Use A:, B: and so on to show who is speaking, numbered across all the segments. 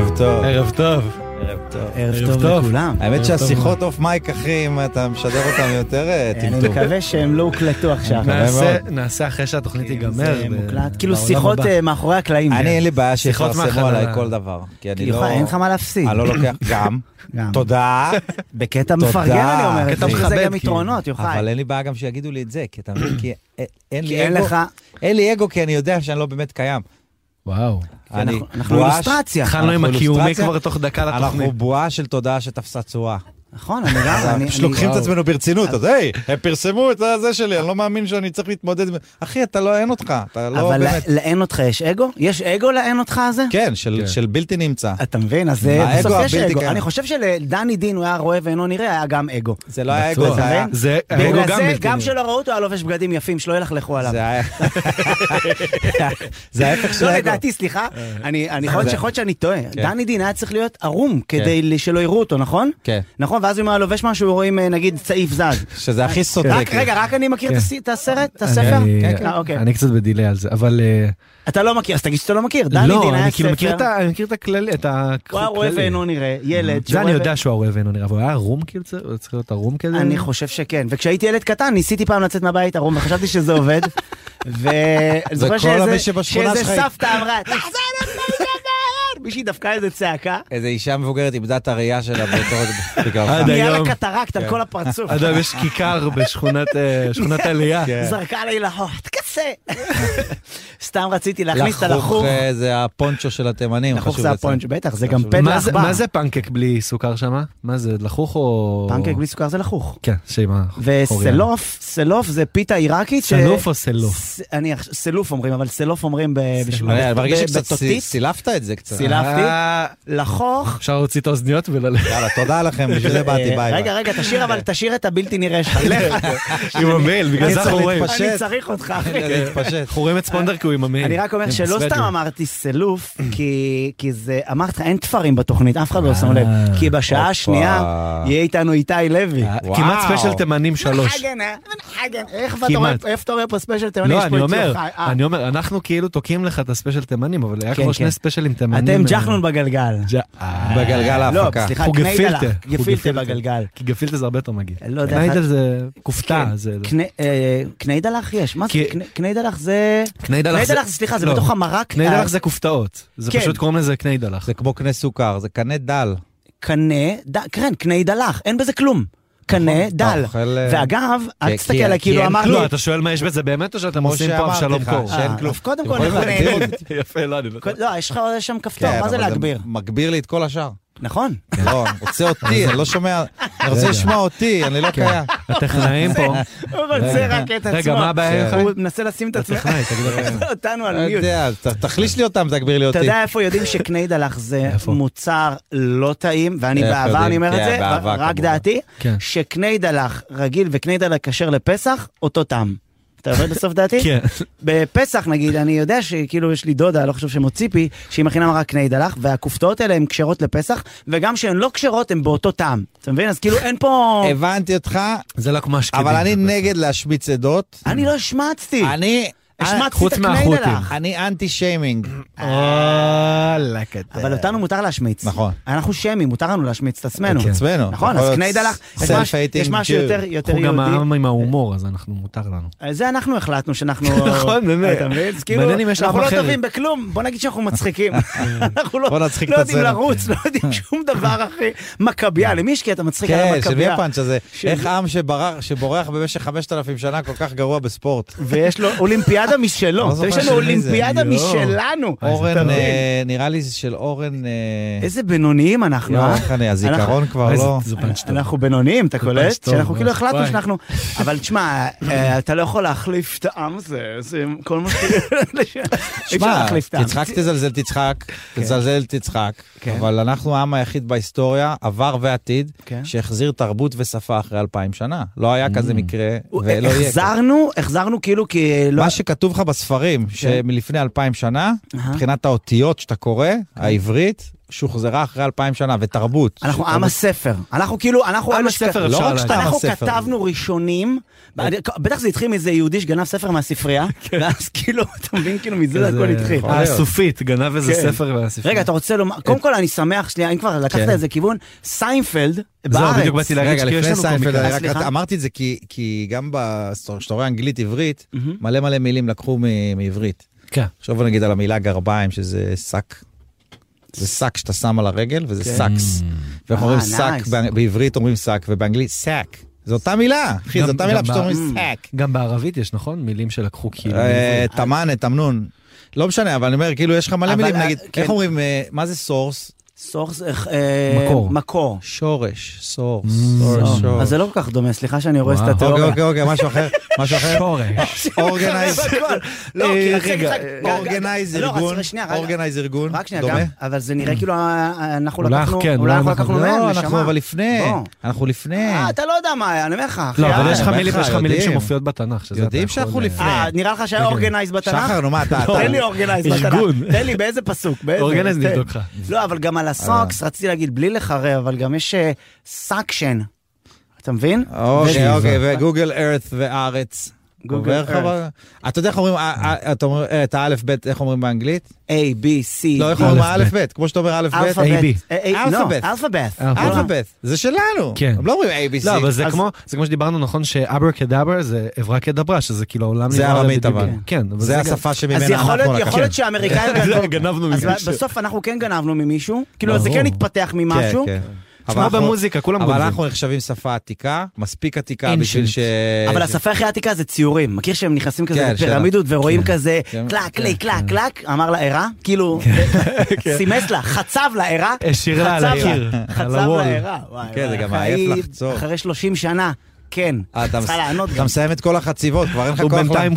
A: ערב טוב.
B: ערב טוב.
A: ערב
C: ערב טוב
A: טוב.
C: לכולם. אה,
B: האמת
A: ערב
B: שהשיחות אוף מייק, אחי, אם אתה משדר אותם יותר, אה,
C: אני
B: טמטום.
C: מקווה שהם לא הוקלטו עכשיו.
B: מקווה
A: נעשה-
B: מאוד.
A: נעשה אחרי שהתוכנית תיגמר.
C: זה
A: ב-
C: מוקלט, כאילו
A: בעולם
C: שיחות
A: הבא.
C: אה, מאחורי הקלעים.
B: אני, אין לי בעיה
A: שיחות
B: שיפרסמו
A: מהחלל.
B: עליי כל דבר. כי אני לא...
C: יוחאי, כאילו, אין לך מה להפסיד.
B: אני לא לוקח... גם.
C: גם.
B: תודה.
C: בקטע
B: תודה.
C: מפרגן אני אומר,
A: קטע
C: יש לזה
A: מכבד,
C: גם
A: כאילו.
C: יתרונות, יוחאי.
B: אבל אין לי בעיה גם שיגידו לי את זה, כי אתה מבין, כי אה, אין
C: כי
B: לי
C: אין
B: אגו.
C: לך,
B: אין לי אגו, כי אני יודע שאני לא באמת קיים.
A: וואו.
B: אני
C: אנחנו- אנחנו
B: בועה ש-
C: אילוסטרציה.
A: התחלנו עם
B: אנחנו
A: הקיומי
B: אילוסטרציה?
A: כבר תוך דקה
B: אנחנו
A: לתוכנית.
B: בועה של תודעה שתפסה צורה.
C: נכון, אני גם, אני-
B: אה, פשוט
C: אני-
B: לוקחים את עצמנו ברצינות, לא- אז היי, הם פרסמו את הזה שלי, אני לא מאמין שאני צריך להתמודד. עם- אחי, אתה לא, אין אותך, אתה לא
C: אבל
B: באמת...
C: ל- לאין אותך יש אגו? יש אגו לאין אותך הזה?
B: כן, של-
A: כן.
B: של בלתי נמצא.
C: אתה מבין? אז אה,
B: האגו
C: בסוף יש
B: הבלתי
C: אגו.
B: קיים.
C: אני חושב שלדני דין הוא היה רואה ואינו נראה, היה גם אגו.
B: זה לא היה אגו,
A: בטוח.
B: זה היה...
A: זה האגו
C: בגלל
A: גם
C: זה,
A: בלתי
C: גם
A: נראה.
C: שלא ראו אותו, היה לובש בגדים יפים, שלא ילכלכו עליו.
B: זה היה... זה ההפך של
C: לא,
B: האגו.
C: לדעתי, סליחה,
A: אה,
C: אני אני- יכול להיות
B: זה-
C: שיכול להיות שאני טועה.
A: כן.
C: דני דין היה צריך להיות ערום כדי ל- שלא יראו אותו, נכון?
B: כן.
C: נכון, ואז אם הוא היה לובש משהו, רואים אה, נגיד צעיף זז.
B: שזה הכי סוטה.
C: רק,
B: כאילו.
C: רגע, רק אני מכיר את
A: כן.
C: הסי- את הסרט, את הספר?
A: אני-
C: כן, כן. אה, אוקיי.
A: אני קצת בדיליי על זה, אבל... אה,
C: אתה לא מכיר, אז תגיד שאתה לא מכיר. דני דין
A: לא,
C: היה
A: אני כאילו מכיר
C: ספר,
A: את ה- אני מכיר את הכללי, את ה...
C: הוא היה רואה
A: כללי.
C: ואינו נראה, ילד.
A: זה
C: שרואה
A: אני
C: ו-
A: יודע שהוא הרואה ואינו נראה, אבל הוא היה ערום כאילו, צריך- הוא צריך להיות ערום כזה?
C: אני חושב שכן. וכשהייתי ילד קטן, ניסיתי פעם לצאת מהבית ערום, וחשבתי שזה עובד. ואני זוכר
B: וכל
C: שאיזה-
B: מי שבשכונה
C: שאיזה
B: שלך-
C: סבתא אמרה, תחזור לבית הבית! מישהי דפקה איזה צעקה.
B: איזו אישה מבוגרת איבדה את הראייה שלה באותו...
A: עד
B: בגללך.
C: נהיה לה
A: היום.
C: קטרקט על כל הפרצוף.
A: אדם יש כיכר בשכונת אה, שכונת עלייה.
B: כן.
C: זרקה עלי לחוך, תכסה. סתם רציתי להכניס את
B: לחוך
C: הלחוך.
B: אה, זה הפונצ'ו של התימנים.
C: לחוך
B: חשוב
C: זה
B: לציין.
C: הפונץ', בטח, זה גם
B: חשוב.
C: פן
A: מה זה-
C: לעכבר.
A: מה זה פנקק בלי סוכר שמה? מה זה, לחוך או...
C: פנקק בלי סוכר זה לחוך.
A: כן, שמה.
C: וסלוף, סלוף זה פיתה עיראקית. ש-
A: סלוף או סלוף?
C: ס- אני עכשיו- סלוף אומרים, אבל סלוף אומרים ב- בשביל...
B: אני אה, מרגיש
C: ב-
B: שקצת
C: בתותית.
B: סי- סילפת את זה קצת.
C: סילפתי.
A: אה,
C: לחוך.
A: אפשר להוציא את האוזניות וללכת.
B: יאללה, תודה לכם, בשביל זה באתי,
C: אה,
B: ביי. ביי.
C: רגע, רגע, תשאיר אבל, תשאיר את הבלתי נראה שלך. לך.
A: עם המייל, בגלל
B: אני
A: זה
B: צריך
A: אנחנו רואים.
B: להתפשט.
C: אני צריך אותך, אחי.
B: זה התפשט.
A: אנחנו רואים את ספונדר כי הוא עם המייל.
C: אני רק אומר
A: עם
C: שלא
A: הסוואג'ר.
C: סתם אמרתי סלוף, כי- כי זה, אמרתי לך, אין תפרים בתוכנית, אף אחד לא שם
A: אה,
C: לב. כי בשעה
B: הופה.
C: השנייה יהיה איתנו איתי לוי.
A: אה,
B: וואו.
A: כמעט ספיישל תימנים שלוש.
C: מנהגן, אה? מנהגן. איך אתה רואה-
A: כמעט.
C: איפה אתה רואה פה ספיישל תימני? יש
A: לא,
C: פה
A: אני
C: את
A: אומר,
C: יוחאי. אה,
A: אני אומר, אנחנו כאילו תוקעים לך את הספיישל תימנים, אבל היה
C: כן,
A: כבר
C: כן.
A: שני ספיישלים תימנים.
C: אתם
A: אה,
C: ג'חנון בגל.
A: ג'- אה,
B: בגלגל
C: לא,
B: ההפקה.
C: סליחה,
A: חוגפילטה.
C: קניידלח.
A: חוגפילטה.
C: גפילטה בגלגל.
A: כי גפילטה זה הרבה יותר מגעיל.
C: לא יודע,
A: ניידל
C: אחד-
A: זה כופתה.
C: כן.
A: זה- זה-
C: קני- אה, קניידלח יש, מה זה?
A: כי-
C: קני- קניידלח זה...
A: קניידלח זה-
C: קניידלח, סליחה, זה
A: לא.
C: בתוך המרק. אה,
A: קניידלח זה כופתאות. זה
C: כן.
A: פשוט קוראים לזה קניידלח.
B: זה כמו קנה סוכר, זה קנה דל.
C: קנה, ד- כן, קניידלח, אין בזה כלום. קנה, דל.
B: אוכל, אה,
C: ואגב, אל
B: כי-
C: תסתכל
B: כי-
C: עליי,
B: כי
C: כאילו
B: אין
C: אמרנו...
A: לא, אתה שואל מה יש בזה באמת, או שאתם
B: כמו
A: עושים פה
B: שאמרתי
A: אבשלום
B: לך,
A: קור?
B: ש- שאין
C: אה,
B: כלום.
C: אז קודם כל,
B: יכולים
C: אנחנו
B: להגביר
C: נהנים.
B: אותי?
A: יפה, לא, אני לא...
C: לא, יש לך עוד שם כפתור,
B: כן,
C: מה זה
B: אבל
C: להגביר?
B: מגביר לי את כל השאר.
C: נכון.
B: לא, אני רוצה אותי, אני לא שומע, אני רוצה לשמוע אותי, אני לא קיים.
A: הטכנאים פה.
C: הוא רוצה רק את עצמו.
A: רגע, מה הבעיה
B: שלך?
C: הוא מנסה לשים את עצמו.
A: הטכנאי, תגיד לו.
C: אותנו
B: לא
C: על מיוט.
B: יודע, ת- תחליש לי אותם, תגביר לי
C: אתה
B: אותי.
C: יודע איפה יודעים שקניידלח זה
A: איפה?
C: מוצר לא טעים, ואני
B: איפה
C: בעבר
B: יודעים?
C: אני אומר את
B: כן,
C: זה,
B: באהבה,
C: רק
B: כמובן.
C: דעתי,
A: כן.
C: שקניידלח רגיל וקניידלח כשר לפסח, אותו טעם. אתה עובד בסוף דעתי?
A: כן.
C: בפסח נגיד, אני יודע שכאילו יש לי דודה, לא חושב שמות ציפי, שהיא מכינה מרק קניידלח, והכופתאות האלה הן כשרות לפסח, וגם שהן לא כשרות הן באותו טעם. אתה מבין? אז כאילו אין פה...
B: הבנתי אותך,
A: זה לא כמו השקדים.
B: אבל אני נגד להשמיץ עדות.
C: אני לא השמצתי.
B: אני...
C: השמצתי את
A: חוץ
C: הקניידלח.
A: מהחות'ים.
B: אני אנטי שיימינג.
A: וואלה, קטן.
C: אבל אותנו מותר להשמיץ.
B: אה. נכון.
C: אנחנו שמים, מותר לנו להשמיץ את עצמנו.
A: כן.
B: עצמנו.
C: נכון,
B: יכול
C: אז
B: להיות
C: קניידלח, יש
B: self-hating
C: משהו- יש משהו
B: Jew.
C: יותר יותר
A: אנחנו גם
C: יהודי.
A: העם עם ההומור, אז אנחנו, מותר לנו.
C: זה אנחנו החלטנו שאנחנו...
A: נכון, באמת.
C: אתה מבין? אז כאילו,
A: מעניין אם יש
C: אנחנו
A: עם
C: לא
A: אחרת.
C: טובים בכלום, בוא נגיד שאנחנו מצחיקים. אנחנו לא
B: בוא נצחיק
C: לא
B: את
C: יודעים
B: עצמנו.
C: לרוץ, לא יודעים שום דבר, אחי. מכביה, למי יש קטע מצחיק על
B: כן, של מי
C: המכביה?
B: הפאנץ' הזה?
C: של-
B: איך עם שברח- שבורח במשך 5,000 שנה כל כך גרוע בספורט?
C: ויש לו אולימפיאדה משלו,
B: לא זוכר
C: יש לנו
B: של מי זה,
C: אולימפיאדה
A: אני לא.
C: משלנו. אתה
B: אורן,
C: מבין?
B: אה, נראה לי זה של אורן... אה,
C: איזה בינוניים אנחנו,
B: יואו,
C: אה?
B: איך אני, לא, הזיכרון כבר
A: איזה-
B: לא...
A: זה פאנץ' טוב.
C: אנחנו בינוניים, אתה
A: פאנץ'
C: קולט?
A: טוב,
C: שאנחנו כאילו
A: ממש.
C: החלטנו
A: וואי.
C: שאנחנו... אבל תשמע, אה, אתה לא יכול להחליף טעם, זה זה כל מה ש... אי אפשר
B: שמע,
C: להחליף טעם.
B: תצחק, תזלזל, תצחק, תזלזל, תצחק,
C: כן.
B: אבל אנחנו העם היחיד בהיסטוריה, עבר ועתיד,
C: כן.
B: שהחזיר תרבות ושפה אחרי אלפיים שנה. לא היה כזה מקרה, ולא יהיה. כזה.
C: החזרנו, החזרנו כאילו כי לא...
B: מה שכתוב כן. כן. לך בספרים, שמלפני אלפיים שנה, מבחינת האותיות שאתה קורא, העברית, שוחזרה אחרי אלפיים שנה, ותרבות.
C: אנחנו
B: שתרבות-
C: עם הספר. אנחנו כאילו, אנחנו
A: עם
C: אלה שכ-
B: לא
A: הספר אפשר
B: רק
A: להגיד.
B: שאתה עם
C: אנחנו
B: הספר.
C: כתבנו ראשונים, בטח זה התחיל מאיזה יהודי שגנב ספר מהספרייה, ואז כאילו, אתה מבין, כאילו מזה
A: כזה-
C: הכל התחיל.
B: יכול להיות.
A: הסופית, אה, גנב איזה
C: כן.
A: ספר מהספרייה.
C: רגע, אתה רוצה לומר, קודם כל אני שמח, שנייה, אם כבר לקחת
B: כן.
C: איזה כיוון, סיינפלד
A: זהו,
C: בארץ.
A: בדיוק באתי להגיד
B: אה, רגע,
A: שכאילו יש
B: לפני
A: לנו
B: סיינפלד,
A: קומיקאים.
B: אני
C: אה,
B: רק
C: סליחה?
B: אמרתי את זה כי- כי גם בסטור- כשאתה רואה אנגלית עברית,
C: מהמם.
B: מלא מלא מילים לקחו מ- מעברית.
A: כן.
B: עכשיו נגיד על המילה גרביים, שזה שק. זה שק שאתה שם על הרגל, וזה
C: כן.
B: סאקס. ואנחנו
C: אה,
B: אומרים שק,
C: nice.
B: באנ- בעברית אומרים שק, ובאנגלית סק. זו אותה מילה, אחי,
A: גם-
B: זו אותה
A: גם
B: מילה, פשוט
A: ב-
B: אומרים
C: Mm.
B: סק.
A: גם בערבית יש, נכון? מילים שלקחו כאילו...
B: אה, תמאנה, תמנון. לא משנה, אבל אני אומר, כאילו, יש לך מלא
C: אבל,
B: מילים,
C: אה,
B: נגיד,
C: כן.
B: איך אומרים, אה, מה זה סורס?
C: סורס, אה, אה,
A: מקור.
C: מקור.
B: שורש, סורס,
A: אה,
B: סורס,
C: אז
B: שורס.
C: זה לא כל כך דומה, סליחה שאני הורס את
A: וואו.
B: אוקיי,
C: התיאוריה.
B: אוקיי, אוקיי, משהו אחר, משהו אחר. אה,
A: שורש.
B: אורגנייז,
C: לא,
A: אה,
C: כי רק-
A: רגע,
C: רק- רק-
B: אורגנייז
C: לא, רק-
B: ארגון,
C: שנייה, רגע.
B: אורגנייז ארגון,
C: רק שנייה,
B: אוקיי. דומה?
C: גם, אבל זה נראה כאילו אה, אנחנו
A: אולי,
C: לקחנו,
A: כן,
C: אולי
A: אולי
C: אנחנו
A: אנחנו-
C: לקחנו מהם,
B: לא,
C: נשמה.
B: אנחנו אבל לפני,
C: בוא.
B: אנחנו לפני.
C: אה, אתה לא יודע מה היה, אני אומר לך, אחי.
A: לא, אבל
C: אה,
A: יש לך
B: אני אומר
A: מילים-
B: לך,
A: יש לך מילים
B: יודעים.
A: שמופיעות בתנ"ך. שזה אתה
B: יודעים
A: יכול,
B: שאנחנו
A: אה,
B: לפני.
C: אה, נראה לך שהיה אורגנייז בתנ"ך?
B: שחר, נו מה, אתה, אתה,
C: תן לא, לי אורגנייז בתנ"ך.
A: ארגון.
C: תן לי, באיזה פסוק? באיזה?
A: אורגנייז
B: אה, כן.
A: אה.
C: תן.
A: נבדוק לך.
C: לא, אבל גם על הסוקס, רציתי להגיד, בלי לחרב, אבל גם יש אה, סאקשן. אתה מבין?
B: אוקיי,
A: ושאיבה.
B: אוקיי, וגוגל ארת וארץ.
C: Google
B: עובר לך
C: Earth.
B: ב- אתה יודע איך אומרים, אה, אה, אתה אומר, אה, את האלף בית, איך אומרים באנגלית?
C: A, B, C,
B: לא, איך
C: D,
B: אומרים
A: אלף,
B: האלף בית? כמו שאתה אומר אלף בית.
C: אלפאבית.
A: A, B.
C: אה, אה, לא,
B: אלפאבית.
C: אלפאבית.
A: אלפאבית.
C: אלפאבית.
B: אלפאבית, זה שלנו.
A: כן.
B: הם לא אומרים ABC.
A: לא, אבל זה
C: אז-
A: כמו, זה כמו שדיברנו נכון שאברה כדאברה זה אברה כדברה, שזה כאילו העולם...
B: זה
A: נברא
B: ארמית
A: בדיבור.
B: אבל.
A: כן, אבל
B: זה
A: גם-
B: השפה
C: אז
B: שממנה
C: יכול
B: אנחנו
C: להיות- יכול
B: לקחנו.
C: להיות שהאמריקאים גנבו.
A: כן. לא, גנבנו
C: אז
A: ממישהו.
C: בסוף אנחנו כן גנבנו ממישהו, כאילו זה
A: ברור.
C: כן התפתח
B: כן,
C: ממשהו.
B: כן. אבל
A: כמו
B: אנחנו-
A: במוזיקה,
C: לא
A: כולם
B: אבל
A: גונבים.
B: אנחנו נחשבים שפה עתיקה, מספיק עתיקה
A: Ancient.
B: בשביל ש...
A: אה,
C: אבל השפה הכי עתיקה זה ציורים, מכיר שהם נכנסים כזה
B: כן,
C: לפירמידות ורואים כזה
B: כן,
C: קלק,
B: כן,
C: קליק,
A: אה.
C: קלק, קלק, אמר לה ערה, כאילו,
A: כן,
C: סימס לה, חצב לה ערה,
A: השאירה לה אה, על
C: חצב לה-
A: הקיר, על
C: חצב
A: הוול.
C: לה ערה. וואי,
B: כן,
C: וואי,
B: זה גם
C: אחרי-
B: עייף לחצוב.
C: אחרי 30 שנה, כן,
B: אה, אתה
C: צריכה
B: מס-
C: לענות
B: אתה
C: גם.
B: מסיים את כל החציבות, כבר אין לך
A: הוא
B: כוח.
A: בינתיים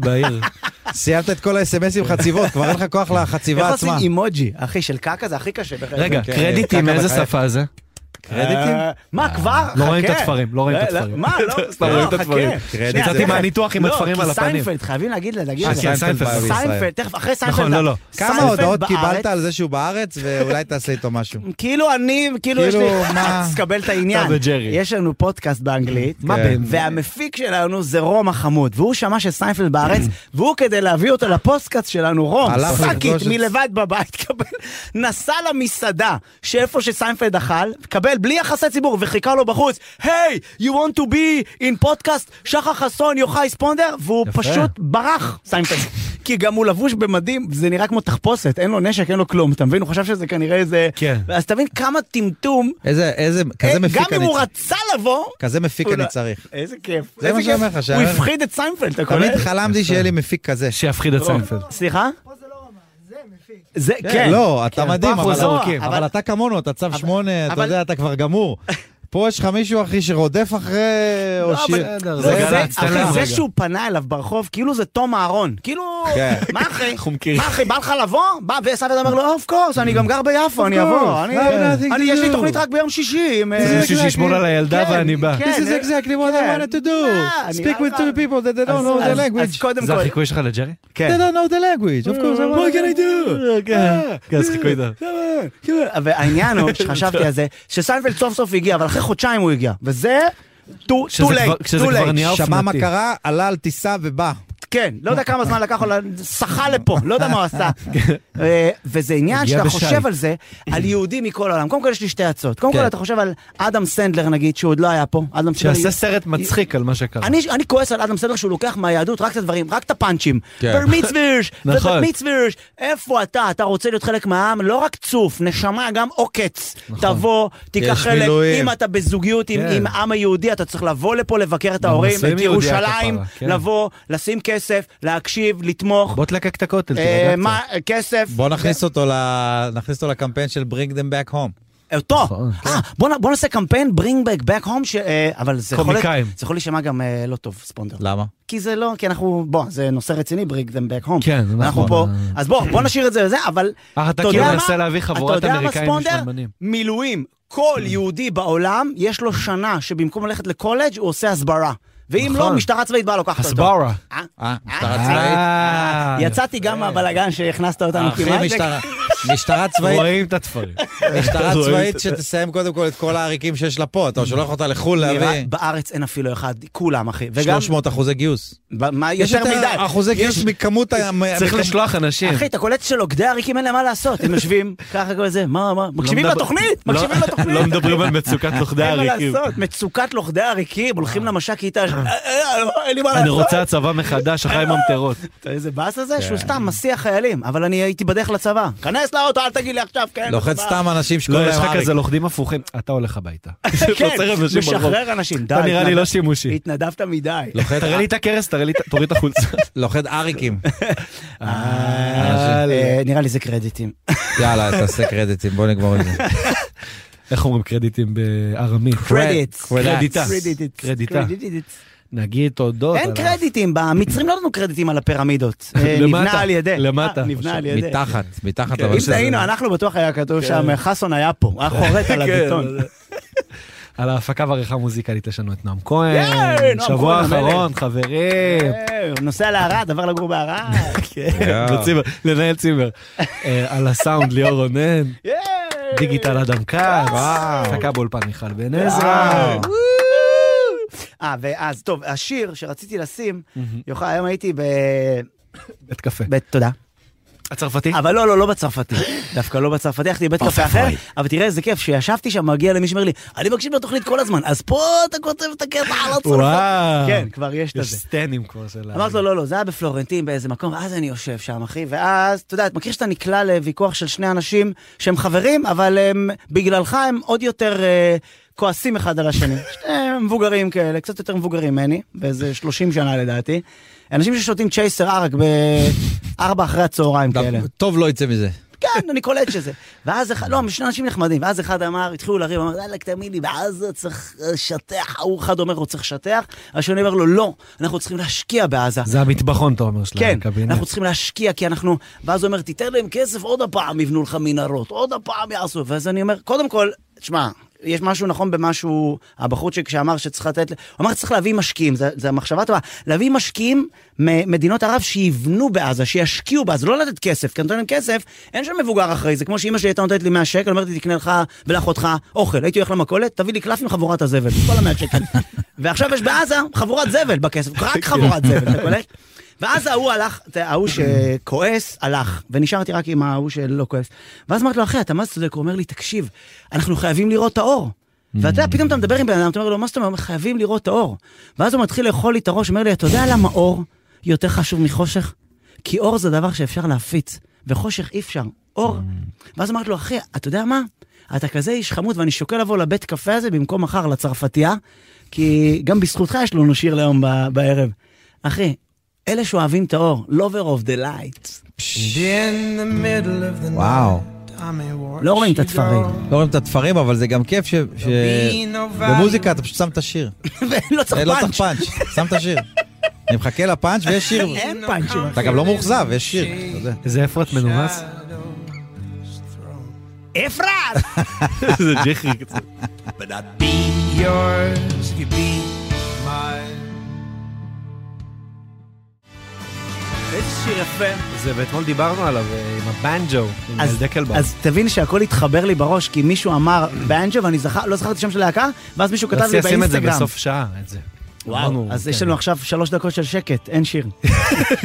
A: בעיר.
B: לה- סיימת את כל האס.אם.אסים חציבות, כבר אין לך כוח
C: איך
B: לחציבה
C: עושים
B: עצמה.
C: אימוג'י, אחי, של קקה זה הכי קשה. בחיים.
A: רגע,
B: כן,
A: קרדיטים,
B: קקה
A: איזה
B: בחייך.
A: שפה זה?
B: קרדיטים?
C: אה, מה כבר?
A: לא רואים את
C: חכה.
A: התפרים, לא רואים את
C: לא,
A: התפרים.
C: מה, לא,
A: סתם רואים את
C: לא,
A: התפרים.
C: חכה.
A: קרדיט.
C: שנייה,
A: יצאתי
C: זה-
A: מהניתוח עם
C: לא,
A: התפרים
C: כי
A: על הפנים.
C: סיינפלד, חייבים להגיד לה, להגיד
A: אה,
C: לה.
A: כן, סיינפלד
B: בא בישראל.
C: סיינפלד, תכף, אחרי סיינפלד.
A: נכון, לא, לא.
B: כמה
C: סיינפלד
B: הודעות קיבלת
C: בארץ,
B: על זה שהוא בארץ, ואולי תעשה איתו משהו.
C: כאילו אני, כאילו יש לי...
B: כאילו, מה?
C: תקבל את העניין.
A: אתה וג'רי.
C: יש לנו פודקאסט באנגלית.
A: מה
B: כן.
A: בן?
C: והמפיק שלנו זה רום החמוד, והוא שמע שסיינפלד בארץ, והוא כדי להביא אותו לפוסטקאסט שלנו, רום,
B: הלך
C: פאקית,
B: לפגוש את-
C: מלבד בבית, קבל, נסע למסעדה שאיפה שסיינפלד אכל, קבל בלי יחסי ציבור, וחיכה לו בחוץ, היי, hey, you want to be in פודקאסט שחר חסון, יוחאי ספונדר, והוא
A: יפה.
C: פשוט ברח, סיינפלד. כי גם הוא לבוש במדים, זה נראה כמו תחפושת, אין לו נשק, אין לו כלום, אתה מבין? הוא חשב שזה כנראה איזה...
A: כן.
C: אז תבין כמה טמטום,
B: איזה, איזה, כזה
C: אה, גם
B: מפיק
C: אם
B: אני
C: הוא
B: צריך.
C: רצה לבוא,
B: כזה מפיק
C: הוא
B: אני
C: לא-
B: צריך.
C: איזה כיף.
B: זה
C: איזה
B: מה שאני
C: כיף.
B: אומר לך,
C: הוא
B: שהערב-
C: הפחיד את סיינפלד, אתה קולט?
B: תמיד חלמתי שיהיה לי מפיק כזה.
A: שיפחיד את סיינפלד.
C: סליחה? פה זה לא רמה, זה מפיק. זה, כן.
B: לא, אתה מדהים,
A: אנחנו
B: אבל-
A: זורקים.
B: אבל אתה כמונו, אתה צו שמונה, אתה
C: אבל-
B: יודע, אתה כבר גמור. פה יש לך מישהו, אחי, שרודף אחרי... או
C: לא,
B: שיר-
C: אבל-
A: בסדר,
C: לא,
A: זה
C: זה-
A: גל"צ, תן להם
C: אחי, זה
A: רגע.
C: שהוא פנה אליו ברחוב, כאילו זה תום אהרון. כאילו,
B: כן.
C: מה אחי?
A: אנחנו מכירים.
C: מה אחי, בא לך לבוא? בא, וסבתא אומר לו, אוף קורס, אני גם גר ביפו, אני
B: course.
C: אבוא. אני-
A: לא,
B: Have nothing to
C: אני, יש לי
B: do."
C: תוכנית רק ביום שישי. עם, אה,
A: כאילו- זה מישהו שישמור על הילדה
C: כן,
A: ואני בא.
C: כן.
B: This is exactly what I
C: כן.
B: wanted to do.
C: אה, אני
B: Speak with
C: נראה
B: two
C: לך-
B: people that they don't
C: אז-
B: know the
C: אז- אז
B: language.
A: זה כן.
C: קודם כל... לא- Mm.
A: החיקוי שלך לג'רי?
B: They don't know the language. Of course, I
C: What
B: wanna-
C: can I do?
A: כן. כן, אז חיקוי טוב.
C: כאילו, והעניין הוא שחשבתי על זה, שסיינפלד סוף סוף הגיע, אבל אחרי חודשיים הוא הגיע, וזה... too- too
A: שזה כבר-
C: late,
A: כשזה
C: too
A: כבר
C: late.
A: נהיה
B: שמע מה
A: אופנתי.
B: קרה, עלה על טיסה ובא.
C: כן, לא יודע כמה זמן לקח לו, שחה לפה, לא יודע מה הוא עשה. אה, וזה עניין
A: כן. הגיע
C: שאתה
A: בשי.
C: חושב על זה, על יהודים מכל העולם. קודם כל יש לי שתי הצעות. קודם
B: כן.
C: כל אתה חושב על אדם סנדלר נגיד, שהוא עוד לא היה פה. אדם סנדלר...
A: שיעשה סרט מצחיק על מה שקרה.
C: אני, אני כועס על אדם סנדלר שהוא לוקח מהיהדות רק את הדברים, רק את הפאנצ'ים.
B: כן.
C: בר מצווירש,
A: נכון.
C: ובת מצווירש, איפה אתה? אתה רוצה להיות חלק מהעם? לא רק צוף, נשמה, גם עוקץ. תבוא, תיקח
B: יש
C: חלק.
B: מילואים.
C: אם אתה בזוגיות עם
A: נכון. כן.
C: עם העם היהודי, אתה צריך לבוא לפה לבקר את ההורים,
A: נשואים
C: את
A: יהודי,
C: ירושלים,
A: הכפרה, כן.
C: לבוא, לשים כסף, להקשיב, לתמוך.
A: בוא תלקק את הכותל,
C: אה,
A: תירגע
C: מה, כסף.
B: בוא נכניס אותו ל- נכניס אותו לקמפיין של Bring them back home.
C: אותו.
A: נכון,
C: אה, בוא נ- בוא נעשה קמפיין Bring back back home, ש- אה, אבל זה יכול להיות-
A: קומיקאים.
C: זה יכול להישמע גם אה, לא טוב, ספונדר.
B: למה?
C: כי זה לא, כי אנחנו, בוא, זה נושא רציני, bring them back home.
A: כן, זה
C: אנחנו
A: נכון.
C: פה, אז בוא, בוא נשאיר את זה לזה, אבל
A: אה, אתה
C: אתה יודע
A: כאילו
C: מה?
A: מנסה להביא חבורת
C: אתה יודע מה,
A: אמריקאים
C: ספונדר?
A: משתלמנים. כן.
C: מילואים, כל יהודי בעולם, יש לו שנה שבמקום ללכת לקולג' הוא עושה הסברה. ואם לא,
A: נכון.
C: משטרה צבאית באה לוקחת אותו.
A: הסברה.
C: אה?
B: אה, משטרה
C: אה,
B: צבאית?
A: אה,
C: יצאתי גם מהבלגן שהכנסת אותנו כמעט.
B: אחי, משטרה- משטרה צבאית,
A: רואים את התפרים.
C: אה,
B: משטרה
A: רואים
B: צבאית
A: את-
B: שתסיים קודם כל את כל העריקים שיש לה פה, אתה שולח אותה לחו"ל
C: נראה,
B: להביא
C: בארץ אין אפילו אחד, כולם אחי. וגם,
B: 300 אחוזי גיוס.
C: ב- מה
B: יש
C: יותר
B: את
C: מדי.
A: אה,
B: האחוזי גיוס מכמות ה...
A: צריך
B: מכמות-
A: לשלוח אנשים.
C: אחי, אתה קולט שלוגדי עריקים אין להם מה לעשות, הם יושבים ככה כל זה, מה, מה, מקשיבים
A: מדבר-
C: לתוכנית,
A: לא-
C: מקשיבים לתוכנית.
A: לא מדברים על מצוקת לוכדי
C: אין מה
A: עריקים.
C: לעשות, מצוקת לוכדי עריקים, הולכים למש"ק כיתה, ש- אה, אה, אה, אין לי מה
A: אני
C: לעשות.
A: רוצה כן. הצבא מחדש, אחרי ממטרות.
C: אתה איזה באס הזה שהוא סתם מסיע חיילים, אבל אני הייתי בדרך לצבא. כנס לאוטו, אל תגיד לי עכשיו, כן.
B: לוחץ
C: בצבא.
B: סתם אנשים
A: לא,
B: שקוראים
A: יש
B: להם
A: לך
B: אריק.
A: כזה לוכדים הפוכים, אתה הולך הביתה.
C: כן,
A: לא צריך אנשים ברחוב.
C: משחרר אנשים, די.
A: אתה נראה לי
C: התנדב-
A: לא שימושי.
C: התנדבת מדי.
B: לוחת-
A: תראה לי את הכרס, תראה לי, את- תוריד את החולצה.
B: לוחת אריקים.
C: אה, אה, נראה לי זה קרדיטים.
B: יאללה, תעשה קרדיטים, בוא נגמור את זה.
A: איך אומרים קרדיטים בארמית?
C: קרדיטס.
A: קרדיטה.
C: קרדיטס.
A: קרדיטה. לא,
C: קרדיטס.
A: נגיד תודות.
C: אין
A: על ה-
C: קרדיטים, במצרים לא נתנו קרדיטים על הפירמידות. אה,
A: למטה,
C: נבנה על ידי.
A: למטה.
C: אה, נבנה על ידי.
B: מתחת, מתחת
A: כן.
B: לבן
C: אם
A: שזה-
C: טעינו, אנחנו בטוח היה כתוב שם, חסון היה פה, היה חורט על
A: כן,
C: הביטון.
A: על ההפקה והעריכה המוזיקלית יש לנו את נועם
C: ייי,
A: כהן.
C: נועם
A: שבוע
C: כהן, המלך.
A: האחרון, חברים.
C: אה, הוא נוסע לערד, עבר לגור בערד. כן.
A: לצימר, לנהל צימר. אה, על הסאונד ליאור רונן,
C: ייי.
A: דיגיטל אדם כץ, הפקה באולפן מיכל בן עזרא.
B: וואו.
C: אה, ואז, טוב, השיר שרציתי לשים, יוחאי, היום הייתי ב...
A: בית קפה.
C: ב- תודה.
A: הצרפתי?
C: אבל לא, לא, לא בצרפתי. דווקא לא בצרפתי, הלכתי לבית קפה אחר, אבל תראה איזה כיף, שישבתי שם, מגיע למישהו שאומר לי, אני מקשיב לתוכנית כל הזמן, אז פה אתה כותב את הקטע על הצרפתי.
A: וואו.
C: כן, כבר יש את
A: יש
C: זה.
A: סטנים כבר של... ה-
C: אמרתי לו, לא, לא, זה היה בפלורנטין באיזה מקום, ואז אני יושב שם, אחי, ואז, אתה יודע, אתה מכיר שאתה נקלע לוויכוח של שני אנשים שהם חברים, אבל הם, בגללך הם עוד יותר אה, כועסים אחד על השני. שניהם מבוגרים כאלה, קצת יותר מבוגרים ממני, באיזה 30 שנה לדעתי. אנשים ששותים צ'ייסר ערק בארבע אחרי הצהריים כאלה.
B: טוב לא יצא מזה.
C: כן, אני קולט שזה. ואז אחד, לא, הם שני אנשים נחמדים, ואז אחד אמר, התחילו לריב, אמר, וואלכ, תאמין לי, בעזה צריך לשטח, ההוא אחד אומר, הוא צריך לשטח, השני אומר לו, לא, אנחנו צריכים להשקיע בעזה.
A: זה המטבחון, אתה אומר, של
C: "לא." כן,
A: הקבינט.
C: אנחנו צריכים להשקיע, כי אנחנו... ואז הוא אומר, תיתן להם כסף, עוד הפעם יבנו לך מנהרות, עוד הפעם יעשו. ואז אני אומר, קודם כל, תשמע, יש משהו נכון במשהו, הבחורצ'יק שאמר שצריך לתת... ל- הוא אמר, צריך להביא משקיעים, זו- זו המחשבה טובה. להביא משקיעים ממדינות ערב שיבנו בעזה, שישקיעו בעזה, לא לתת כסף, כי אתה נותן להם כסף, אין שם מבוגר אחרי זה. כמו שאימא שלי הייתה נותנת לי 100 שקל, אומרת לי, תקנה לך ולאחותך אוכל. הייתי הולך למכולת, תביא לי קלף עם חבורת הזבל, כל המאה שקל. ועכשיו יש בעזה חבורת זבל בכסף, רק חבורת זבל, אתה קולט? ואז ההוא הלך, זה ההוא שכועס, הלך, ונשארתי רק עם ההוא שלא כועס. ואז אמרתי לו, אחי, אתה מה זה צודק? הוא אומר לי, תקשיב, אנחנו חייבים לראות את האור. ואתה יודע, פתאום אתה מדבר עם בן אדם, אתה אומר לו, מה זאת אומרת? הוא אומר, חייבים לראות את האור. ואז הוא מתחיל לאכול לי את הראש, אומר לי, אתה יודע למה אור יותר חשוב מחושך? כי אור זה דבר שאפשר להפיץ, וחושך אי אפשר. אור. ואז אמרתי לו, אחי, אתה יודע מה? אתה כזה איש חמוד, ואני שוקל לבוא לבית קפה הזה במקום מחר לצרפתייה, כי גם בזכותך יש לנו שיר ליום ב- בערב. אחי, אלה שאוהבים את האור, lover of the light.
B: וואו.
C: לא רואים את התפרים.
B: לא רואים את התפרים, אבל זה גם כיף ש... ש- במוזיקה אתה פשוט שם את השיר.
C: ולא צריך
B: אה, לא צריך
C: פאנץ'.
B: פאנץ', שם את השיר. אני מחכה לפאנץ' ויש שיר.
C: אין פאנץ'.
B: אתה גם לא מאוכזב, יש שיר. אתה יודע.
A: זה אפרת מנומס?
C: אפרת!
A: זה ג'חרי קצת.
D: But I'd be yours if you be mine.
C: איזה שיר יפה.
A: זה, ואתמול דיברנו עליו אה, עם הבנג'ו, עם
C: אז-
A: ילדי כלבה.
C: אז תבין שהכל התחבר לי בראש, כי מישהו אמר באנג'ו, ואני זכר, לא זכרתי שם של להקה, ואז מישהו כתב
A: רציתי
C: לי
A: לשים את זה
C: באינסטגרם.
A: בסוף שעה, את זה. אמרנו,
C: אז
A: כן.
C: יש לנו עכשיו שלוש דקות של שקט, אין שיר.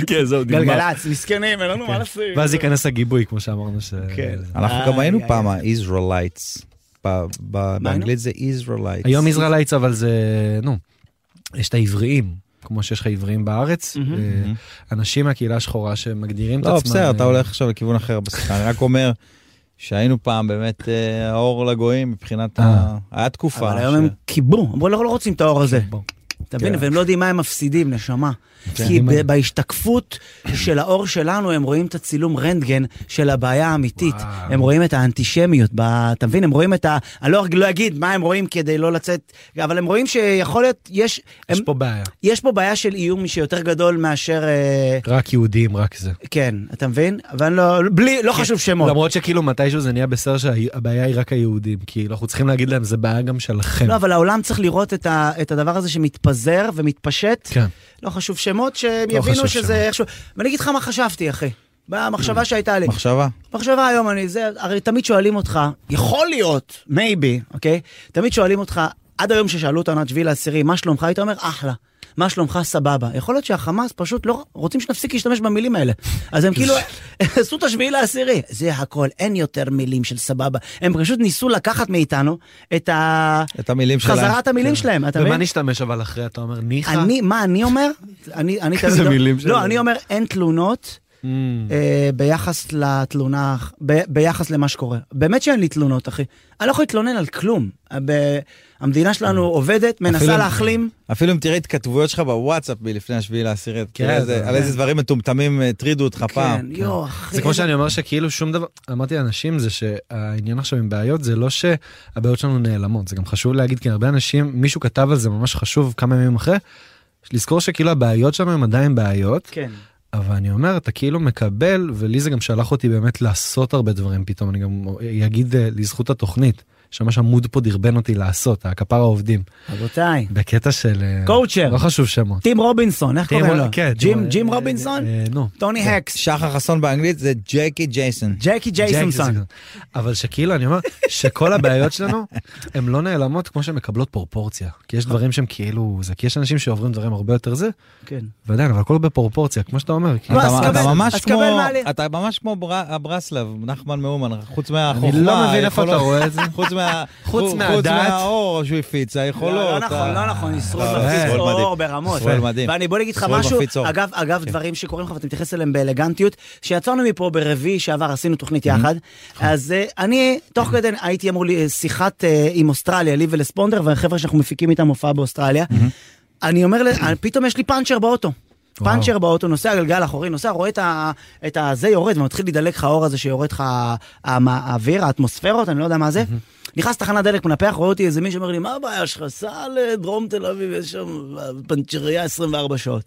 A: כן, זהו, נגמר.
C: גלגלצ, מסכנים, אין לנו מה לשים.
A: ואז ייכנס הגיבוי, כמו שאמרנו ש...
C: כן.
B: אנחנו
C: איי,
B: גם היינו
C: איי,
B: פעם ה-Israelites. ב- ב- באנגלית זה Israelites.
A: היום ישראלייטס, אבל זה... נו, יש את העבריים, כמו שיש לך עבריים בארץ. אה, אנשים מהקהילה השחורה שמגדירים את עצמם...
B: לא, בסדר, אתה
A: אה,
B: הולך עכשיו לכיוון אחר בשיחה. אני רק אומר שהיינו פעם באמת אה, האור לגויים מבחינת
A: אה.
B: ה... היה תקופה.
C: אבל היום
B: ש-
C: הם קיבו, אמרו לא לא רוצים את האור הזה.
A: בוא.
C: אתה מבין?
B: כן.
C: והם לא יודעים מה הם מפסידים, נשמה. כי
A: כן. אני
C: ב-
A: מבין.
C: בהשתקפות של האור שלנו, הם רואים את הצילום רנטגן של הבעיה האמיתית.
A: וואו.
C: הם רואים את האנטישמיות, ב- אתה מבין? הם רואים את ה... אני לא לא אגיד מה הם רואים כדי לא לצאת, אבל הם רואים שיכול להיות, יש...
A: יש
C: הם-
A: פה בעיה.
C: יש פה בעיה של איום שיותר גדול מאשר... אה,
A: רק יהודים, רק זה.
C: כן, אתה מבין? אבל לא, בלי,
A: כן.
C: לא חשוב שמות.
A: למרות שכאילו מתישהו זה נהיה בסדר שהבעיה היא רק היהודים, כאילו אנחנו צריכים להגיד להם, זה בעיה גם שלכם.
C: לא, אבל העולם צריך לראות את, ה, את הדבר הזה שמתפזר מתפזר ומתפשט.
A: כן.
C: לא חשוב שמות, שהם
A: לא
C: יבינו
A: חשוב שמות.
C: שזה איכשהו... ואני אגיד לך מה חשבתי, אחי. במחשבה שהייתה לי.
B: מחשבה.
C: מחשבה היום אני, זה, הרי תמיד שואלים אותך, יכול להיות, מייבי, אוקיי? תמיד שואלים אותך, עד היום ששאלו אותנו עד שביעי לעשירי, מה שלומך? היית אומר, אחלה. מה שלומך? סבבה. יכול להיות שהחמאס פשוט לא רוצים שנפסיק להשתמש במילים האלה. אז הם כאילו עשו את השביעי לעשירי. זה הכל, אין יותר מילים של סבבה. הם פשוט ניסו לקחת מאיתנו את ה...
B: את המילים שלהם.
C: חזרת המילים שלהם, אתה מבין?
A: ומה נשתמש אבל אחרי אתה אומר ניחא?
C: אני, מה אני אומר? אני, אני
A: כזה
C: תמיד-
A: מילים
C: לא,
A: של-
C: אני אומר אין תלונות
A: Mm.
C: אה, ביחס לתלונה, ב, ביחס למה שקורה. באמת שאין לי תלונות, אחי. אני לא יכול להתלונן על כלום. ב- המדינה שלנו
A: Mm.
C: עובדת, מנסה
B: אפילו-
C: להחלים.
B: אפילו אם תראה התכתבויות שלך בוואטסאפ מלפני השביעי לעשירי, אתה
A: כן,
B: תראה איזה-
A: כן.
B: על איזה דברים מטומטמים אה, הטרידו אותך
C: כן,
B: פעם.
C: יואו, אחי.
A: זה כמו שאני אומר שכאילו שום דבר, אמרתי לאנשים זה שהעניין עכשיו עם בעיות זה לא שהבעיות שלנו נעלמות, זה גם חשוב להגיד כי הרבה אנשים, מישהו כתב על זה ממש חשוב כמה ימים אחרי, לזכור שכאילו הבעיות שלנו הם עדיין בעיות,
C: כן.
A: אבל אני אומר אתה כאילו מקבל ולי זה גם שלח אותי באמת לעשות הרבה דברים פתאום, אני גם אגיד אה, לזכות התוכנית, שממש עמוד פה דרבן אותי לעשות, הכפר העובדים,
C: רבותיי,
A: בקטע של... אה,
C: קואוצ'ר.
A: לא חשוב שמות. כן,
C: טים רובינסון, איך קוראים לו? ג'ים, ג'ים רובינסון?
A: אה, נו.
C: טוני הקס,
B: שחר חסון באנגלית זה ג'קי ג'ייסון.
C: ג'קי ג'ייסונסון.
A: ג'ק אבל שכאילו אני אומר שכל הבעיות שלנו הן לא נעלמות כמו שהן מקבלות פרופורציה כי יש דברים שהם כאילו זה כי יש אנשים שעוברים דברים הרבה יותר זה
C: כן.
A: ועדיין אבל הכל בפרופורציה כמו שאתה אומר. כאילו,
C: לא,
B: אתה-
C: אז
B: אתה
C: קבל-
B: ממש
C: אז
B: כמו-
C: קבל מעלה.
B: אתה ממש כמו בר- הברסלב, נחמן מאומן, חוץ מהחוכמה.
A: אני לא מבין איפה אתה
B: היכולות-
A: רואה את זה.
B: חוץ מה...
A: חוץ
B: חוץ
A: מהדת.
B: מהאור שהוא הפיץ, היכולות.
C: לא, לא נכון,
B: ה-
C: לא נכון, ישרוד
B: אה,
C: מפיץ
B: ישרוד מדהים.
C: אור ברמות.
B: ישרוד מדהים.
C: ואני בוא נגיד לך
B: ישרוד
C: משהו,
B: מפיץ אור. כן.
C: אגב, אגב, דברים שקורים לך ואתה מתייחס אליהם באלגנטיות, שיצאנו מפה ברביעי שעבר, עשינו תוכנית יחד, אז אה, אני, תוך כדי הייתי אמור לי אה, שיחת אה, עם אוסטרליה, לי ולספונדר, והחבר'ה שאנחנו מפיקים איתם הופעה באוסטרליה, אני אומר, ל- אה, פתאום יש לי פאנצ'ר באוטו.
A: וואו.
C: פאנצ'ר באוטו, נוסע גלגל אחורי, נוסע, רואה את ה- את הזה יורד, ומתחיל להידלק לך האור הזה שיורד לך ה- המ- האוויר, האטמוספירות, אני לא יודע מה זה. נכנס לתחנת דלק, מנפח, רואה אותי איזה מישהו אומר לי, מה הבעיה שלך? סע לדרום תל אביב, יש שם פנצ'ריה 24 שעות.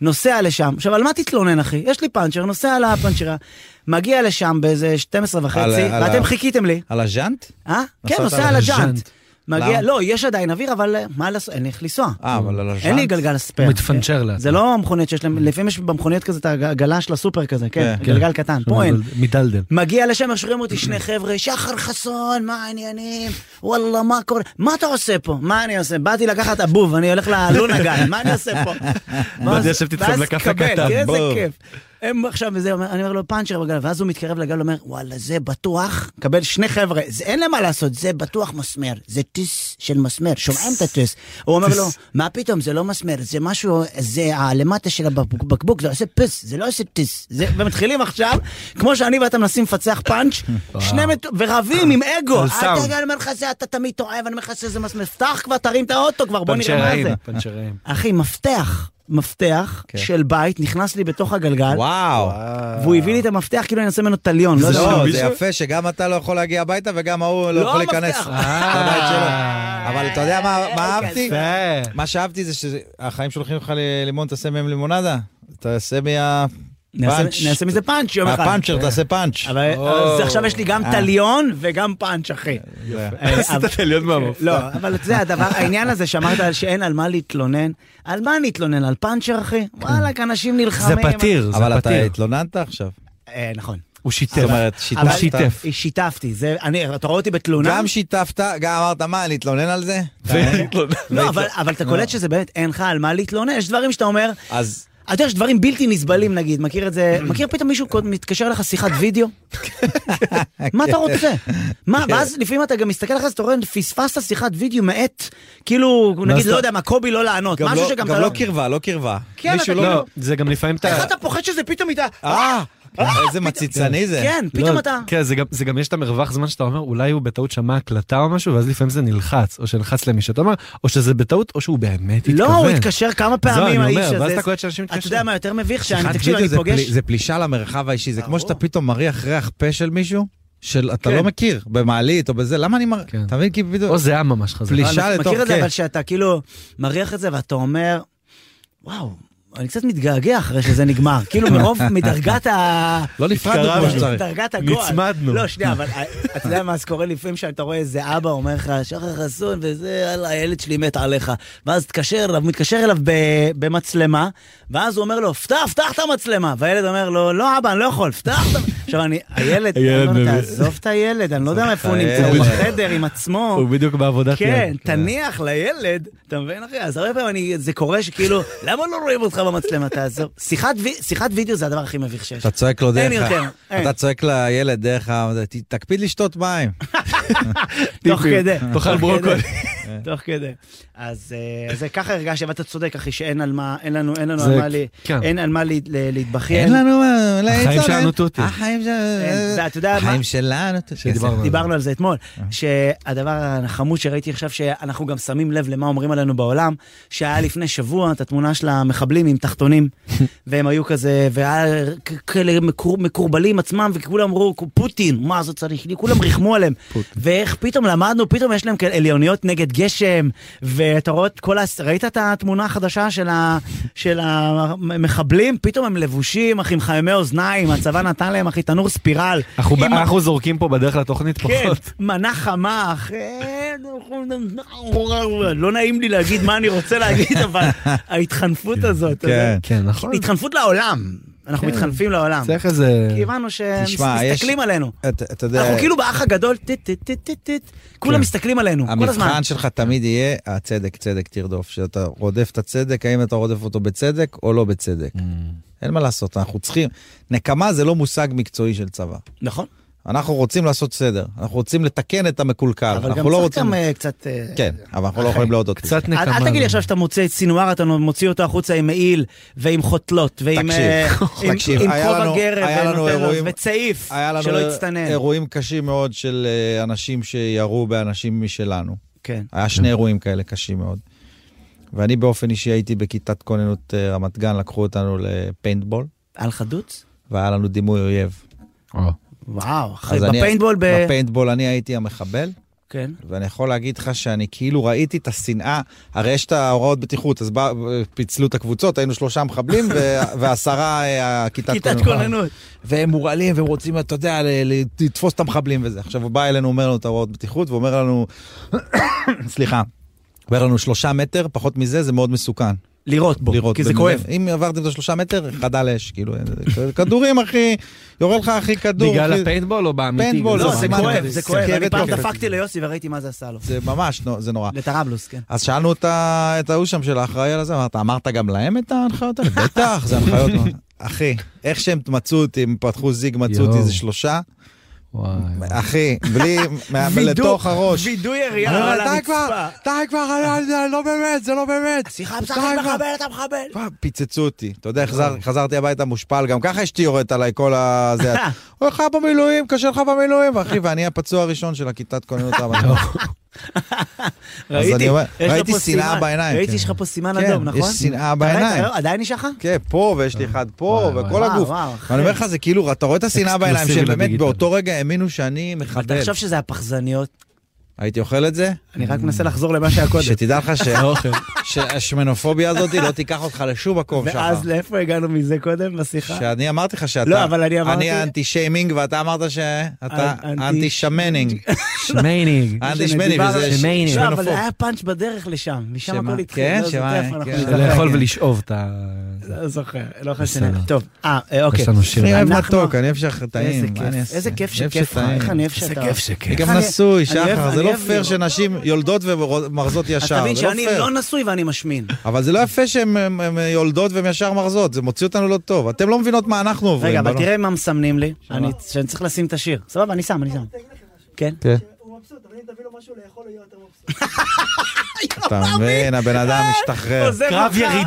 C: נוסע לשם, עכשיו על מה תתלונן אחי? יש לי פאנצ'ר, נוסע לפנצ'ריה, מגיע לשם באיזה 12 וחצי,
B: על ה- על ה-
C: ואתם חיכיתם לי,
B: על הז'אנט?
C: אה? כן,
B: נסעת
C: נוסע
B: על
C: על
A: הז'אנט.
C: הג'אנט. מגיע,
B: למה?
C: לא, יש עדיין אוויר, אבל אה, מה לעשות, אין לי איך לנסוע.
B: אה, אבל על הז'אנט?
C: אין לי גלגל ספייר.
A: הוא מתפנצ'ר לאט.
C: זה לא המכונית שיש להם, לפעמים יש במכוניות כזה את הגלגלה של הסופר כזה, כן,
B: כן,
C: גלגל קטן, פה אין.
A: מידלדל.
C: מגיע לשם, איך שומעים אותי שני חבר'ה, שחר חסון, מה העניינים? וואלה, מה קורה? מה אתה עושה פה? מה אני עושה? באתי לקחת הבוב, אני הולך ללונה גן, מה אני עושה פה? ואז-
A: ישבתי אצלם
C: ואז
A: לקפה
C: קבל,
A: קטן,
C: כן, איזה
B: בוב.
C: כיף. הם עכשיו, וזה, אומר- אני אומר לו פאנצ'ר בגל, ואז הוא מתקרב לגל, אומר, וואלה, זה בטוח, קבל שני חבר'ה, זה אין להם מה לעשות, זה בטוח מסמר, זה טיס של מסמר, שומעים את הטיס. הוא אומר לו, מה פתאום, זה לא מסמר, זה משהו, זה הלמטה של הבקבוק, זה עושה פיס, זה לא עושה טיס. זה- ומתחילים עכשיו, כמו שאני ואתה מנסים לפצח פאנץ', שני מט... ורבים עם אגו.
A: על
C: אתה
A: סאונד.
C: גם אומר לך זה, אתה תמיד טועה, ואני אומר לך שזה מסמר, פתח כבר, תרים את האוטו כבר, בוא נראה מה
A: פנצ'ראים.
C: זה.
A: פנצ'ראים.
C: אחי, מפתח, מפתח
B: כן.
C: של בית נכנס לי בתוך הגלגל,
B: וואו.
C: והוא הביא לי את המפתח כאילו אני אעשה ממנו תליון. לא
B: זה
C: יודע מה.
B: לא, זה
A: מישהו-
B: יפה שגם אתה לא יכול להגיע הביתה וגם ההוא לא
C: לא אה,
B: יכול
C: המפתח.
B: להיכנס
A: אה.
B: לבית שלו. אבל אתה יודע מה- מה
C: איזה
B: אהבתי?
A: יפה.
B: מה שאהבתי זה שהחיים שולחים לך ללימון, תעשה מהם לימונדה. תעשה מה...
C: נעשה-
B: פאנץ'.
C: נעשה מזה פאנץ' יום אחד. כן.
B: הפאנצ'ר, תעשה פאנץ'.
C: אבל
A: או.
C: אז עכשיו יש לי גם תליון וגם פאנץ', אחי.
B: זה-
C: אה, אבל-
A: תליון
C: לא, אבל זה הדבר, העניין הזה שאמרת על שאין על מה להתלונן, על מה נתלונן? על פאנצ'ר, אחי? וואלק, אנשים
A: זה
C: נלחמים.
A: פתיר, זה
B: אבל אתה
A: פתיר.
B: התלוננת עכשיו.
C: אה, נכון.
A: הוא
B: זאת
A: שיתף.
B: אומרת,
C: אבל- אה,
B: שיתפת.
C: שיתפתי, זה, אני, אתה רואה אותי בתלונה?
B: גם שיתפת, גם אמרת, מה, להתלונן על זה?
C: לא, אבל, אבל אתה קולט שזה באמת, אין לך על מה להתלונן, יש דברים שאתה אומר,
B: אז
C: אתה יודע, יש דברים בלתי נסבלים נגיד, מכיר את זה, מכיר פתאום מישהו קוד- מתקשר לך שיחת וידאו? מה אתה רוצה? מה,
B: כן.
C: ואז לפעמים אתה גם מסתכל אחרי זה, אתה רואה, פספסת שיחת וידאו מאת, כאילו, נגיד,
A: אתה-
C: לא יודע מה, קובי לא לענות,
B: גם
C: משהו
B: לא-
C: שגם
B: גם
C: אתה
B: לא
C: לא...
B: קרבה, לא קרבה.
C: כן,
B: מישהו
C: אתה-
B: לא...
A: לא, זה גם לפעמים אתה...
C: איך אתה פוחד שזה פתאום איתה...
B: אה, איזה מציצני זה.
C: כן,
A: לא,
C: פתאום אתה...
A: כן, זה גם, זה גם יש את המרווח זמן שאתה אומר, אולי הוא בטעות שמע הקלטה או משהו, ואז לפעמים זה נלחץ, או שנלחץ למישהו, אתה אומר, או שזה בטעות, או שהוא באמת התכוון.
C: לא, הוא התקשר כמה פעמים,
A: אני
C: האיש
A: אומר,
C: הזה.
A: ואז אתה קולט שאנשים
C: אתה
A: מתקשרים.
C: יודע מה יותר מביך? שאני,
B: שיחת
C: תקשיב,
B: וידאו
C: אני
B: זה
C: פוגש...
B: פלי- זה פלישה למרחב האישי, זה
C: ברור.
B: כמו שאתה פתאום מריח ריח פה של מישהו, שאתה
C: כן.
B: לא מכיר, במעלית או בזה, למה אני מר...
A: כן.
B: אתה מבין? כי פתאום...
A: או זה היה ממש חזק.
B: פלישה
C: אני
B: לתוך...
C: מכיר את זה,
B: כן.
C: אבל שאתה כאילו מריח את זה ואתה אומר, וואו, אני קצת מתגעגע אחרי שזה נגמר, כאילו מרוב, מדרגת ה...
A: לא נפרדנו כמו שצריך.
C: דרגת הגועל.
A: נצמדנו.
C: לא, שנייה, אבל אה, אתה יודע מה, אז קורה לפעמים שאתה רואה איזה אבא אומר לך, שחר חסון וזה, יאללה, הילד שלי מת עליך. ואז תתקשר אליו, מתקשר אליו ב- במצלמה, ואז הוא אומר לו, פתח, פתח את המצלמה. והילד אומר לו, לא אבא, אני לא יכול, פתח את המצלמה. עכשיו אני, הילד, אני
A: הילד
C: אומר,
A: מבין.
C: תעזוב את הילד, אני לא יודע איפה הוא
B: הילד.
C: נמצא, הוא בחדר עם עצמו.
A: הוא בדיוק בעבודת יד.
C: כן, תניח לילד, אתה מבין אחי? אז הרבה פעמים אני- זה קורה שכאילו, למה לא רואים אותך במצלמה, תעזוב. שיחת וי- שיחת וידאו זה הדבר הכי מביך שיש.
B: אתה צועק לו
C: אין
B: דרך ה...
C: יותר, אין.
B: אתה צועק לילד דרך ה... ת- תקפיד לשתות מים.
C: תוך
A: טיפים.
C: כדי.
A: תאכל
C: תוך
A: ברוקולי.
C: כדי, תוך כדי. אז אה, זה ככה הרגשתי, אבל אתה צודק אחי, שאין על מה, אין לנו, אין לנו
A: זה-
C: על מה לי-
A: כן.
C: אין על מה לי- ל- להתבכיין.
B: אין לנו... מה- לא, אין
A: החיים
B: צורך.
A: שלנו תותים.
B: החיים
C: אין,
B: שלנו...
C: ואתה כן, יודע מה-
B: החיים שלנו... תותים.
A: שדיברנו על זה. אה.
C: דיברנו על זה אתמול, שהדבר החמוד שראיתי עכשיו, שאנחנו גם שמים לב למה אומרים עלינו בעולם, שהיה לפני שבוע את התמונה של המחבלים עם תחתונים, והם היו כזה, והיה כ- כאלה מקור, מקורבלים עצמם, וכולם אמרו, פוטין, מה זה צריך לי? כולם ריחמו עליהם. ואיך פתאום למדנו, פתאום יש להם כאלה עליוניות נגד גשם, ואתה רואה את כל ה... ראית את התמונה החדשה של, ה... של המחבלים? פתאום הם לבושים, אחי, עם חממי אוזניים, הצבא נתן להם, אחי, תנור ספירל.
A: אנחנו
C: עם-
A: אנחנו זורקים פה בדרך לתוכנית
C: כן,
A: פחות.
C: מנה חמה, אחרי- לא נעים לי להגיד מה אני רוצה להגיד, אבל ההתחנפות הזאת, אתה יודע.
B: כן. אה,
A: כן, נכון.
C: התחנפות לעולם, אנחנו מתחנפים לעולם.
A: צריך איזה...
C: כי הבנו
B: תשמע, יש-
C: שמסתכלים עלינו.
B: אתה אתה יודע...
C: אנחנו כאילו באח הגדול, טיט טיט טיט טיט טיט, כולם מסתכלים עלינו, כל הזמן.
B: כן. המבחן שלך תמיד יהיה הצדק, צדק תרדוף. שאתה רודף את הצדק, האם אתה רודף אותו בצדק או לא בצדק.
A: Mm.
B: אין מה לעשות, אנחנו צריכים... נקמה זה לא מושג מקצועי של צבא.
C: נכון,
B: אה, אנחנו רוצים לעשות סדר, אנחנו רוצים לתקן את המקולקל.
C: אבל גם
B: אנחנו לא
C: צריך
B: רוצים...
C: גם אה, קצת... אה,
B: כן, אבל אנחנו לא יכולים להודות. בזה.
A: קצת
C: אל
A: נקמה.
C: אל תגיד לי עכשיו שאתה מוצא את סינואר, אתה מוציא אותו החוצה עם מעיל ועם חוטלות ועם
B: תקשיב,
C: אה, עם-
B: תקשיב,
C: עם
B: היה
C: כובע
B: לנו- היה
C: גרב
B: לנו
C: ונותן לו-
B: אירועים-
C: וצעיף,
B: היה לנו
C: שלא
B: אה,
C: יצטנן.
B: אירועים קשים מאוד של אה, אנשים שירו באנשים משלנו.
C: כן.
B: היה שני אירועים כאלה קשים מאוד. ואני באופן אישי הייתי בכיתת כוננות אה, רמת גן, לקחו אותנו לפיינטבול,
C: על חדוץ?
B: והיה לנו דימוי אויב.
A: או.
C: וואו, אחי,
B: אז אני-
C: בפיינטבול ב...
B: בפיינטבול אני הייתי המחבל,
C: כן.
B: ואני יכול להגיד לך שאני כאילו ראיתי את השנאה, הרי יש את ההוראות בטיחות, אז בא, פיצלו את הקבוצות, היינו שלושה מחבלים ו- ועשרה אה, הכיתת
C: כיתת כוננות.
B: והם מורעלים והם רוצים, אתה יודע, ל- ל- לתפוס את המחבלים וזה. עכשיו הוא בא אלינו, אומר לנו את ההוראות בטיחות, ואומר לנו, סליחה, אומר לנו שלושה מטר, פחות מזה, זה מאוד מסוכן.
C: לירות בו,
B: לירות.
C: כי זה
B: במ-
C: כואב.
B: אם עברתם את השלושה מטר, חדל אש, כאילו, כדורים, אחי, יורה לך, אחי, כדור.
A: בגלל
B: אחי.
A: הפיינטבול או באמיתי?
B: פיינטבול,
A: זה
C: לא,
B: זה
C: זה
B: סימן
C: כואב,
B: כזה,
C: זה כואב. אני
B: סכרת
C: פעם
B: אופק.
C: דפקתי ליוסי וראיתי מה זה עשה לו.
B: זה ממש, נו- זה נורא.
C: לטרבלוס, כן.
B: אז שאלנו את, ה... את ההוא שם של האחראי על זה, אמרת, אמרת גם להם את ההנחיות האלה? בטח, זה הנחיות. אחי, איך שהם מצאו אותי, הם פתחו זיג, מצאו אותי
A: יואו.
B: איזה שלושה.
A: וואי.
B: אחי, בלי, מה- לתוך הראש.
C: וידוי ירייה על
B: לא, די כבר,
C: הרצפה.
B: די כבר, אני- אני- לא באמת, זה לא באמת.
C: שיחה נכון.
B: די
C: בסך
B: כבר.
C: מחבל, אתה מחבל.
B: פעם פיצצו אותי, אתה יודע, חזר- חזרתי הביתה מושפל, גם ככה אשתי יורדת עליי כל ה... זה, אוי לך במילואים, קשה לך במילואים, אחי, ואני הפצוע הראשון של הכיתת כוננות המטרה.
C: נכון. ראיתי,
B: אני אומר,
C: יש לך
B: ראיתי
C: פה
B: שנאה
C: סימן.
B: בעיניים,
C: ראיתי
B: כן.
C: שיש לך פה סימן
B: כן,
C: אדום, נכון?
B: יש שנאה
C: אתה ראית?
B: בעיניים.
C: עדיין יש לך?
B: כן, פה, ויש לי אחד פה,
A: וואי, וואי.
B: וכל
C: וואו,
B: הגוף.
C: וואו, אחי.
B: אני אומר לך, זה כאילו, אתה רואה את השנאה
A: אקסקלוסיבי
B: בעיניים, שהם באמת
A: לדיגיטל.
B: באותו רגע האמינו שאני
C: אתה
B: מחבל.
C: חושב שזה הפחזניות?
B: הייתי אוכל את זה?
C: אני רק מנסה לחזור למה שהיה קודם.
B: שתדע לך ש- שהשמנופוביה הזאת לא תיקח אותך לשום מקום שלך.
C: ואז לאיפה הגענו מזה קודם בשיחה?
B: שאני אמרתי לך שאתה...
C: אה? לא, אבל אני אמרתי-
B: אני האנטי שיימינג, ואתה אמרת שאתה
C: אנ- אנטי- כן.
B: אנטי שמנינג.
A: שמייניג.
B: אנטי שמנינג, וזה
A: שמייניג.
B: ש-
C: לא, אבל
B: שמנופוב.
C: היה פאנץ' בדרך לשם, משם
B: שמה?
C: הכל התחיל.
B: כן,
C: לא, זה
B: שמה,
C: טרף, אנחנו
B: כן.
C: נדבר.
A: לאכול
B: כן.
A: ולשאוב את ה...
C: לא זוכר, לא חשוב.
A: בסדר.
C: טוב, אה, אה, אוקיי.
A: יש לנו שיר.
B: אני אוהב
C: אנחנו-
B: מתוק, אני אוהב שטעים,
C: איזה
B: מה אני
C: כיף,
B: אעשה?
C: איזה כיף
B: אני אוהב
C: שכיף לך,
B: שטעים.
C: איך אני אוהב
A: איזה
C: שאתה...
A: כיף שכיף.
B: אני גם
C: אני-
B: נשוי,
C: אני אוהב-
B: שחר, זה
C: אני
B: לא
C: אוהב
B: פייר
C: לראות.
B: שנשים יולדות ומרזות
C: אז
B: ישר,
C: תבין
B: זה לא
C: שאני
B: פייר.
C: לא נשוי ואני משמין.
B: אבל זה לא יפה שהן הן- הן יולדות והן ישר מרזות, זה מוציא אותנו לא טוב. אתם לא מבינות מה אנחנו עוברים.
C: רגע, אבל
B: בנות.
C: תראה מה מסמנים לי, אני- שאני צריך לשים את השיר. סבבה, אני שם, אני שם. כן?
B: כן.
E: הוא מבסוט, אבל אם תביא לו משהו לאכול, הוא יהיה יותר מבסוט.
B: אתה מבין, הבן אדם משתחרר.
C: אה, עוזב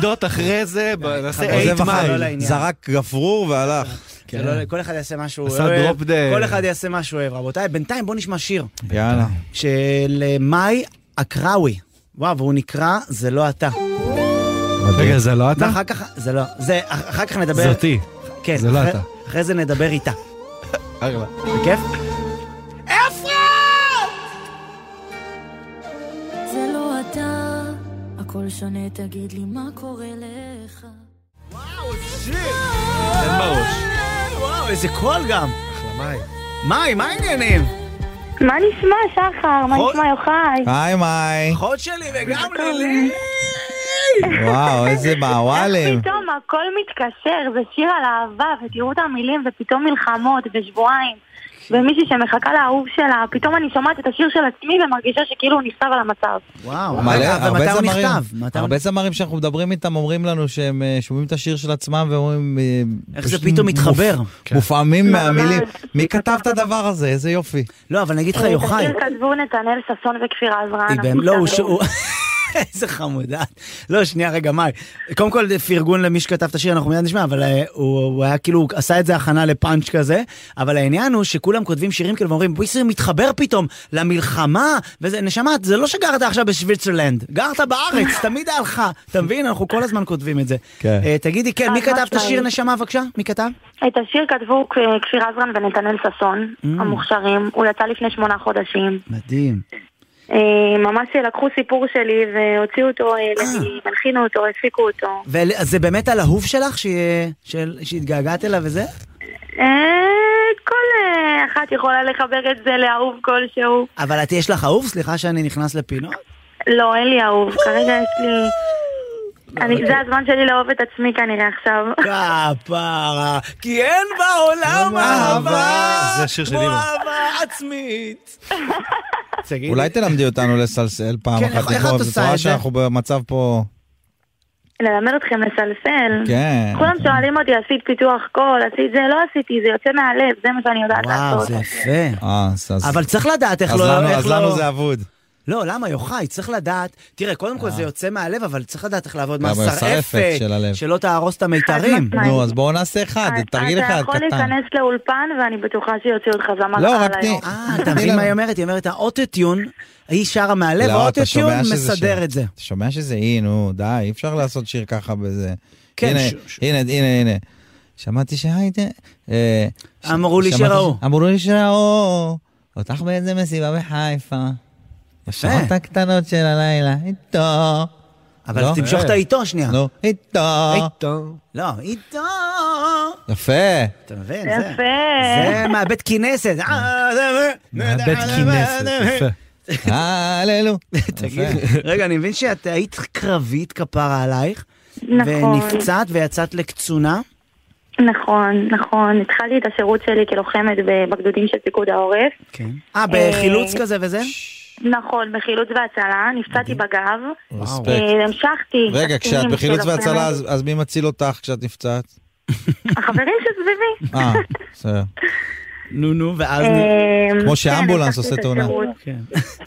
C: אותך.
A: אחרי זה, נעשה
B: עוזב
C: eight mile.
B: אחר,
C: לא לעניין.
B: זרק גפרור והלך.
C: זה לא- כל אחד יעשה משהו
A: עשה
C: אוהב,
A: drop the-
C: כל אחד יעשה משהו אוהב, רבותיי. בינתיים בואו נשמע שיר
B: יאללה.
C: של אה, מאי אקראווי. וואו, והוא נקרא "זה לא אתה".
A: רגע, זה לא אתה?
C: ואחר כך, זה לא, זה, אח- אחר כך נדבר.
A: זה אותי.
C: כן,
A: זה לא
C: אחרי-
A: אתה.
C: אחרי זה נדבר איתה.
A: אחלה.
C: בכיף?
F: זה לא אתה, הכל שונה, תגיד לי מה קורה לך.
C: וואו, איזה שיר. תן בראש. וואו, איזה קול גם.
A: למאי.
C: מאי, מה העניינים?
F: מה נשמע, שחר? מה
C: חול?
F: נשמע, יוחאי?
B: היי מאי.
C: אחות שלי וגם לילי.
B: וואו, איזה מעוואלם.
C: כן.
F: איך פתאום הכל מתקשר, זה שיר על אהבה, ותראו את המילים, ופתאום מלחמות, ושבועיים. ומישהי שמחכה לאהוב שלה, פתאום אני שומעת את השיר של עצמי ומרגישה שכאילו הוא נכתב על המצב.
C: וואו,
B: מלא,
C: רגע,
B: הרבה
C: ומתי הוא
B: זמרים-
C: נכתב? מתי הוא-
B: הרבה זמרים שאנחנו מדברים איתם אומרים לנו שהם אה, שומעים את השיר של עצמם ואומרים... אה,
C: איך זה
B: פשוט
C: פתאום
B: מופ- כן.
C: מתחבר?
F: לא,
B: מופעמים מהמילים.
F: ממש.
B: מי כתב את הדבר הזה? איזה יופי.
C: לא, אבל אני אגיד לך, יוחאי.
F: את השיר כתבו נתנאל ששון וכפיר עזרן.
C: היא באמת, לא, הוא... ש- הוא- איזה חמודה. לא, שנייה, רגע, מאי. קודם כל, פרגון למי שכתב את השיר, אנחנו מיד נשמע, אבל אה, הוא הוא היה כאילו, הוא עשה את זה הכנה לפאנץ' כזה, אבל העניין הוא שכולם כותבים שירים כאילו ואומרים, בואי שיר מתחבר פתאום למלחמה, וזה, נשמה, זה לא שגרת עכשיו בשוויצרלנד, גרת בארץ, תמיד היה לך. אתה מבין? אנחנו כל הזמן כותבים את זה.
B: כן.
C: אה, תגידי, כן, מי
F: חד
C: כתב את השיר,
F: משמעית.
C: נשמה, בבקשה? מי כתב?
F: את השיר כתבו כ- כפיר עזרן ונתנאל ששון,
C: Mm.
F: המוכשרים. הוא יצא לפני שמונה חודשים.
C: מדהים.
F: אה, ממש לקחו סיפור שלי והוציאו אותו, אה, הלחינו אותו, הפיקו אותו.
C: וזה באמת על אהוב שלך, ש- של- שהתגעגעת אליו וזה?
F: אה, כל אה, אחת יכולה לחבר את זה לאהוב כלשהו.
C: אבל את יש לך אהוב? סליחה שאני נכנס לפינות.
F: לא, אין לי אהוב, כרגע יש לי... אני, זה הזמן שלי לאהוב את עצמי כנראה עכשיו.
C: כן. כפרה, כי אין בעולם אהבה
A: זה השיר של
C: כמו
A: אימא.
C: אהבה עצמית. תגידי.
B: אולי תלמדי אותנו לסלסל פעם
C: כן,
B: אחת.
C: איך- איך
B: לכאוב.
C: את עושה
B: רואה
C: את זה?
B: שאנחנו במצב פה...
F: ללמד אתכם לסלסל.
B: כן.
F: כולם שואלים אותי, עשית פיתוח קול, עשית זה, לא עשיתי, זה יוצא מהלב, זה מה שאני יודעת
C: וואו,
F: לעשות.
C: זה יפה.
B: אה, אז... אז-
C: אבל צריך לדעת איך
B: אז
C: לא...
B: לנו-
C: איך
B: אז
C: לא-
B: לנו זה אבוד.
C: לא, למה, יוחאי? צריך לדעת... תראה, קודם כל זה
B: אה.
C: יוצא מהלב, אבל צריך לדעת איך לעבוד
B: גם
C: מהשרעפת,
B: השרעפת של הלב.
C: שלא תהרוס את המיתרים.
F: משמעית.
B: נו, אז בואו נעשה אחד,
F: אה, אז-
B: תרגיל אחד
F: אתה יכול
B: קטן.
F: להיכנס לאולפן ואני בטוחה שיוציאו אותך זמר
B: לא,
F: על
B: רק תני-
F: היום.
C: אה, אתה
B: תני
C: מבין
B: לנו.
C: מה היא אומרת? היא אומרת, האוטוטיון, היא שרה מהלב,
B: לא, אתה שומע
C: האוטוטיון
B: שזה
C: מסדר
B: שיר.
C: את זה.
B: אתה שומע שזה אי, נו, די, אי אפשר לעשות שיר ככה בזה.
C: כן,
B: הנה,
C: ש- ש-
B: הנה, הנה, הנה. שמעתי שהייתם... אה, ש-
C: אמרו לי
B: שמעתי
C: שראו.
B: ש- אמרו לי שראו. אותך באיזה מסיבה בחיפה. בשעות הקטנות של הלילה, איתו.
C: אבל
B: לא?
C: תמשוך את האיתו שנייה.
B: נו, איתו.
A: איתו.
C: לא, איתו.
B: יפה.
C: אתה מבין? אה, זה-
F: יפה.
C: זה מהבית כנסת. אה, זה-
A: בית כנסת, יפה.
B: הללו.
C: תגיד,
B: יפה.
C: רגע, אני מבין שאת היית קרבית כפרה עלייך,
F: נכון.
C: ונפצעת ויצאת לקצונה.
F: נכון, נכון. התחלתי את השירות שלי כלוחמת ב- בגדודים של פיקוד העורף.
C: כן. אה, בחילוץ כזה
F: אה,
C: וזה?
F: נכון, בחילוץ והצלה, נפצעתי בגב.
B: רספקט.
F: אה, המשכתי.
B: רגע,
F: תפקידים
B: כשאת בחילוץ
F: כן, של
B: והצלה,
F: לוחמת.
B: אז אז מי מציל אותך כשאת נפצעת?
F: החברים שסביבי.
B: אה, בסדר.
C: נו, נו, ואז...
F: אה,
B: כמו
F: כן,
B: שאמבולנס
F: המשכתי
B: עושה
F: את
B: תאונה.
F: השירות.
C: כן.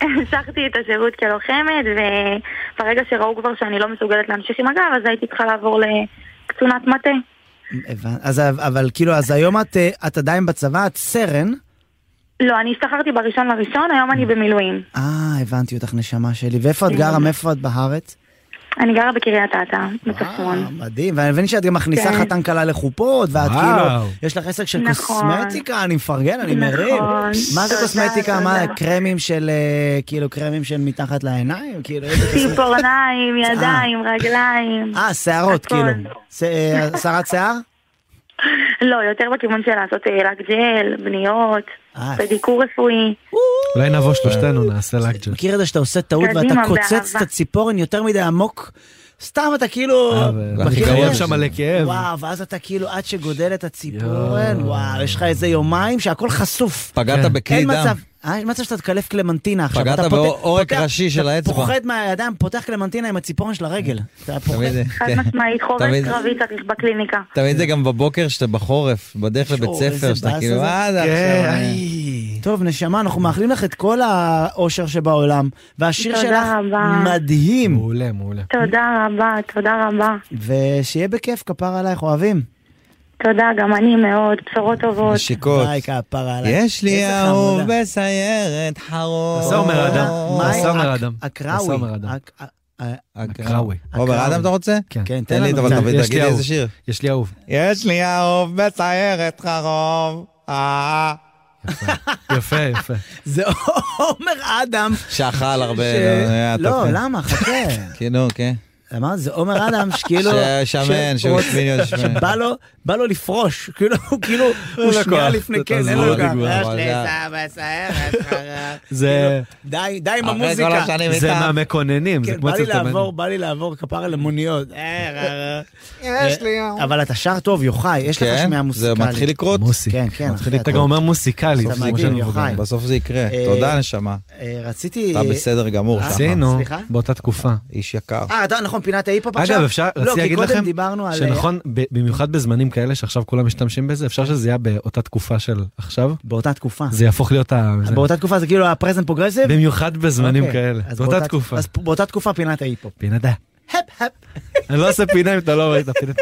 F: המשכתי את השירות כלוחמת, וברגע שראו כבר שאני לא מסוגלת להמשיך עם הגב, אז הייתי צריכה לעבור לקצונת מטה.
C: הבנ- אז אבל- אבל כאילו, אז היום את, אה, את עדיין בצבא, את סרן.
F: לא, אני השתחררתי בראשון לראשון, היום אני במילואים.
C: אה, הבנתי אותך, נשמה שלי. ואיפה
F: אה.
C: את גרה? מאיפה את בארץ?
F: אני גרה בקריית אתא, בצפון.
C: אה, מדהים, ואני מבין שאת גם מכניסה
F: נכון. כן.
C: חתן כלה לחופות, ואת
A: וואו.
C: כאילו, יש לך עסק של
F: נכון.
C: קוסמטיקה, אני מפרגן, אני מרים.
F: נכון.
C: מה זה
F: תודה,
C: קוסמטיקה? מה,
F: תודה.
C: קרמים של, אה, כאילו, קרמים של מתחת לעיניים? כאילו, איזה קוסמטיקה?
F: ציפורניים,
B: אה.
F: ידיים, רגליים.
C: אה, שערות,
F: הכל.
C: כאילו. ש- אה, הסרת שיער?
F: לא, יותר בכיוון של לעשות אה, לק ג'ל, בניות,
C: אה,
F: בדיקור רפואי.
A: אולי נבוא שלושתנו, נעשה לאקג'ל.
C: מכיר את זה שאתה עושה טעות
F: קדימה,
C: ואתה קוצץ את
F: באהבה.
C: הציפורן יותר מדי עמוק? סתם אתה כאילו...
A: אה,
C: מכיר את
A: מכיר
C: זה?
A: שם מלא כאב.
C: וואו, ואז אתה כאילו, עד שגודל את הציפורן, וואו, יש לך איזה יומיים שהכל חשוף.
B: פגעת בכלי
C: כן. אין
B: דם.
C: מצב, אה, אין מצב שאתה תקלף קלמנטינה עכשיו.
B: פגעת
C: אתה פותח-
B: בעורק
C: פותח-
B: ראשי של האצבע.
C: אתה פוחד מהידיים, פותח קלמנטינה עם הציפורן של הרגל. אתה פוחד.
B: תמיד זה-
F: חד
B: כן.
F: משמעית, חורף
B: תמיד-
F: קרבי צריך בקליניקה.
B: תמיד זה גם בבוקר שאתה בחורף, בדרך לבית
C: שואו,
B: ספר,
C: איזה
B: שאתה
C: באסה
B: כאילו,
C: זה.
B: אה, זה
A: כן,
B: עכשיו... אני-"
A: איי.
C: טוב, נשמה, אנחנו מאחלים לך את כל האושר שבעולם, והשיר
F: תודה
C: שלך
F: רבה.
C: מדהים,
A: מעולה, מעולה.
F: תודה רבה, תודה רבה.
C: ושיהיה בכיף, כפר עלייך, אוהבים.
F: תודה, גם אני מאוד, בשורות טובות.
B: נשיקות.
C: ביי, כפרה עלייך.
B: יש לי
C: איזה
B: אהוב
C: חמודה.
B: בסיירת חרוב.
A: זה אומר אדם.
C: מה
A: עשה
C: עם
A: עומר
C: הק-
A: אדם. עשה
C: הקראווי.
A: עומר אדם.
C: הק- ה- ה-
A: הקראווי.
B: עומר אדם אתה רוצה?
A: כן.
C: כן, תן
B: תן לי,
C: לנו
B: אבל
C: קצת.
B: תביא-
A: יש
B: תגיד
A: לי
B: לי איזה
A: אהוב.
B: שיר.
A: יש לי אהוב.
B: יש לי אהוב בסיירת חרוב. אה.
A: יפה, יפה.
C: זה עומר אדם.
B: שאכל הרבה.
C: ש-
B: אה, היה
C: לא,
B: טוב.
C: למה? חכה.
B: כן, נו, כן.
C: אמרת, זה עומר אדם שכאילו...
B: ששמן,
C: ש-
B: שמן, שמן.
C: שבא לו, בא לו לפרוש, כאילו, הוא כאילו, הוא
B: לו
C: שנייה
B: כוח,
C: לפני
B: אתה
C: כן, אין
B: תעזבו,
C: לו כוח.
B: תגמור,
C: יש
B: אבל
C: לי
B: זה-
C: סבא, סבא, סבא.
A: זה-
C: כאילו, די, די עם
B: אחרי כל
C: המוזיקה.
B: השנים אני
A: זה
B: איתך.
A: מהמקוננים, זה
C: כן,
A: כמו
C: בא לי
A: צלצמן.
C: לעבור, בא לי לעבור כפרה למוניות. אה, יש לי... אה. אבל אתה שר טוב, יוחאי, יש לך
B: כן,
C: שמיעה
B: זה
C: מוסיקלית.
B: מתחיל לקרות.
A: מוסי.
C: כן, כן,
A: מתחיל-
C: אחי,
A: אתה
C: אתה-
A: גם אומר מוסיקלית.
C: אתה
A: זה
C: מדהים,
A: כמו שאני
C: יוחאי.
A: מבוגר.
B: בסוף זה יקרה.
C: אה,
B: תודה, נשמה.
C: אה, רציתי...
B: אתה בסדר גמור
C: אה,
B: שמה.
A: עשינו
C: סליחה?
A: באותה תקופה.
B: איש יקר.
C: אה, אתה- נכון, פינת ההיפ-הופ עכשיו?
A: אגב, אפשר,
C: לא,
A: רציתי
C: כי
A: להגיד
C: קודם
A: לכם,
C: דיברנו על...
A: שנכון, ב- במיוחד בזמנים כאלה שעכשיו כולם משתמשים בזה, אפשר שזה יהיה באותה תקופה של עכשיו,
C: באותה תקופה.
A: אה. זה יהפוך להיות ה... זה.
C: באותה תקופה זה כאילו הפרזנט פרוגרסיב?
A: במיוחד בזמנים
C: אוקיי,
A: כאלה,
C: אז
A: באותה תקופה.
C: אז באותה תקופה פינת ההיפ-הופ.
A: פינתה.
C: הפ, הפ.
A: אני לא עושה פינה אם אתה לא רואה את הפינה.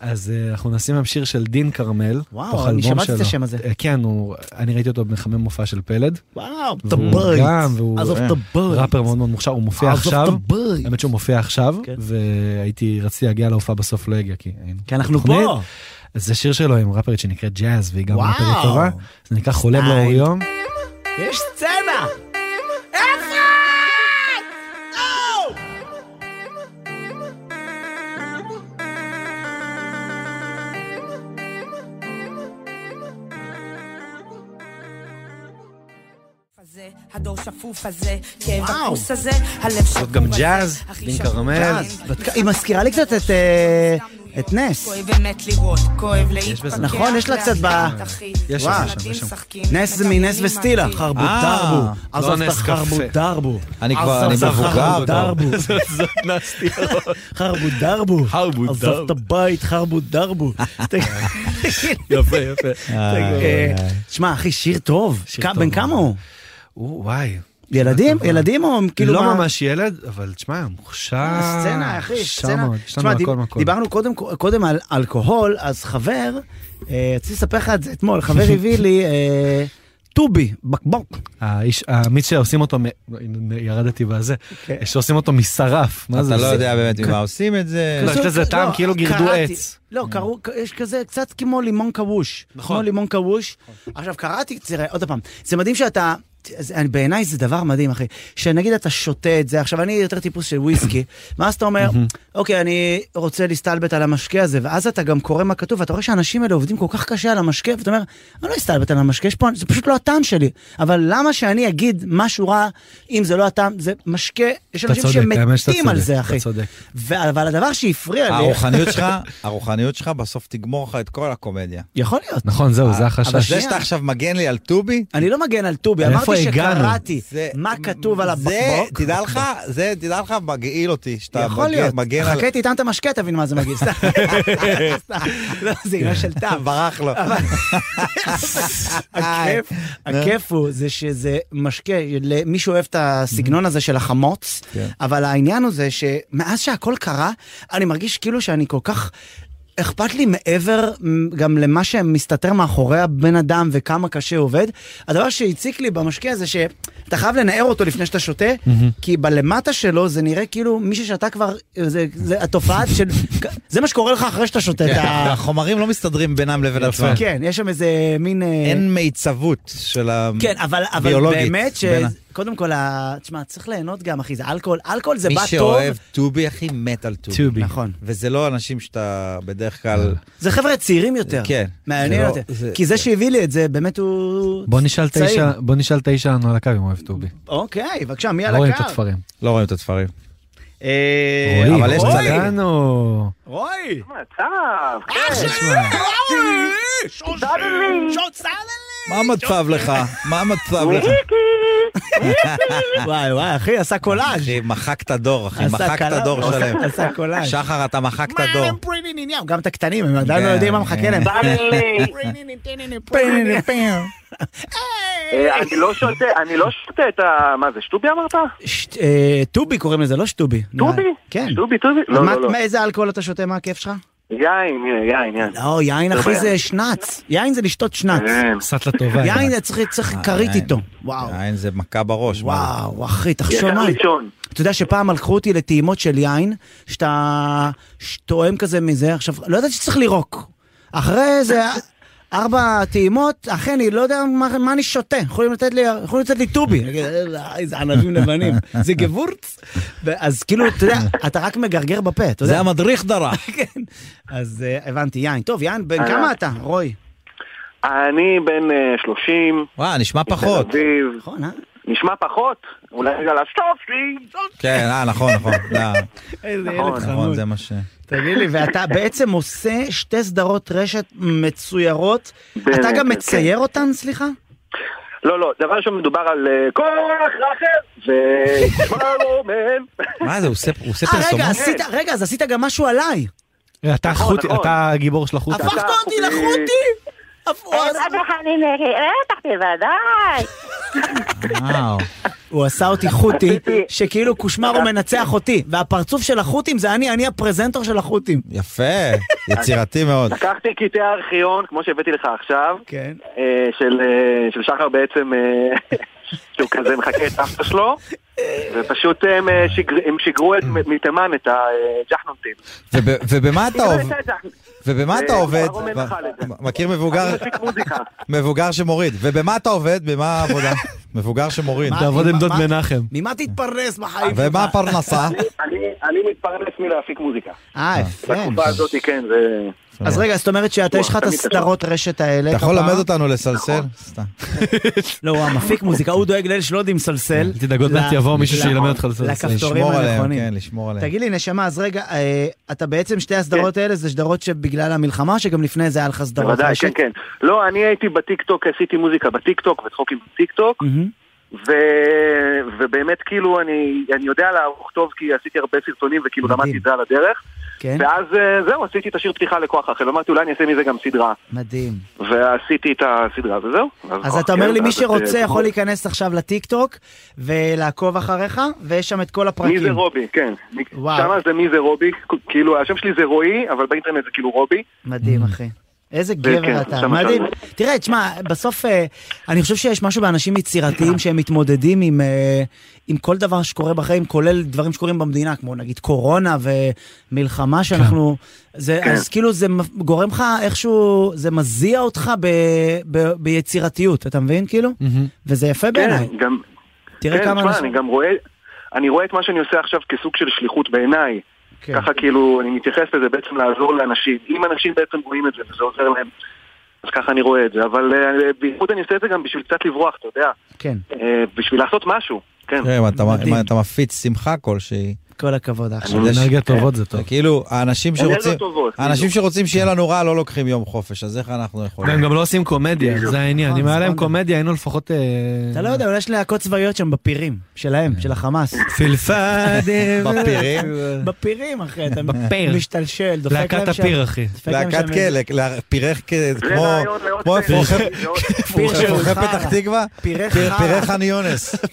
A: אז אה, אנחנו נשים היום שיר של דין כרמל,
C: וואו,
A: תוך
C: אני
A: אלבום
C: שמעתי את
A: שלו.
C: השם הזה.
A: אה, כן, הוא- אני ראיתי אותו מחמם מופע של פלד,
C: וואו, the
A: והוא גם,
C: birds.
A: והוא-
C: עזוב
B: אה,
C: the birds.
A: ראפר מאוד מאוד מוכשר, הוא מופיע
C: עזוב
A: עכשיו,
C: the birds.
A: האמת שהוא מופיע עכשיו,
C: כן.
A: והייתי, רציתי להגיע להופעה בסוף לא הגיע, כי היינו
C: כי אנחנו
A: בתוכנית.
C: פה.
A: אז זה שיר שלו עם ראפרית שנקראת ג'אז, והיא גם
C: וואו.
A: ראפרית טובה, זה נקרא חולם
C: סטייל.
A: לאור יום.
C: יש סצנה!
G: הזה, הדור שפוף הזה, כאב
C: וואו.
G: הכוס הזה, הלב שפוף הזה. כן,
A: גם ג'אז, דין כרמל.
C: אז, בת- היא מזכירה לי קצת את אה, את נס.
G: כואב אמת לראות, כואב להתפתח.
A: בזה.
C: נכון, יש לה קצת ב-
G: להחיות, אחי.
A: יש
G: וואו.
A: שם, יש שם.
G: משחקים,
C: נס זה מנס
G: מדמיינים
C: וסטילה,
G: עתיד.
C: חרבו
B: אה,
C: דרבו.
A: לא
C: עזוב
A: נס
C: אותך חרבו
A: קפה.
C: דרבו.
B: אני כבר, אני
C: עזוב אותך,
B: מבוגר.
C: חרבו דרבו.
A: זאת נסטי.
C: חרבו דרבו.
A: חרבו
C: עזוב את
A: דרבו.
C: הבית, חרבו דרבו.
A: יפה, יפה.
C: אה, תשמע, אחי, שיר טוב.
A: שיר
C: כ-
A: טוב. אה.
C: בן כמה הוא?
A: הוא, וואי.
C: ילדים? ילדים או כאילו...
A: לא
C: מה- אה,
A: ממש אה, ילד, אבל תשמע, מוכשר.
C: סצנה, אחי,
A: מוכשר
C: סצנה.
A: מאוד. יש לנו
C: תשמע, דיב-
A: הכל מהכל.
C: דיברנו קודם- קודם על אלכוהול, אז חבר, אה, רציתי לספר לך את זה אתמול, חבר הביא לי אה, טובי, בקבוק.
A: האיש, האמיץ שעושים אותו, מ- ירדתי בזה,
C: כן.
A: שעושים אותו משרף. מה זה?
B: אתה לא
A: זה-
B: יודע באמת ממה עושים את זה.
A: לא, יש לזה
C: כזה-
A: טעם
C: לא,
A: כאילו גירדו
C: קראתי.
A: עץ. Mm.
C: לא, קראו, יש כזה קצת כמו לימון כבוש. נכון. כמו לימון כבוש. עכשיו, קראתי, תראה, עוד פעם, זה מדהים שאתה... זה- אני- בעיניי זה דבר מדהים, אחי. שנגיד אתה שותה את זה, עכשיו אני יותר טיפוס של וויסקי, ואז אתה אומר, אוקיי, אני רוצה להסתלבט על המשקה הזה, ואז אתה גם קורא מה כתוב, ואתה רואה שהאנשים האלה עובדים כל כך קשה על המשקה, ואתה אומר, אני לא אסתלבט על המשקה, יש פה, זה פשוט לא הטעם שלי. אבל למה שאני אגיד משהו רע, אם זה לא הטעם, זה משקה, יש
A: אתה
C: אנשים
A: צודק, האמת שאתה
C: שמתים על
A: צודק,
C: זה,
A: אתה
C: אחי.
A: צודק.
C: ו- אבל הדבר שהפריע לי...
B: הרוחניות שלך, הרוחניות שלך בסוף תגמור לך את כל הקומדיה.
C: יכול להיות.
A: נכון, זהו, זה
C: אה, אבל
A: החשש.
B: זה
C: שנייה.
B: שאתה עכשיו מגן לי על טובי,
C: אני לא מגן על טובי,
A: איפה
C: אמרתי
A: הגענו?
C: שקראתי
B: זה-
C: מה כתוב על
B: זה,
C: הבקבוק.
B: תדע לך, זה, תדע לך, מגעיל אותי, שאתה
C: יכול
B: מגן-
C: להיות.
B: מגן על...
C: חכה תטעם את המשקה, תבין מה זה מגיע. סתם. סתם. לא, זה עניין של טעם.
B: ברח לו.
C: הכיף- הכיף הוא זה שזה משקה, למי שאוהב את הסגנון הזה של החמוץ,
B: כן.
C: אבל העניין הוא זה שמאז שהכל קרה, אני מרגיש כאילו שאני כל כך... אכפת לי מעבר מ, גם למה שמסתתר מאחורי הבן אדם וכמה קשה הוא עובד. הדבר שהציק לי במשקה זה שאתה חייב לנער אותו לפני שאתה שותה, כי בלמטה שלו זה נראה כאילו מי ששתה כבר, זה, זה התופעה של... זה מה שקורה לך אחרי שאתה שותה
B: כן,
C: את ה...
B: החומרים לא מסתדרים בינם לבין עצמם.
C: כן, יש שם איזה מין... אה,
B: אין מיצבות של ה...
C: כן, אבל, אבל
B: ביולוגית,
C: באמת ש...
B: בין ה-
C: קודם כל, ה- תשמע, צריך ליהנות גם, אחי, זה אלכוהול. אלכוהול זה בא
B: מי
C: טוב.
B: שאוהב טובי, אחי, מת על טובי.
A: טובי.
C: נכון.
B: וזה לא אנשים שאתה בדרך כלל...
C: זה חבר'ה צעירים יותר.
B: כן.
C: מעניין
B: זה
C: יותר.
B: לא- זה-
C: כי זה שהביא לי את זה, באמת הוא...
A: בוא נשאל את
C: צעיר.
A: האיש ה- בוא נשאל את האיש שלנו על הקו אם הוא אוהב טובי.
C: אוקיי, בבקשה, מי על
A: לא
C: הקו?
A: רואים את התפרים.
B: לא רואים את התפרים.
C: אה,
A: רועי,
B: אבל יש
A: רועי.
B: צלם.
A: לנו.
C: רועי! אה,
H: מצב, כן,
B: מה המצב לך? מה המצב לך?
C: וואי, וואי, אחי, עשה קולאז'.
B: אחי, מחקת דור, אחי,
C: עשה
B: מחקת
C: קלאז'.
B: דור שלם.
C: עשה קולאז'.
B: שחר, אתה מחקת דור.
C: הם פרינין עניין. גם את הקטנים, הם עדיין לא
B: כן,
C: יודעים מה מחכה
B: כן.
C: להם.
H: בא לי.
C: פרינין, פרינין.
H: אה, אני לא שותה, אני לא שותה את ה... מה זה, שטובי אמרת?
C: ש- אה, טובי קוראים לזה, לא שטובי.
H: טובי?
C: כן.
H: שטובי, טובי? לא,
C: מה-
H: לא, לא.
C: מה- איזה אלכוהול אתה שותה? מה הכיף שלך?
H: יין, הנה, יין, יין.
C: לא, יין
H: לא
C: אחי
H: בעיה.
C: זה שנץ. יין זה לשתות שנץ.
H: כן.
A: סטלה טובה.
C: יין זה צריך- צריך כרית
B: אה, יין.
C: איתו. וואו.
B: אין, זה מכה בראש. מה זה?
C: וואו, אחי, תחשוב
H: יקר
C: מה.
H: ראשון.
C: אתה יודע שפעם לקחו אותי לטעימות של יין, שאתה שטועם כזה מזה, עכשיו, לא ידעתי שצריך לירוק. אחרי זה... ארבע טעימות, אך אני לא יודע מה, מה אני שותה, יכולים לתת לי, יכולים לתת לי טובי. אני אגיד, "אה, איזה ענבים לבנים, זה גבורץ. אז כאילו, אתה יודע, אתה רק מגרגר בפה, אתה
B: זה
C: יודע.
B: המדריך דרך.
C: כן. אז אה, הבנתי, יין. טוב, יין, בן כמה אתה, רוי?
H: אני בן אה, 30,
B: וואה, נשמע פחות.
H: מתל אביב.
C: נכון, אה?
H: נשמע פחות? אולי בגלל הסטופ שלי, סטופ שלי.
B: כן, אה, נכון, נכון. לא,
C: איזה
H: נכון,
C: ילד
B: נכון,
C: חמוד.
B: זה מה ש...
C: תגיד לי, ואתה בעצם עושה שתי סדרות רשת מצוירות.
H: באמת,
C: אתה גם
H: כן.
C: מצייר אותן, סליחה?
H: לא, לא, דבר ראשון מדובר על אה, כוח רחל ושלומן.
B: מה זה, הוא עושה הוא עושה
C: אה, רגע,
B: פרסומות?
C: עשית, רגע, אז עשית גם משהו עליי.
A: אתה חוט,
H: נכון.
A: אתה הגיבור של החוט.
C: הפכת אותי
H: אה,
C: לחוטי! הפ-
F: אה,
C: הוא עשה-
F: רגע, חנין, בטח, בוודאי.
B: וואו.
C: הוא עשה אותי חוטי,
H: עשיתי- אה,
C: שכאילו קושמרו מנצח אותי, והפרצוף של החות'ים זה אני, אני הפרזנטור של החות'ים.
B: יפה, יצירתי מאוד.
H: לקחתי קטעי ארכיון, כמו שהבאתי לך עכשיו,
C: כן.
H: אה, של, אה, של שחר בעצם, אה, שהוא כזה מחכה את אבא שלו, ופשוט הם, אה, שגר- הם שיגרו את- מ- מתימן את אה, הג'חנונטים.
B: וב- ובמה אתה עובד? ובמה
H: לא, אה,
B: אתה עובד?
H: כבר אומר לך על זה.
B: מכיר מבוגר
H: לא מפיק מוזיקה.
B: מבוגר שמוריד. ובמה אתה עובד? במה העבודה? מבוגר שמוריד.
C: מה?
A: תעבוד עם דוד
C: מה-
A: מנחם.
C: ממה תתפרנס בחיים?
B: אה, ומה
C: שלך?
B: הפרנסה?
H: אני- אני מתפרנס מלהפיק מוזיקה.
B: כן,
C: אה, יפה.
H: בתקופה הזאת, כן, זה...
C: אז רגע, זאת אומרת שאתה, יש לך את הסדרות רשת האלה.
B: אתה יכול
C: כפרה?
B: ללמד אותנו לסלסל?
C: נכון.
B: סתם.
C: לא, הוא המפיק מוזיקה, הוא דואג לאלה שלא יודעים לסלסל.
A: אל תדאג, כן, עוד מעט
C: ל-
A: יבוא מישהו
C: ל-
A: שילמד אותך לסלסל.
C: לכפתורים
B: לשמור עליהם,
C: הנכונים.
B: כן, לשמור עליהם.
C: תגיד לי, נשמה, אז רגע, אה, אתה בעצם שתי הסדרות האלה, זה סדרות שבגלל המלחמה, או שגם לפני זה היה לך סדרות
H: כן. בוודאי, כן, כן. לא, אני הייתי בטיקטוק, עשיתי מוזיקה בטיקטוק, וצחוקים בטיקטוק,
C: מהמם.
H: ו... ובאמת כאילו אני, אני יודע לערוך טוב כי עשיתי הרבה סרטונים וכאילו
C: מדהים.
H: למדתי את זה על הדרך
C: כן,
H: ואז אה, זהו עשיתי את השיר פתיחה לכוח אחר ואמרתי אולי אני אעשה מזה גם סדרה
C: מדהים.
H: ועשיתי את הסדרה וזהו.
C: אז
H: כוח
C: אתה אומר
H: אחר,
C: לי, מי
H: ואז את,
C: שרוצה
H: אה, אה,
C: יכול להיכנס עכשיו לטיקטוק ולעקוב אחריך, ויש שם את כל
H: מי זה
C: הפרקים.
H: רובי, כן.
C: וואו.
H: שם זה מי זה רובי, כ- כאילו השם שלי זה רועי, אבל באינטרנט זה כאילו רובי.
C: מדהים, אחי. איזה גבר
H: כן,
C: אתה,
H: שם
C: מדהים.
H: שם.
C: תראה, תשמע, בסוף אה, אני חושב שיש משהו באנשים יצירתיים שהם מתמודדים עם, אה, עם כל דבר שקורה בחיים, כולל דברים שקורים במדינה, כמו נגיד קורונה ומלחמה שאנחנו... זה,
H: כן.
C: אז כאילו זה מ- גורם לך איכשהו, זה מזיע אותך ב, ב, ביצירתיות, אתה מבין כאילו? וזה יפה
H: כן,
C: בעיניי.
H: גם...
C: תראה
H: כן,
C: כמה
H: תשמע,
C: אנשים-
H: אני גם רואה... אני רואה את מה שאני עושה עכשיו כסוג של שליחות בעיניי.
C: כן.
H: ככה כאילו, אני מתייחס לזה בעצם לעזור לאנשים. אם אנשים בעצם רואים את זה וזה עוזר להם, אז ככה אני רואה את זה. אבל אה, בייחוד אני עושה את זה גם בשביל קצת לברוח, אתה יודע.
C: כן,
H: אה, בשביל לעשות משהו, כן.
B: תראה, אם אתה- אם
C: מדהים.
B: אתה מפיץ שמחה כלשהי,
C: כל הכבוד, אח שלי.
H: אני-
A: אנרגיות טובות זה טוב.
B: זה כאילו, האנשים שרוצים,
H: טובות, כאילו.
B: האנשים
H: בדיוק.
B: שרוצים שיהיה לנו רע לא לוקחים יום חופש, אז איך אנחנו
A: והם
B: יכולים?
A: גם לא עושים קומדיה, זה העניין.
C: נכון,
A: אם
C: זה
A: היה להם
C: נכון.
A: קומדיה, היינו לפחות... אה,
C: אתה לא יודע, אולי יש להקות צבאיות שם בפירים, שלהם, של החמאס.
A: פילפאדם.
B: בפירים?
C: בפירים, אחי, אתה
A: בפיר.
C: משתלשל, דופק להם שם.
A: להקת הפיר, אחי.
C: דופק להם
B: להקת
C: שם איזה-
B: כלא, פירך כ-
H: זה
B: כמו
H: רעיון לעוד
B: כמו
H: פרק.
B: אפרוחי-
H: זה עוד-
C: פיר של
B: אפרוחי
C: חרא.
B: פתח תקווה,
C: פירך
B: פיר-
C: חרא.
B: פירך חני יונס,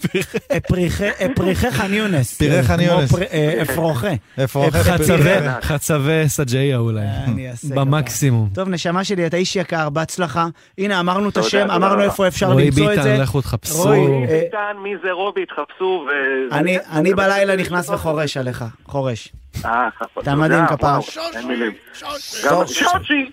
C: אפריחי- אפריחי חאן יונס.
B: פירי חאן
C: כמו
B: יונס.
C: פר- אה, אפרוחי.
B: אפרוחי
C: אפ-
B: חצבי.
C: פירי-
A: חצבי, חצבי סג'איה אולי.
C: אה, אני אעשה כפיים.
A: במקסימום.
C: טוב, נשמה שלי, אתה איש יקר, בהצלחה. הנה, אמרנו את
H: תודה,
C: השם,
H: תודה
C: אמרנו
H: רבה.
C: איפה אפשר
A: רועי
C: למצוא את
A: ביטן,
C: זה.
A: לכו תחפשו.
C: רועי, אה,
H: ביטן, מי זה רובי, תחפשו ו...
C: אני- אני בלילה נכנס וחורש עליך, חורש.
H: אה,
C: אתה מדהים,
H: תודה,
C: כפר.
H: וואו, אין מילים. גם- שושי!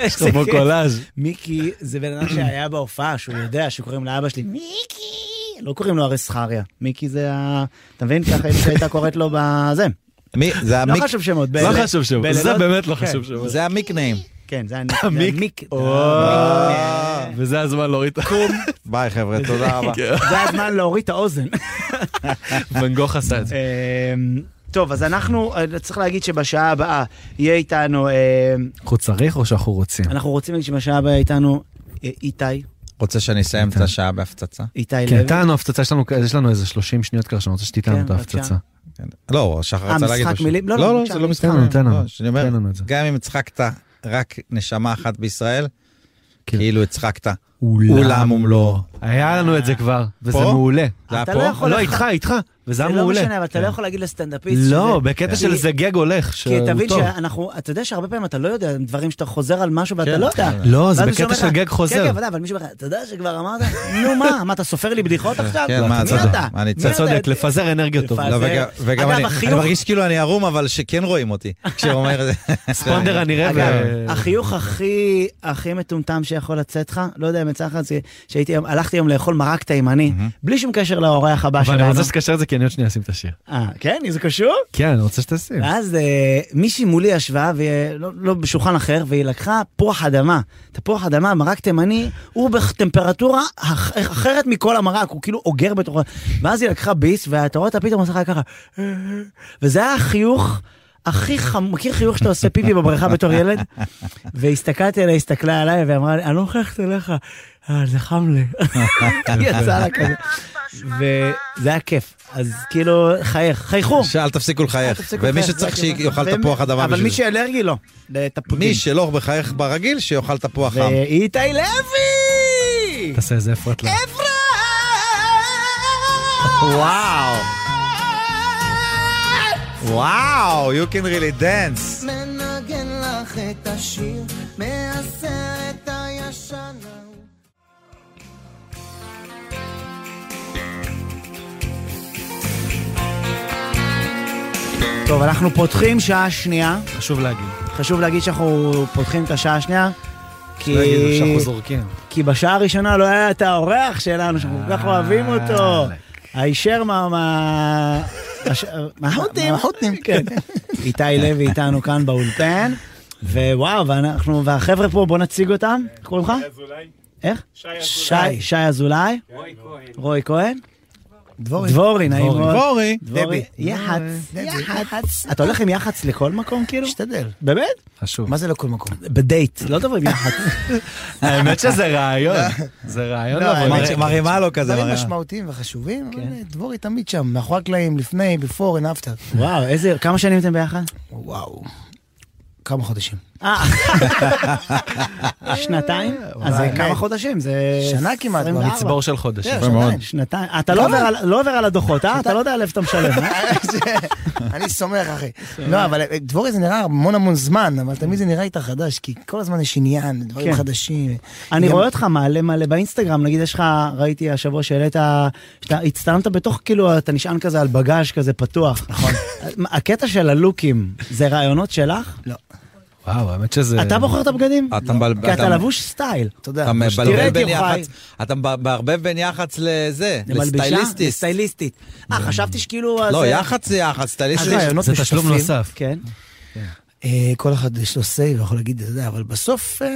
A: יש לו כמו קולאז'.
C: מיקי זה בן אדם שהיה בהופעה, שהוא יודע שקוראים לאבא שלי מיקי, לא קוראים לו הרי זכריה. מיקי זה ה... אתה מבין? ככה אמא שלי הייתה קוראת לו בזה.
B: מי- זה
C: לא
B: המיק-
C: חשוב שמות.
A: לא
C: באלה-
A: חשוב שמות,
C: באלה
A: זה
C: לא-
A: באמת לא
C: כן,
A: חשוב שמות.
B: זה המיקניים.
C: כן, זה אה,
A: המיק.
C: המיק.
A: וזה הזמן להוריד את
B: ביי חבר'ה, תודה רבה.
A: כן.
C: זה הזמן להוריד את האוזן.
A: ון גוך עשה את זה.
C: אמ, טוב, אז אנחנו, אה, צריך להגיד שבשעה הבאה יהיה איתנו, אמ,
A: אנחנו צריך או שאנחנו רוצים?
C: אנחנו רוצים להגיד שבשעה הבאה יהיה איתנו אה, איתי,
B: רוצה שאני אסיים את השעה בהפצצה?
C: איתי
A: כן,
C: לוי.
A: איתנו הפצצה, יש לנו- יש לנו איזה 30 שניות כאלה שאני רוצה שתיתן לנו
C: כן,
A: את
C: בבקשה.
A: ההפצצה.
B: כן. לא, שחר רצה להגיד
C: משחק
B: משהו.
C: מילים? לא, לא,
B: לא,
C: בבקשה,
B: זה לא משחק
A: תן לנו,
B: מילים.
A: תן לנו.
B: לא, שאני אומר,
A: תן לנו את זה.
B: גם אם הצחקת רק נשמה אחת בישראל,
A: כן. לא.
B: כאילו הצחקת. אולם לא. ומלואו.
A: היה לנו את זה כבר, וזה
B: פה?
A: מעולה.
B: זה היה
C: אתה
B: פה?
C: לא יכול
A: לא,
C: לך-
A: איתך, איתך. וזה היה
C: זה לא
A: מעולה.
C: משנה, אבל אתה לא
A: כן.
C: יכול להגיד לסטנדאפיסט
A: לא,
C: שזה-
A: בקטע
C: כי-
A: של זה גג הולך,
C: כי
A: שהוא
C: תבין
A: טוב.
C: שאנחנו, אתה יודע שהרבה פעמים אתה לא יודע דברים שאתה חוזר על משהו ואתה
B: כן.
C: לא יודע.
A: לא, זה
C: ואז מישהו
A: בקטע
C: אומר
A: של
C: לך,
A: גג
C: כן,
A: חוזר.
C: כן, בוודאי, אבל מישהו אומר לך, אתה יודע שכבר אמרת? נו מה, מה, אתה סופר לי בדיחות עכשיו?
B: כן, מה,
C: מי
B: צודק.
C: אתה?
B: מה, אני
C: מי
A: אתה צודק,
C: אתה?
A: לא לפזר אנרגיות טוב.
C: לפזר.
B: לא, וגם- וגם
C: אגב,
B: אני,
C: החיוך-
B: אני מרגיש כאילו אני ערום, אבל שכן רואים אותי. כשהוא אומר את זה.
A: ספונדר אני רב.
C: אגב, החיוך הכי הכי מטומטם שיכול לצאת לך, לא יודע אם יצא לך, זה שהייתי, הלכתי היום לאכול מרק תימני, בלי שום קשר לאורח הבא
A: אבל
C: שלנו.
A: אני רוצה שתקשר את זה כי אני עוד שנייה אשים את השיר.
C: אה, כן? זה קשור?
A: כן, אני רוצה שתשים.
C: ואז אה, מישהי מולי ישבה, ולא לא בשולחן אחר, והיא לקחה פוח אדמה. את הפוח אדמה, מרק תימני, הוא בטמפרטורה אח- אחרת מכל המרק, הוא כאילו אוגר בתוכו. ואז היא לקחה ביס, ואתה רואה אותה פתאום עושה לך ככה. וזה היה החיוך. הכי חם, מכיר חיוך שאתה עושה פיפי בבריכה בתור ילד? והסתכלתי עליה, הסתכלה עליי ואמרה לי, אני לא הולכת אליך, אה, זה חם לי. יצא לה כזה. וזה היה כיף, אז כאילו, חייך, חייכו.
B: שאל תפסיקו
C: אל
B: לחייך.
C: תפסיקו
B: ומי
C: לחייך,
B: שצריך
C: זה
B: שיאכל
C: הכיוון.
B: תפוח אדמה
C: אבל
B: בשביל
C: מי
B: זה.
C: שאלרגי לא. לתפוחים.
B: מי שלא מחייך ברגיל, שיאכל תפוח חם.
C: ואיתי לוי!
A: תעשה איזה אפרת. לה.
B: וואו. וואו, you can really dance.
C: טוב, אנחנו פותחים שעה שנייה.
A: חשוב להגיד.
C: חשוב להגיד שאנחנו פותחים את השעה השנייה. כי...
B: לא
A: להגיד זה שאנחנו זורקים.
C: כי בשעה הראשונה לא היה את האורח שלנו, שאנחנו כל כך אוהבים אותו. הישר מה... מה... הש- מהחות'ים. מהחות'ים, כן. איתי לוי איתנו כאן באולפן, ווואו, ואנחנו, והחבר'ה פה, בוא נציג אותם. איך קוראים לך? איך? שי אזולאי. כן. שי אזולאי. רוי כהן. דבורי. דבורי, נעים מאוד.
B: דבורי.
C: דבורי. יח"צ. יח"צ. אתה הולך עם יח"צ לכל מקום כאילו?
I: משתדל.
C: באמת?
A: חשוב.
I: מה זה לכל מקום?
C: בדייט, לא תבוא עם יח"צ.
A: האמת שזה רעיון. זה רעיון.
I: לא,
A: אבל-
I: האמת
B: מר- מרימה לו
C: לא
B: כזה.
I: דברים
B: מרימה.
I: משמעותיים וחשובים,
C: כן.
I: אבל דבורי תמיד שם, מאחורי הקלעים, לפני, before and after.
C: וואו, איזה, כמה שנים אתם ביחד?
I: וואו. כמה חודשים.
C: אה, שנתיים? אז זה
I: באמת.
C: כמה חודשים, זה...
I: אה, שנה כמעט,
C: 24.
A: מצבור של חודשים.
I: כן, שנתיים.
C: שנתיים. אתה לא עובר על- לא עובר על הדוחות, אה? אתה לא יודע על איפה אתה משלם. אה?
I: כן. אני סומך, אחי. לא, אבל אה, דבורי זה נראה המון המון זמן, אבל תמיד זה נראה איתה חדש, כי כל הזמן יש עניין, דברים
C: כן.
I: חדשים.
C: אני
I: גם-
C: רואה אותך מלא מלא באינסטגרם, נגיד יש לך, ראיתי השבוע שהעלית, שאתה הצטלמת בתוך, כאילו, אתה נשען כזה על בגאז' כזה פתוח. נכון. הקטע של הלוקים, זה רעיונות שלך? לא.
A: וואו, האמת שזה...
C: אתה בוחר את הבגדים? לא.
B: אתה מבלבל-
C: כי אתה
B: אתה-
C: לבוש סטייל.
I: תודה.
B: אתה
C: תראה
B: מבלבל
C: את
B: בין
C: יוחאי.
B: יח"צ, אתה מערבב בין יח"צ לזה,
C: למלבישה?
B: לסטייליסטיסט.
C: לסטייליסטית. אה, חשבתי שכאילו...
B: לא,
C: זה-
B: יח"צ זה יח"צ, סטייליסט
I: אז
B: זה-
I: רעיונות
A: זה תשלום
I: משותפים.
A: נוסף.
C: כן.
I: אה, כל אחד יש לו say ויכול להגיד, אתה יודע, אבל בסוף אה,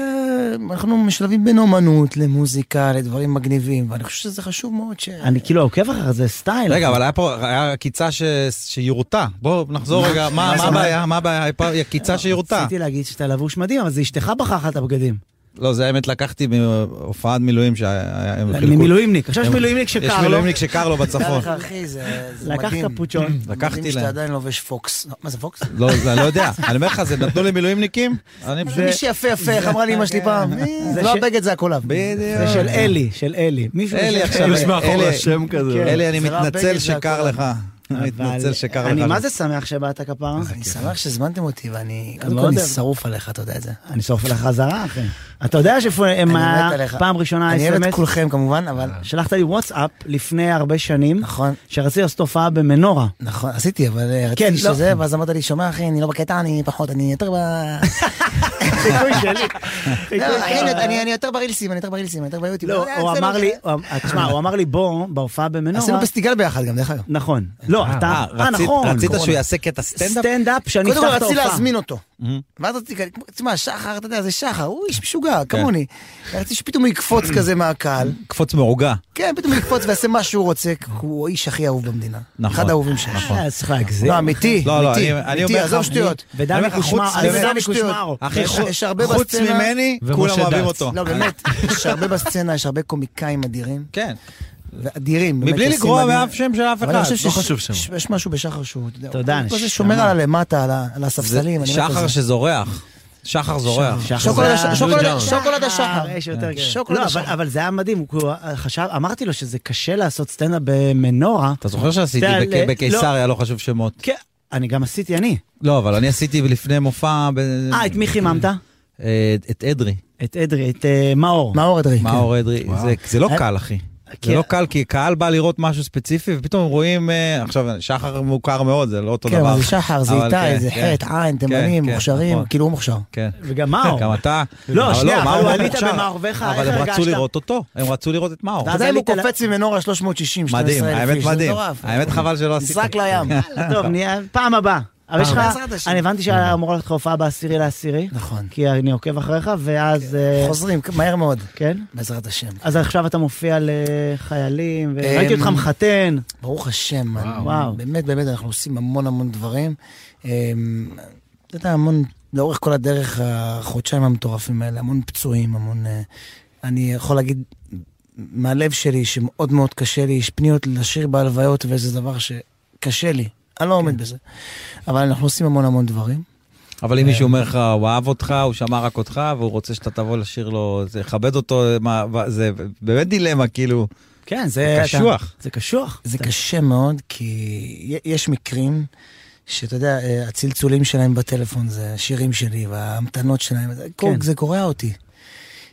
I: אנחנו משלבים בין אומנות למוזיקה, לדברים מגניבים, ואני חושב שזה חשוב מאוד ש...
C: אני כאילו עוקב אחריך, זה סטייל.
B: רגע, אבל היה פה, היה עקיצה ש- שהיא רוטה. בואו נחזור רגע, מה מה הבעיה? מה הבעיה? היה פה עקיצה שהיא רוטה.
C: רציתי להגיד שאתה לבוש מדהים, אבל זה אשתך בחרה לך את הבגדים.
B: לא, זה האמת לקחתי מהופעת מילואים שהם חילקו.
C: ממילואימניק. עכשיו יש
B: הם-
C: מילואימניק
B: יש
C: שקר לו.
B: מילואימניק שקר לו בצפון.
I: אחי, זה זה
C: לקח
I: מדהים.
C: נכון. קפוצ'ון.
B: לקחתי
I: מדהים
B: להם.
I: שאתה עדיין לובש פוקס. לא, מה זה פוקס?
B: לא, זה- אני לא יודע. אני אומר לך, זה נתנו למילואימניקים? אני פשוט...
I: מי שיפה יפה, איך אמרה לי אמא שלי פעם? "אה,
C: זה
I: לא
C: ש-
I: הבגד זה הקולב.
B: בדיוק.
C: זה של אלי, של אלי. מישהו
B: אלי
C: של-
B: עכשיו,
A: יש מאחורי
B: אלה-
A: השם כזה.
C: כן.
B: אלי, אני
I: זה לא
B: מתנצל
I: הבגד, זה
B: שקר
I: הכל.
B: לך. אני מתנצל שקר לך.
C: אני מה זה שמח שבאת כפרה?
I: אני שמח שהזמנתם אותי, ואני... קודם
C: מאוד
I: כל אני
C: אוהב.
I: שרוף עליך, אתה יודע את זה.
C: אני שורף לך חזרה, אחי. אתה יודע שפה, הם
I: אני
C: ה-
I: מת עליך.
C: פעם ראשונה
I: אני אוהב את
C: אס.אם.אס,
I: כולכם כמובן, אבל...
C: שלחת לי וואטסאפ לפני הרבה שנים,
I: נכון.
C: שרציתי לעשות הופעה במנורה.
I: נכון, עשיתי, אבל אה,
C: כן,
I: רציתי
C: לא.
I: שזה, ואז אמרת לי, שומע אחי, אני לא בקטע, אני פחות, אני יותר ב...
C: חיקוי שלי. חיקוי
I: לא, אחי,
C: שלך.
I: נכון. אני- אני אני יותר ברילסים, אני יותר ברילסים, אני יותר ביוטיוב.
C: לא,
I: אה,
C: הוא
I: זה
C: אמר
I: לא-
C: לי, לא, אה. הוא- אמ- תשמע, הוא אמר לי בוא, בהופעה
I: עשינו
C: במנורה.
I: פסטיגל ביחד גם, דרך אגב.
C: נכון. לא, אתה,
B: אה,
C: אה,
B: רצית-
C: נכון.
B: רצית שהוא
C: קורונה.
B: יעשה קטע סטנדאפ?
C: סטנדאפ שאני אפתח
I: קודם
C: את
I: כל
C: ההופעה.
I: רציתי להזמין אותו. ואז רציתי, כזה, כמו- תשמע, שחר, אתה יודע, זה שחר, הוא איש משוגע,
C: כן.
I: כמוני. רציתי שפתאום הוא יקפוץ כזה מהקהל.
B: קפוץ מעוגה.
I: כן, פתאום הוא יקפוץ ויעשה מה שהוא רוצה, כי הוא האיש הכי אהוב במדינה.
B: נכון.
I: אחד האהובים שלי.
C: אה, צריך להגזים.
I: לא, אמיתי,
B: לא, לא,
I: אמיתי,
B: אני- אני
I: אמיתי,
B: אומר לך,
I: עזוב
B: אני-
I: שטויות.
B: אני
C: ודני
B: אומר לך,
C: קושמרו.
B: חוץ-
C: אז זה
B: באמת,
C: דני קושמרו.
B: אחי,
I: יש-
B: חוץ-
I: יש הרבה
B: חוץ
I: בסצנה-
B: ממני,
A: ומשה
B: כולם אוהבים
A: דץ.
B: אותו.
I: לא, באמת, יש הרבה בסצנה, יש הרבה קומיקאים אדירים.
B: כן.
I: ואדירים. באמת,
B: מבלי
I: עושים
B: לגרוע
I: מדהים.
B: מאף שם של אף
I: אבל אני
B: אחד,
I: חושב
B: לא
I: שיש-
A: חשוב שם.
I: ש- יש משהו בשחר שהוא, אתה יודע,
C: תודה,
I: הוא כזה
C: נשמה.
I: שומר על הלמטה, על ה- על הספסלים. אני לא מת על
B: שחר
I: זה.
B: שזורח. שחר זורח.
C: שחר
I: שוקולד
C: זה
I: הש-
C: ה-
I: שוקולד-
B: דוד ג'ארם.
I: שוקולד השחר.
C: יש יותר גדול.
I: שוקולד
C: לא,
I: השחר.
C: אבל- אבל זה היה מדהים, הוא כאילו, אה, חשב, אמרתי לו שזה קשה לעשות סטנדאפ במנורה.
B: אתה זוכר שעשיתי
C: אתה-
B: בק-
C: לא.
B: בקיסריה, לא חשוב שמות.
C: כן, אני גם עשיתי אני.
B: לא, אבל אני עשיתי לפני מופע... ב-
C: אה, את מי חיממת?
B: אה, את אדרי,
C: את אדרי, את אה, מאור.
I: מאור אדרי.
B: מאור אדרי. זה- זה
I: אה,
B: לא קל, אחי. זה
C: כן.
B: לא קל, כי קהל בא לראות משהו ספציפי, ופתאום רואים... אה, עכשיו, שחר מוכר מאוד, זה לא אותו
I: כן,
B: דבר.
I: אבל זה שחר, זה
B: אבל
I: איתי,
B: כן,
I: זה
B: כן.
I: חטא, עין,
B: כן,
I: תימנים,
B: כן,
I: מוכשרים,
B: נכון.
I: כאילו הוא מוכשר.
B: כן.
C: וגם מאור.
B: גם אתה.
C: לא, שנייה, אבל
B: מאור
C: הוא
B: לא
C: עלית
B: מוכשר.
C: במערבך,
B: אבל
C: איך
B: הם רצו
C: הרגשת?
B: לראות אותו, הם רצו לראות את מאור.
I: אתה יודע
C: אז
I: אם הוא
C: עלית ל-
I: קופץ ממנורה 360, 12,000 איש,
B: מדהים, האמת
I: זה
B: מדהים.
I: מטורף.
B: האמת חבל שלא עשית.
I: נזרק לים.
C: יאללה, טוב, נהיה, פעם הבאה. כן. אבל יש לך,
I: בעזרת השם.
C: אני הבנתי שאמורה להיות לך הופעה בעשירי לעשירי.
I: נכון.
C: כי אני עוקב אחריך, ואז...
B: כן.
C: אה,
I: חוזרים, מהר מאוד.
C: כן?
I: בעזרת השם.
C: אז עכשיו אתה מופיע לחיילים,
I: אמ,
C: וראיתי אותך מחתן.
I: ברוך השם,
C: וואו.
I: וואו. באמת, באמת, אנחנו עושים המון המון דברים. אמ, אתה יודע, המון, לאורך כל הדרך, החודשיים המטורפים האלה, המון פצועים, המון... אה, אני יכול להגיד מהלב שלי, שמאוד מאוד קשה לי, יש פניות לשיר בהלוויות, וזה דבר שקשה לי. אני לא עומד בזה. אבל אנחנו עושים המון המון דברים.
B: אבל
I: אה.
B: אם מישהו אומר לך, הוא אהב אותך, הוא שמע רק אותך, והוא רוצה שאתה תבוא לשיר לו, זה כבד אותו, מה- מה- זה באמת דילמה, כאילו.
C: כן,
B: זה
C: אתה-
B: קשוח.
C: זה קשוח.
I: זה קשה מאוד, כי י- יש מקרים שאתה יודע, אה, הצלצולים שלהם בטלפון זה השירים שלי וההמתנות שלהם, זה,
C: כן.
I: כן. זה קורע אותי.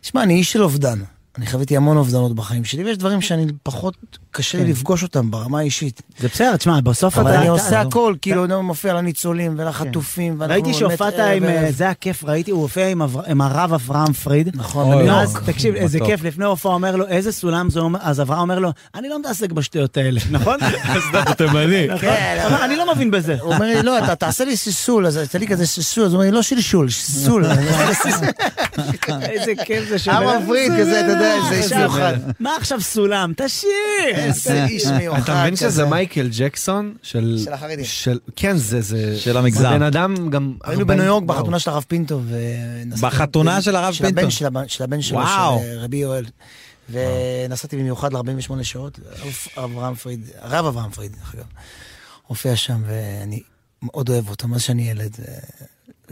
I: שמע, אני איש של אובדן. אני חוויתי המון אובדנות בחיים שלי, ויש דברים שאני פחות קשה לי
C: כן.
I: לפגוש אותם ברמה האישית.
C: זה בסדר, תשמע, בסוף אתה...
I: אבל אני
C: אתה-
I: עושה
C: אתה- כן.
I: הכל, כאילו, אני מופיע לניצולים ולחטופים, ואנחנו
C: ראיתי
I: באמת
C: שהופעת
I: ערב
C: עם...
I: ערב.
C: אה, זה הכיף, ראיתי, הוא הופיע עם אבר- עם הרב אברהם פריד.
I: נכון,
B: אוי,
I: בניו
B: אוי.
I: יורק.
C: ואז, תקשיב, איזה
B: בטוח.
C: כיף, לפני ההופעה אומר לו, איזה סולם זה אומר, אז אברהם אומר לו, אני לא מתעסק בשטויות האלה, נכון?
I: כן,
C: הוא אומר, אני לא מבין בזה.
I: הוא אומר לי, לא, אתה תעשה לי סיסול, אז תעשה לי כזה סיסול, אז הוא אומר לי, לא שלשול, סיסול.
C: איזה כיף זה
I: עם מבריד כזה, אתה יודע, איזה איש מיוחד.
C: מה עכשיו סולם? תשאיר!
I: איזה איש מיוחד.
A: אתה מבין
I: כזה.
A: שזה מייקל ג'קסון של...
I: של החרדים.
A: של- כן, זה... זה-
B: של המגזר.
A: זה בן אדם גם...
I: היינו
A: הרבה-
I: בניו יורק
A: וואו.
I: בחתונה של הרב פינטו. ונסעתי-
B: בחתונה של הרב
I: של הבן
B: פינטו.
I: של הבן- של הבן שלו,
B: וואו.
I: של רבי יואל. ונסעתי במיוחד ל-48 שעות, הרב אברהם פריד, הרב אברהם פריד, דרך אגב, הופיע שם, ואני מאוד אוהב אותו, מאז שאני ילד. אה,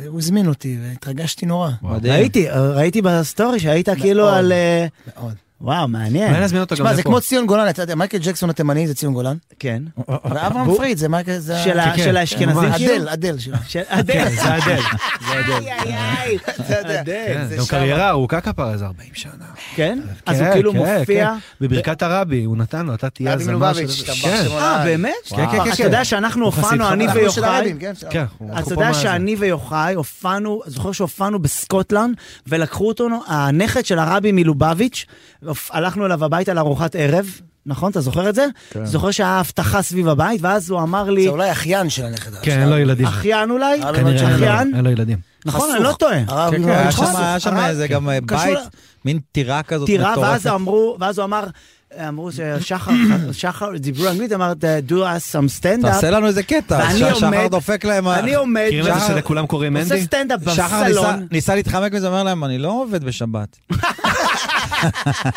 I: הוא הזמין אותי, והתרגשתי נורא.
B: מדהים.
C: ראיתי, ראיתי בסטורי שהיית כאילו
I: מאוד.
C: על... אה,
I: מאוד.
C: וואו,
A: אולי
C: מעניין.
A: נזמין אותו גם
I: תשמע, זה
A: לפה.
I: כמו ציון גולן, אתה יודע, מייקל ג'קסון התימני זה ציון גולן,
C: כן.
I: ואברהם
C: הוא-
I: פריד זה מייקל, זה... ה-
C: של ה-
A: כן,
C: של
A: כן,
C: האשכנזים כאילו?
I: אדל, אדל שלו.
C: של אדל. זה אדל.
I: אתה יודע,
A: כן,
I: זה
A: גם
I: שם.
A: קריירה ארוכה כפרה, זה 40 שנה.
C: כן? אז
A: כן,
C: הוא כאילו
A: כן,
C: מופיע...
A: כן. בברכת הרבי, הוא נתן לו, אתה תהיה
I: רבי
A: הזמר
I: מלובביץ',
A: של...
I: השתבח
A: כן,
I: שמו
C: אה,
I: לעד.
C: באמת?
A: כן, כן, כן,
C: אתה
A: כן.
C: יודע שאנחנו
A: הוא חסיד
C: הופענו, אני
A: חב"ד.
I: אנחנו של
C: ויוחאי,
I: הרבים, כן? של
A: כן.
I: הרבים.
A: הוא
C: אתה
A: קופו
C: יודע
A: מה זה.
C: שאני ויוחאי הופענו, זוכר שהופענו בסקוטלנד, ולקחו אותנו, הנכד של הרבי מלובביץ', הופ- הלכנו אליו הביתה לארוחת ערב, נכון? אתה זוכר את זה? זוכר שהיה הבטחה סביב הבית, ואז הוא אמר לי,
I: זה אולי אחיין של הנכד.
A: כן, אין לו ילדים.
C: אחיין אולי?
I: כנראה,
A: כנראה אין לו-
C: אחיין?
A: אין לו ילדים.
C: נכון, אני
I: חסוך.
C: לא טועה.
I: הרב נכון.
B: כן, כן,
I: יובל
B: היה
I: חסוך.
B: שם- היה שם
C: הרב-
B: איזה גם אה,
C: קשור
B: בית,
C: ל-
B: מין טירה כזאת
C: טירה, ואז
B: מטורפת.
C: אמרו, ואז הוא אמר, אמרו ששחר, שחר, דיברו אנגלית, אמר, do us some stand-up.
B: תעשה לנו איזה קטע,
C: ואני
B: ש- שחר
C: עומד-
B: דופק להם... ה-
C: אני עומד,
A: מכירים את זה
B: שחר-
A: שלכולם קוראים
C: עושה
A: אנדי?
C: סטנדאפ
B: שחר ניסה-
C: בסלון.
B: ניסה להתחמק מזה, אומר להם, אני לא עובד בשבת.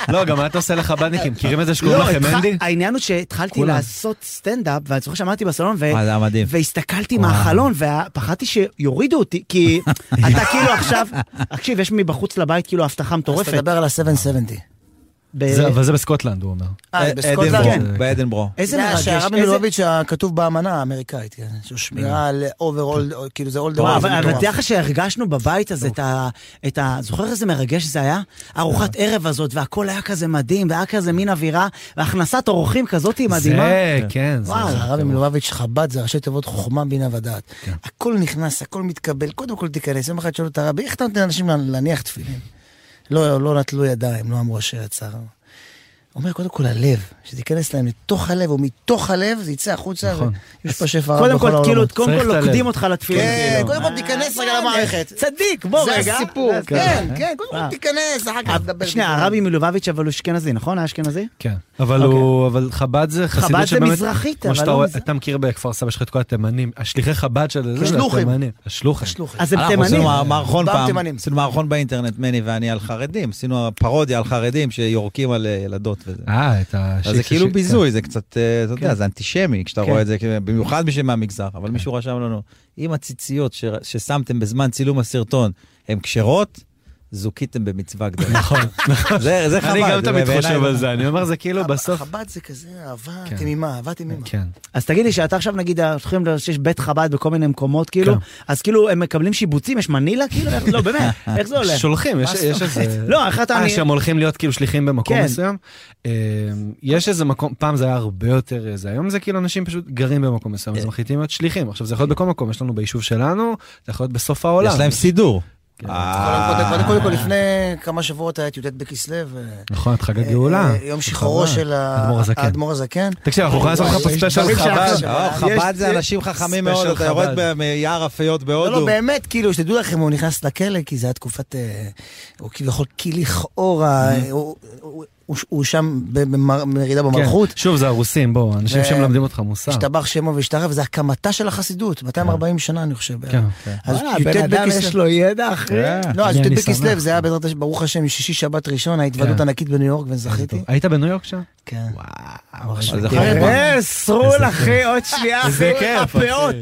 A: לא, גם מה אתה עושה לחב"דניקים? מכירים את זה שקוראים
C: לא,
A: לכם
C: התח-
A: אנדי?
C: העניין הוא שהתחלתי
A: כולם. אה,
C: לעשות סטנדאפ, ואני זוכר שעמדתי בסלון, ו-
B: מה, זה היה מדהים.
C: והסתכלתי
B: וואו.
C: מהחלון, ופחדתי שיורידו אותי, כי אתה כאילו עכשיו, תקשיב, יש מבחוץ לבית כאילו הבטחה
I: אז
C: מטורפת.
I: תדבר על ה-770.
C: ב-
A: זה- אבל זה בסקוטלנד, הוא אומר.
I: אה,
B: אה,
I: זה בסקוטלנד?
B: אדנבורו,
A: כן.
B: באדנבורו.
C: איזה
I: זה
C: מרגש,
I: שהרבי
C: איזה...
I: מלובביץ' כתוב באמנה האמריקאית, כן, שהוא שמירה על אוברול,
B: כן.
I: כאילו זה אולד
C: וואו, לא, אבל אבל
I: אוברול.
C: תדע לך שהרגשנו בבית הזה את ה... את ה... זוכר איזה מרגש זה היה? ארוחת
A: אה.
C: ערב הזאת, והכל היה כזה מדהים, והיה כזה מין אווירה, והכנסת אורחים כזאת היא מדהימה.
A: זה, כן. זה-
C: וואו.
I: הרבי מלובביץ' חב"ד זה ראשי תיבות חוכמה, בינה ודעת.
B: כן.
I: הכל נכנס, הכל מתקבל, קודם כל תיכנס. יום אחד שאלו את הרבי, איך אתה נותן לאנשים לה- להניח תפילין? לא, לא נטלו ידיים, לא אמרו אשר יצר. אומר, קודם כל הלב, שזה ייכנס להם לתוך הלב, ומתוך הלב זה יצא החוצה,
B: נכון.
I: וישפש שפע רב
C: קודם
I: בכל
C: כל,
I: העולמות.
C: כאילו, קודם
A: צריך
C: כל
A: את הלב.
C: לוכדים אותך לתפילה.
I: כן,
C: כאילו.
I: קודם כל תיכנס רגע
C: אה,
I: למערכת.
C: צדיק, בוא רגע.
I: זה הסיפור, כן, כן, קודם
C: אה.
I: כל תיכנס, אחר כך נדבר.
C: שנייה, הרבי מלובביץ' אבל הוא אשכנזי, נכון? היה אשכנזי?
A: כן. אבל
I: אוקיי.
A: הוא, אבל חב"ד זה חסידות
C: חב"ד זה
A: שבאמת-
C: מזרחית,
A: כמו
C: אבל
A: שאתה
C: לא
A: רואה-
C: מזרח.
A: אתה מכיר בכפר סבא, יש לך את כל התימנים, השליחי חב"ד של זה, זה
I: השלוחים.
A: התימנים. השלוחים.
I: שלוחי.
C: אז הם
B: אנחנו
C: תימנים.
B: עשינו מערכון
I: פעם
B: פעם,
I: תימנים.
B: עשינו מערכון באינטרנט, מני ואני, על חרדים. עשינו פרודיה על חרדים שיורקים על אה, ילדות. וזה.
A: אה, את השיר
B: אז זה
A: של
B: כאילו
A: שיר-
B: ביזוי, זה קצת, אה, אתה יודע,
A: כן.
B: זה אנטישמי, כשאתה
A: כן.
B: רואה את זה, כאילו, במיוחד בשביל מהמגזר, אבל
I: כן.
B: מישהו רשם לנו, אם הציציות ש- ששמתם בזמן צילום הסרטון הן כשרות, זוקיתם במצווה גדולה. נכון. זה זה חבל.
A: אני גם
B: זה
A: תמיד
B: בעיניי
A: חושב
B: לא-
A: על זה, אני אומר זה כאילו בסוף...
I: חב"ד זה כזה אהבה,
A: כן.
I: תמימה, אהבה תמימה.
A: כן.
C: אז תגיד לי שאתה עכשיו נגיד, הולכים ל- שיש בית חב"ד בכל מיני מקומות כאילו,
A: כן.
C: אז כאילו הם מקבלים שיבוצים, יש מנילה כאילו? איך- לא באמת, איך זה הולך?
A: שולחים, יש- יש איזה...
C: לא, איך אתה...
A: אה,
C: אני-
A: שהם הולכים להיות כאילו שליחים במקום
C: כן.
A: מסוים. אה, יש איזה מקום, פעם זה היה הרבה יותר איזה, היום זה כאילו אנשים פשוט גרים במקום מסוים, אז מחליטים להיות שליחים. עכשיו זה יכול להיות בכל מקום, יש לנו ביישוב שלנו, זה יכול להיות בסוף העולם.
B: יש להם סידור.
I: קודם
B: אה.
I: כל- קודם כל, לפני כמה שבועות היה את י"ט בכסלו. אה,
A: נכון, את חג הגאולה.
I: אה, יום שחרורו של ה-
A: האדמו"ר הזקן.
I: האדמו"ר הזקן.
A: תקשיב, אנחנו יכולים לעשות לך פה
I: יש
A: ספיישל
I: דברים
A: חב"ד.
I: שאנחנו-
B: לא, חב"ד זה אנשים חכמים מאוד,
A: ספיישל
B: אתה יורד
A: חב"ד.
B: ב- מיער אפיות
I: לא,
B: בהודו.
I: לא, באמת, כאילו, שתדעו לכם, הוא נכנס לכלא, כי זה היה תקופת... אה, הוא כביכול, כי לכאורה, אה, הוא- הוא- הוא- הוא שם במרידה במלכות.
A: Mm-hmm. כן, שוב, זה הרוסים, בואו, אנשים
I: ו-
A: שמלמדים אותך מוסר.
I: השתבח שמו והשתחרר, וזה הקמתה של החסידות, 240 שנה, אני חושב. בערך.
A: כן.
I: אז
B: וואלה,
I: י"ט
B: הבן אדם
I: בכסלו-
B: יש לו ידע, אחי.
C: כן.
I: לא, אז
A: אני-
I: י"ט
A: אני
I: בכסלו,
A: שמח.
I: זה היה בעזרת השם, ברוך השם, שישי שבת ראשון, ההתוועדות
A: כן.
I: הענקית בניו יורק, וזכיתי.
A: היית בניו יורק שם?
I: כן.
A: וואו,
I: עכשיו
A: איזה
I: כן.
A: חיים.
C: אה, סרול אחי, עוד שנייה,
A: איזה כיף.
C: הפאות.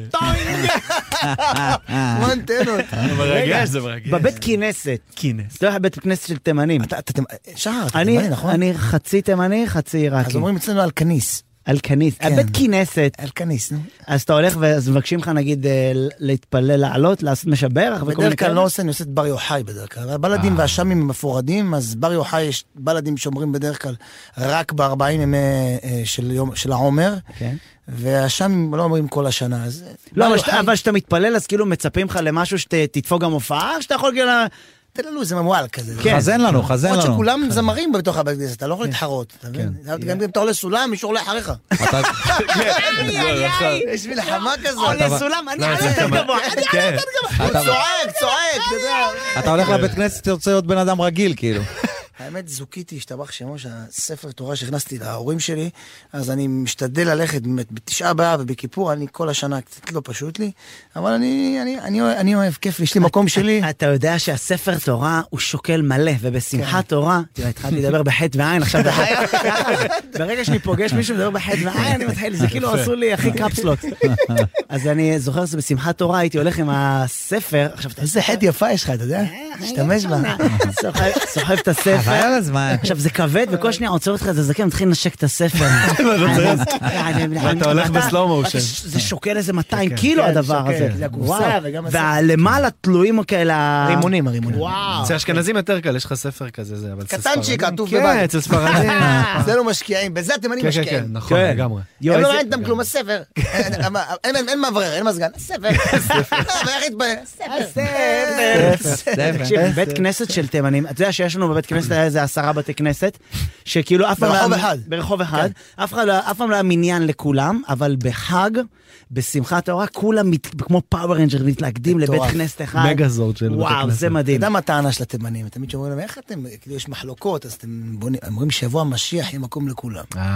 I: כמו אנטנות.
A: זה מרגש, זה מרגש.
C: בבית כנסת. כינס. אתה יודע, בית כנסת של תימנים.
I: אתה- אתה תימ- שחר, אתה
C: אני,
I: תימני, נכון?
C: אני חצי תימני, חצי
I: אז
C: עיראקי.
I: אומרים אצלנו אלקניס.
C: אלקניס.
I: כן.
C: בית כנסת.
I: אלקניס, נו.
C: אז אתה הולך ואז מבקשים לך נגיד אה, להתפלל, לעלות, לעשות משבח וכל מיני
I: בדרך כלל
C: כאלה.
I: לא עושה, אני עושה את בר יוחאי בדרך כלל. הבלדים והשמים הם מפורדים, אז בר יוחאי יש בלדים שאומרים בדרך כלל רק ב-40 ימי אה, של יום- של העומר,
C: כן.
I: והשמים לא אומרים כל השנה, אז...
C: לא,
I: בר
C: אבל שאתה-
I: יוחאי-
C: אבל כשאתה מתפלל אז כאילו מצפים לך למשהו שתדפוק גם הופעה, או שאתה יכול כאילו...
I: תן לנו איזה ממועל כזה.
C: כן.
B: חזן לנו, חזן
I: למרות
B: לנו.
I: שכולם
A: כן.
I: זמרים בתוך הבית כנסת, אתה לא יכול להתחרות, אתה מבין? גם אם אתה עולה סולם, מישהו עולה אחריך.
A: אה.
B: אתה- כן.
I: יש מלחמה כזאת. אה,
C: עולה סולם, אני עולה יותר גבוה. אני-
A: כן.
I: אתה צועק, צועק, אתה יודע.
B: אתה הולך לבית כנסת, אתה רוצה להיות בן אדם רגיל, כאילו.
I: האמת, זוקיתי, השתבח שמו, שהספר תורה שהכנסתי להורים שלי, אז אני משתדל ללכת באמת בתשעה באב ובכיפור, אני כל השנה קצת לא פשוט לי, אבל אני, אני, אני, אוהב- אני אוהב, כיף, לי, יש לי מקום שלי.
C: אתה יודע שהספר תורה הוא שוקל מלא,
I: כן.
C: ובשמחת תורה, תראה, התחלתי לדבר בחטא ועין, עכשיו בחיי, ברגע שאני פוגש מישהו מדבר בחטא ועין, אני מתחיל, זה כאילו עשו לי הכי קפסלות. אז אני זוכר שבשמחת תורה הייתי הולך עם הספר, עכשיו, אתה- אה,
I: איזה חטא יפה יש לך, אתה יודע? תשתמש בה.
C: סוחב- סוחב את הספר.
B: חבל הזמן.
C: עכשיו זה כבד, וכל שניה עוצר אותך את הזקן, מתחיל לנשק את הספר.
A: ואתה הולך בסלואו מושן.
C: זה שוקל איזה 200 קילו הדבר
I: שוקל,
C: הזה.
I: זה הקופסה
C: וואו.
I: וגם הספר.
C: והלמעלה תלויים כאלה...
I: הרימונים, הרימונים.
C: וואו.
A: אצל אשכנזים יותר קל, יש לך ספר כזה, זה, אבל אצל
I: קטנצ'יק,
A: ספרדים-
I: עטוף
A: כן,
I: בבית.
A: אצל ספרדים.
I: אצלנו משקיעים, בזה התימנים
A: כן, כן, כן,
I: משקיעים.
A: נכון,
C: כן.
A: לגמרי.
C: יואו,
I: הם לא
C: איזה-
I: מעניין אותם כלום, הספר. אין- אין- אין- אין מאוורר, אין מזגן, הספר. לא, ואיך התפלל? הספר.
C: תקשיב, בית כנסת של תימנים, אתה יודע שיש לנו בבית כנסת היה איזה עשרה בתי כנסת, שכאילו אף פעם... לא היה-
I: ברחוב אחד. כן.
C: ברחוב אחד. אף אחד לא- אף פעם לא היה מניין לכולם, אבל בחג, בשמחת תורה, כולם מת- כמו פאוור רנג'ר מתלכדים לבית
I: מטורף.
C: כנסת אחד.
A: מגזורד של בתי
C: וואו,
A: כנסת.
C: זה
I: אתה
C: מדהים.
I: יודע מה הטענה של התימנים? תמיד שאומרים להם, איך אתם, כאילו יש מחלוקות, אז אתם בונים- אומרים שיבוא המשיח, יהיה מקום לכולם.
A: אה,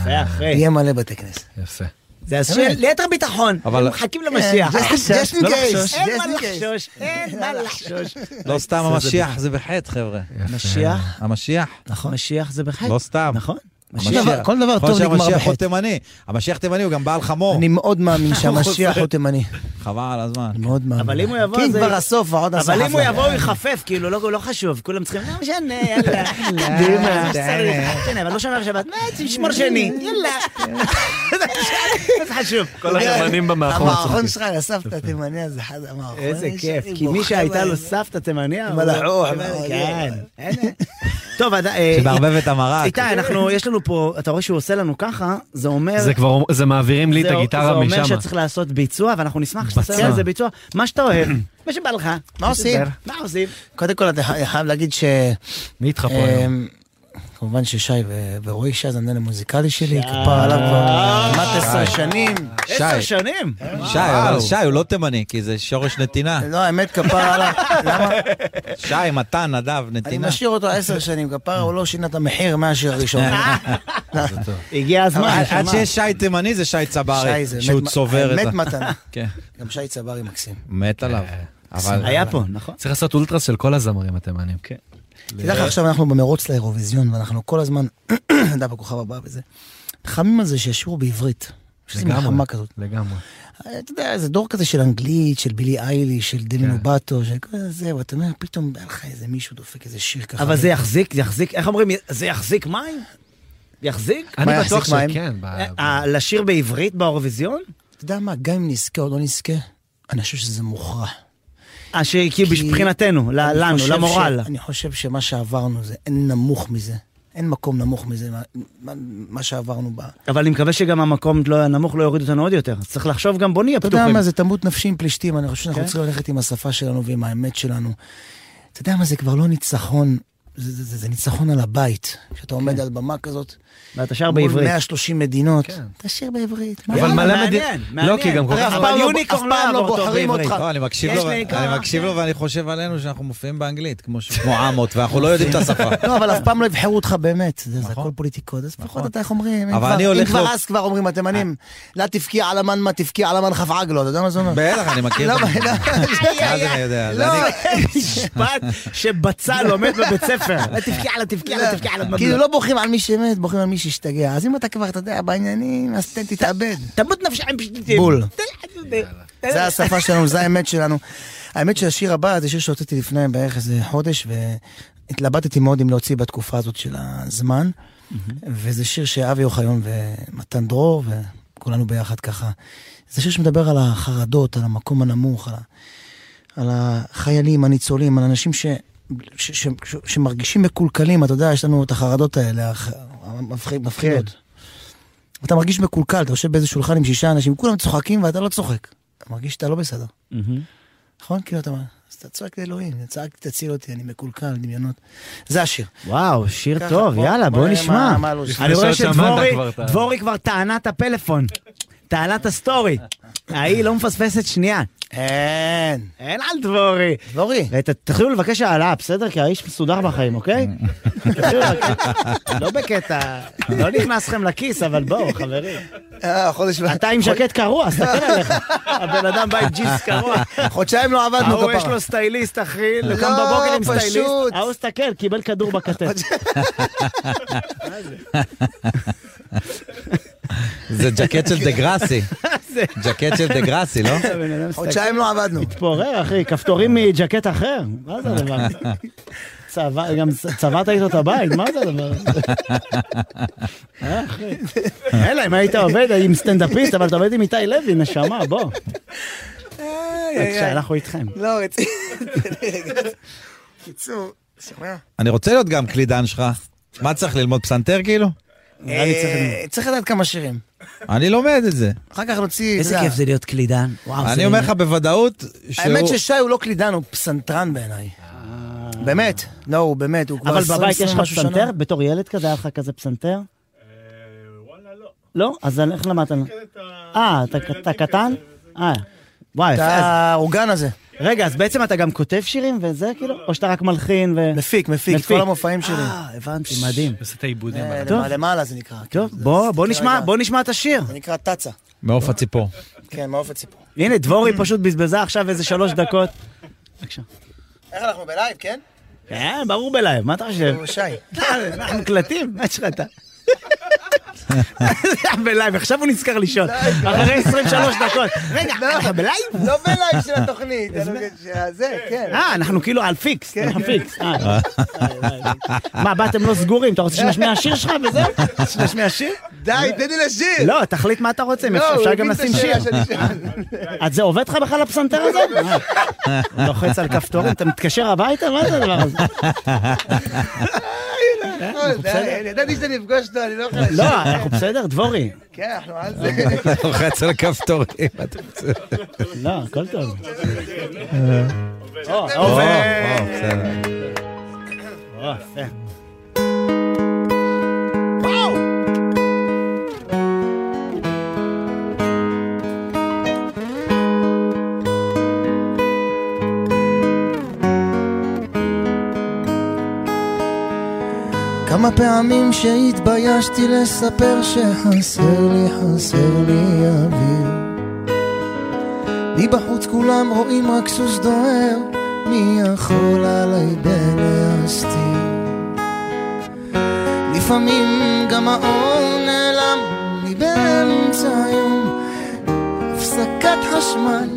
C: יפה, אחי.
I: יהיה מלא בתי כנסת.
A: יפה.
C: זה אז של- ליתר ביטחון,
B: אבל-
C: הם מחכים למשיח.
I: כן, just-
C: עכשיו,
I: just in
C: לא
I: case,
C: לחשוש.
I: just
C: אין מה
I: in case.
C: לחשוש, אין מה לחשוש.
B: לא סתם המשיח זה בחטא, חבר'ה.
C: משיח,
B: המשיח,
C: נכון. משיח זה בחטא.
B: לא סתם.
C: נכון.
I: כל
B: המשיח-
I: דבר- כל דבר
B: יכול
I: טוב
B: להיות
I: נגמר
B: שהמשיח הוא
I: בחטא.
B: תימני. המשיח תימני הוא גם בעל חמור.
I: אני מאוד מאמין שהמשיח הוא תימני.
B: חבל על הזמן.
I: אני מאוד מאמין.
C: אבל אם הוא יבוא,
I: כי אם
C: זה-
I: כבר הסוף, ועוד עשרה
C: אבל אם הוא
I: חפלה.
C: יבוא, הוא יחפף, כאילו, לא לא חשוב, כולם צריכים, לא משנה, יאללה.
I: קדימה.
C: מה שצריך, לא משנה, אבל לא שומר שבת, מה, תשמור שני, יאללה. מה זה חשוב?
A: כל הגרמנים במאחור.
I: המערכון שלך לסבתא התימני הזה, אחד המערכון.
C: איזה
I: יש-
C: כיף,
I: אני
C: כי מי
I: בוכה
C: שהייתה
I: בהם.
C: לו סבתא תימניה,
I: עם הלעוח,
C: כן,
I: עם
C: כן. אין- טוב, אז, אה,
B: שמערבב את המרק.
C: איתי, אנחנו, יש לנו פה, אתה רואה שהוא עושה לנו ככה, זה אומר...
A: זה כבר, זה מעבירים לי את
C: זה-
A: הגיטרה
C: זה אומר
A: משם.
C: שצריך לעשות ביצוע, ואנחנו נשמח שתעשה לנו
A: בצע.
C: איזה ביצוע. מה שאתה אוהב, מה שבא לך.
I: מה עושים?
C: מה עושים?
I: קודם כל, אתה ח- חייב להגיד ש...
A: מי איתך פה היום?
I: אמ, כמובן ששי ו- ורועי שי זה המנהל המוזיקלי שלי, כפר עליו כבר כמעט עשר
A: אה,
I: שנים.
C: עשר שנים.
B: שי, אבל שי הוא לא תימני, כי זה שורש נתינה.
I: לא, האמת, כפר עליו. למה?
B: שי, מתן, נדב,
I: לא- אני
B: נתינה.
I: משאיר אותו עשר שנים, כפרה הוא לא שינה את המחיר מהשיר הראשון.
B: אה,
I: אה,
C: הגיע הזמן.
B: עד עד
C: נשמה.
B: שיש שי תימני זה שי צברי,
I: שי זה
B: שהוא
I: מת-
B: צובר את ה...
I: מת מתנה.
B: כן.
I: גם שי צברי מקסים.
B: מת עליו. אבל כן.
C: היה פה, נכון?
A: צריך לעשות אולטרס של כל הזמרים התימנים.
I: תדע לך, עכשיו אנחנו במרוץ לאירוויזיון, ואנחנו כל הזמן, אתה בכוכב הבא וזה, נלחמים על זה שישאירו בעברית. יש איזו מלחמה כזאת. אה,
A: לגמרי.
I: אתה יודע, איזה דור כזה של אנגלית, של בילי איילי, של דמי
A: כן.
I: לובטו, של כל זה, זהו, אתה אומר, פתאום בא לך איזה מישהו דופק איזה שיר ככה.
C: אבל זה יחזיק, זה יחזיק, איך אומרים, זה יחזיק מים? יחזיק?
A: אני
I: מה,
A: בטוח
I: יחזיק מים?
A: שכן. ב- ב-
C: אה, לשיר בעברית באירוויזיון?
I: אתה יודע מה, גם אם נזכה או לא נזכה, אני חושב שזה מוכרע.
C: אה, שכאילו
I: כי-
C: מבחינתנו, ל-
I: אני
C: לנו,
I: חושב
C: למורל.
I: ש- אני חושב שמה שעברנו זה, אין נמוך מזה. אין מקום נמוך מזה, מה- מה- מה שעברנו ב...
C: אבל אני מקווה שגם המקום לא- הנמוך לא יוריד אותנו עוד יותר. אז צריך לחשוב גם בוא נהיה
I: אתה יודע
C: פתוחים.
I: מה, זה תמות נפשי עם פלישתים, אני חושב שאנחנו
C: כן.
I: צריכים ללכת עם השפה שלנו ועם האמת שלנו. אתה יודע מה, זה כבר לא ניצחון, זה- זה זה- זה ניצחון על הבית. כשאתה עומד על במה כזאת,
C: ואתה שר
I: מול
C: בעברית.
I: 130 מדינות,
A: כן.
I: תשאיר בעברית. מה
A: אבל
I: זה?
C: יאללה,
A: מלא
C: מעניין,
A: מדינות-
C: מעניין.
A: לא, כי גם כל
C: הרי
A: כך
C: אף
A: הרבה-
C: פעם
I: לא-
C: יוניקורן
I: אף פעם לא
C: יעבור אותו
I: בוחרים
C: בעברית.
I: אותך.
B: לא, אני מקשיב
C: יש
B: לו,
C: לי כמה-
B: אני מקשיב לו ואני חושב עלינו שאנחנו מופיעים באנגלית, כמו ש- כמו עמות, ואנחנו לא יודעים את השפה.
I: לא, אבל אף פעם לא יבחרו אותך באמת, זה זה
B: נכון.
I: הכל פוליטיקות, אז לפחות אתה, איך אומרים, אם
B: אבל
I: כבר-
B: אני
I: אם
B: הולך
I: כבר
B: לו-
I: אז כבר אומרים התימנים, לא תבקיע על המן מה תבקיע על המן כף עגלו, אתה יודע מה זה אומר?
B: בטח, אני מכיר. את
I: למה-
B: זה. אז אני
I: לא,
B: יודע. אז אני-
C: משפט שבצל לומד בבית ספר. תבקיע עליו, תבקיע עליו, תבקיע עליו.
I: כאילו לא בוכים על מי שמת, בוכים על מי שהשתגע. אז אם אתה כבר, אתה יודע, בעניינים, אז ת- תתאבד.
C: תמות נפשך עם פשטיטים.
I: בול.
C: אה,
I: זה השפה שלנו, זה האמת שלנו. האמת שהשיר הבא זה שיר שהוצאתי לפני בערך איזה חודש, והתלבטתי מאוד אם להוציא בתקופה הזאת של הזמן. וזה שיר שאבי אוחיון ומתן דרור, וכולנו ביחד ככה. זה שיר שמדבר על החרדות, על המקום הנמוך, על, ה... על החיילים, הניצולים, על אנשים ש... ש... ש... ש... שמרגישים מקולקלים, אתה יודע, יש לנו את החרדות האלה, הח- המפח- המפחידות. אתה מרגיש מקולקל, אתה יושב באיזה שולחן עם שישה אנשים, כולם צוחקים ואתה לא צוחק. אתה מרגיש שאתה לא בסדר, נכון? כאילו אתה אומר, אז אתה צועק לאלוהים, צעק תציל אותי, אני מקולקל, דמיונות. זה השיר.
C: וואו, שיר
I: ככה,
C: טוב,
I: בוא-
C: יאללה,
I: בוא
C: בואו
I: נראה
C: נשמע.
I: מה- מה לא- הלו"ז שלך.
C: אני רואה
A: לפני ששמעת
C: שדבורי
A: כבר את ה-
C: דבורי כבר טענה את הפלאפון. טענה את הסטורי. ההיא לא מפספסת שנייה.
I: אין.
C: אין על דבורי.
I: דבורי.
C: ות- תתחילו לבקש העלאה, בסדר? כי האיש מסודר בחיים, אוקיי? תתחילו לבקש- לא בקטע, לא נכנס לכם לכיס, אבל בואו, חברים.
I: אה, חודש... ו-
C: אתה עם ז'קט קרוע, סתכל עליך. הבן אדם בא עם ג'יס קרוע.
I: חודשיים לא עבדנו
C: ההוא יש
I: כפרה.
C: לו סטייליסט, אחי, הוא קם
I: לא,
C: בבוקר עם סטייליסט.
I: פשוט.
C: ההוא סתכל, קיבל כדור בכתף.
B: זה ג'קט של דה גראסי.
C: זה-
B: ג'קט של דה גראסי, לא?
C: הבן אדם מסתכל.
I: חודשיים לא עבדנו.
C: מתפורר, אחי, כפתורים מג'קט אחר, מה זה הדבר הזה? צבע- גם צ- צבעת איתו את הבית, מה זה הדבר הזה? אה, אחי. אלא אם היית עובד עם סטנדאפיסט, אבל אתה עובד עם איתי לוי, נשמה, בוא. בבקשה, אנחנו איתכם.
I: לא, רציני. קיצור, שומע?
B: אני רוצה להיות גם קלידן שלך. מה צריך ללמוד פסנתר כאילו?
C: נראה לי צריך-
I: אה, צריך לדעת כמה שירים.
B: אני לומד את זה.
I: אחר כך נוציא...
C: איזה
I: אתה יודע.
C: כיף זה להיות קלידן. וואו, זה-
B: אני אומר לך בוודאות שהוא...
I: האמת ששי הוא לא קלידן, הוא פסנתרן בעיניי. באמת. לא, הוא באמת, הוא כבר
C: אבל
I: 20
C: בבית יש לך
I: משהו שנה.
C: פסנתר? בתור ילד כזה היה לך כזה פסנתר? לא? אז איך למדת? אה, אתה- אתה קטן? אה. וואי,
I: את
C: יפה. אז-
I: האורגן הזה.
C: רגע, אז בעצם אתה גם כותב שירים וזה כאילו? או שאתה רק מלחין ו...
I: מפיק, מפיק,
C: מפיק.
I: כל המופעים שלי.
C: אה, הבנתי, מדהים.
A: עושה את העיבודים.
I: אה,
C: טוב.
I: למעלה זה נקרא. כן,
C: טוב,
I: זה-
C: בוא
I: זה
C: בוא
I: נקרא
C: נשמע,
I: רגע.
C: בוא נשמע את השיר.
I: זה נקרא תצה.
B: מעוף הציפור.
I: כן, מעוף הציפור.
C: הנה, דבורי
I: אה.
C: פשוט בזבזה עכשיו איזה שלוש דקות. בבקשה.
I: איך אנחנו בלייב, כן?
C: כן, ברור בלייב, מה אתה חושב?
I: הוא שי.
C: אנחנו מקלטים, מה יש לך אתה? בלייב, עכשיו הוא נזכר לשאול, אחרי 23 דקות. רגע, אנחנו בלייב?
I: לא בלייב של התוכנית, זה, כן.
C: אה, אנחנו כאילו על פיקס, אנחנו פיקס. אה. מה, באתם לא סגורים, אתה רוצה שנשמיע שיר שלך וזהו? שנשמיע שיר?
I: די, תן לי לשיר.
C: לא, תחליט מה אתה רוצה, אם אפשר- אפשר גם לשים שיר. אז זה עובד לך בכלל הפסנתר הזה? אה, הוא לוחץ על כפתורים, אתה מתקשר הביתה? מה זה הדבר הזה?
I: ידעתי שאתה נפגוש אותו, אני לא יכול
C: לא, אנחנו בסדר, דבורי.
I: כן, אנחנו על זה.
B: לוחץ על הכפתורים. אתה רוצה.
C: לא, הכל טוב. אה.
B: או, או, בסדר.
C: או, יפה.
I: כמה פעמים שהתביישתי לספר שחסר לי, חסר לי אוויר. מבחוץ כולם רואים רק סוס דוהר, מי יכול עליי בלהסתיר? לפעמים גם האור נעלם לי באמצע היום, הפסקת חשמל.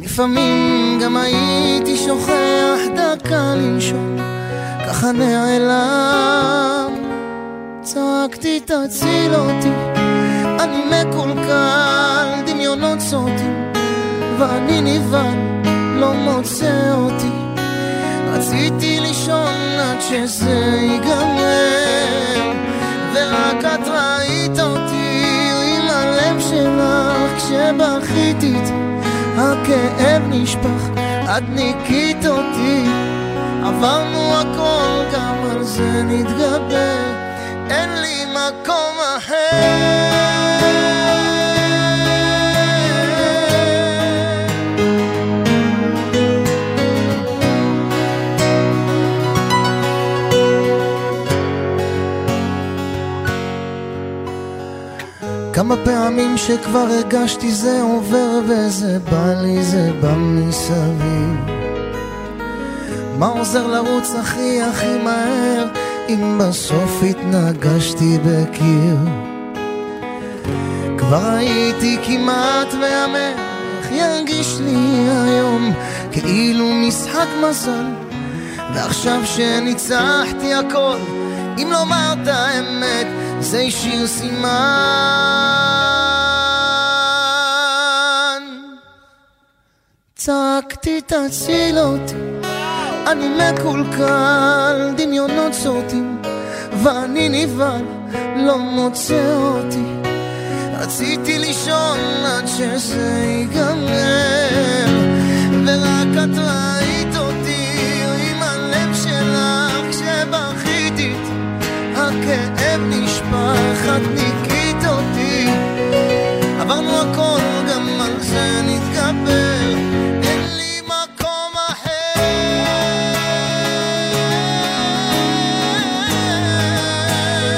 I: לפעמים גם הייתי שוכח דקה לנשום, ככה נעלם. צעקתי תציל אותי, אני מקולקל, דמיונות סוטים, ואני נבהל, לא מוצא אותי. רציתי לישון עד שזה ייגמר, ורק את ראית אותי עם הלב שלך כשבכיתי, הכאב נשפך, את ניקית אותי, עברנו הכל, גם על זה נתגבר, אין לי מקום אחר. כמה פעמים שכבר הרגשתי זה עובר וזה בא לי, זה בא מסביב. מה עוזר לרוץ הכי הכי מהר, אם בסוף התנגשתי בקיר? כבר הייתי כמעט מהמר, איך ירגיש לי היום, כאילו משחק מזל. ועכשיו שניצחתי הכל, אם לומר את האמת, זה השאיר סימן. צעקתי תציל אותי, אני מקולקל, דמיונות סוטים, ואני נבהל, לא מוצא אותי. רציתי לישון עד שזה ייגמר, ורק את ראית אותי עם הלב שלך כשבכיתי, הכאב נשפך, את ניקית אותי. עברנו הכל, גם על זה נתגבר, אין לי מקום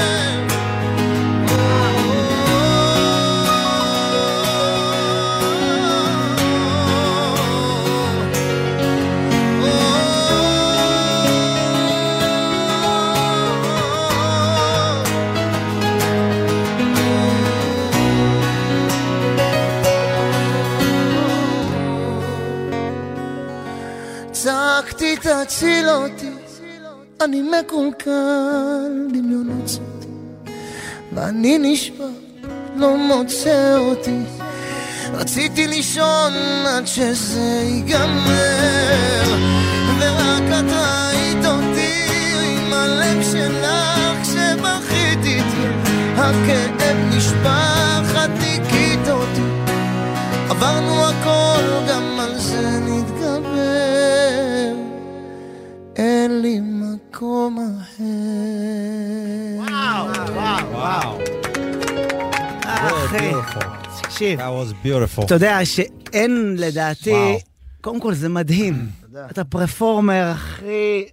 I: אחר. צעקתי תציל אותי, אני מקולקל דמיונות זאת, ואני נשבע, לא מוצא אותי. רציתי לישון עד שזה ייגמר, ורק את ראית אותי עם הלב שלך כשבכיתי, הכאב נשפך, את ניקית אותי. עברנו הכל, גם על זה נתגבר. אין לי מקום אחר.
C: וואו, וואו, וואו. אה, אחי, תקשיב,
B: That was beautiful.
C: אתה יודע שאין לדעתי,
B: וואו.
C: קודם כל זה מדהים. אתה פרפורמר הכי...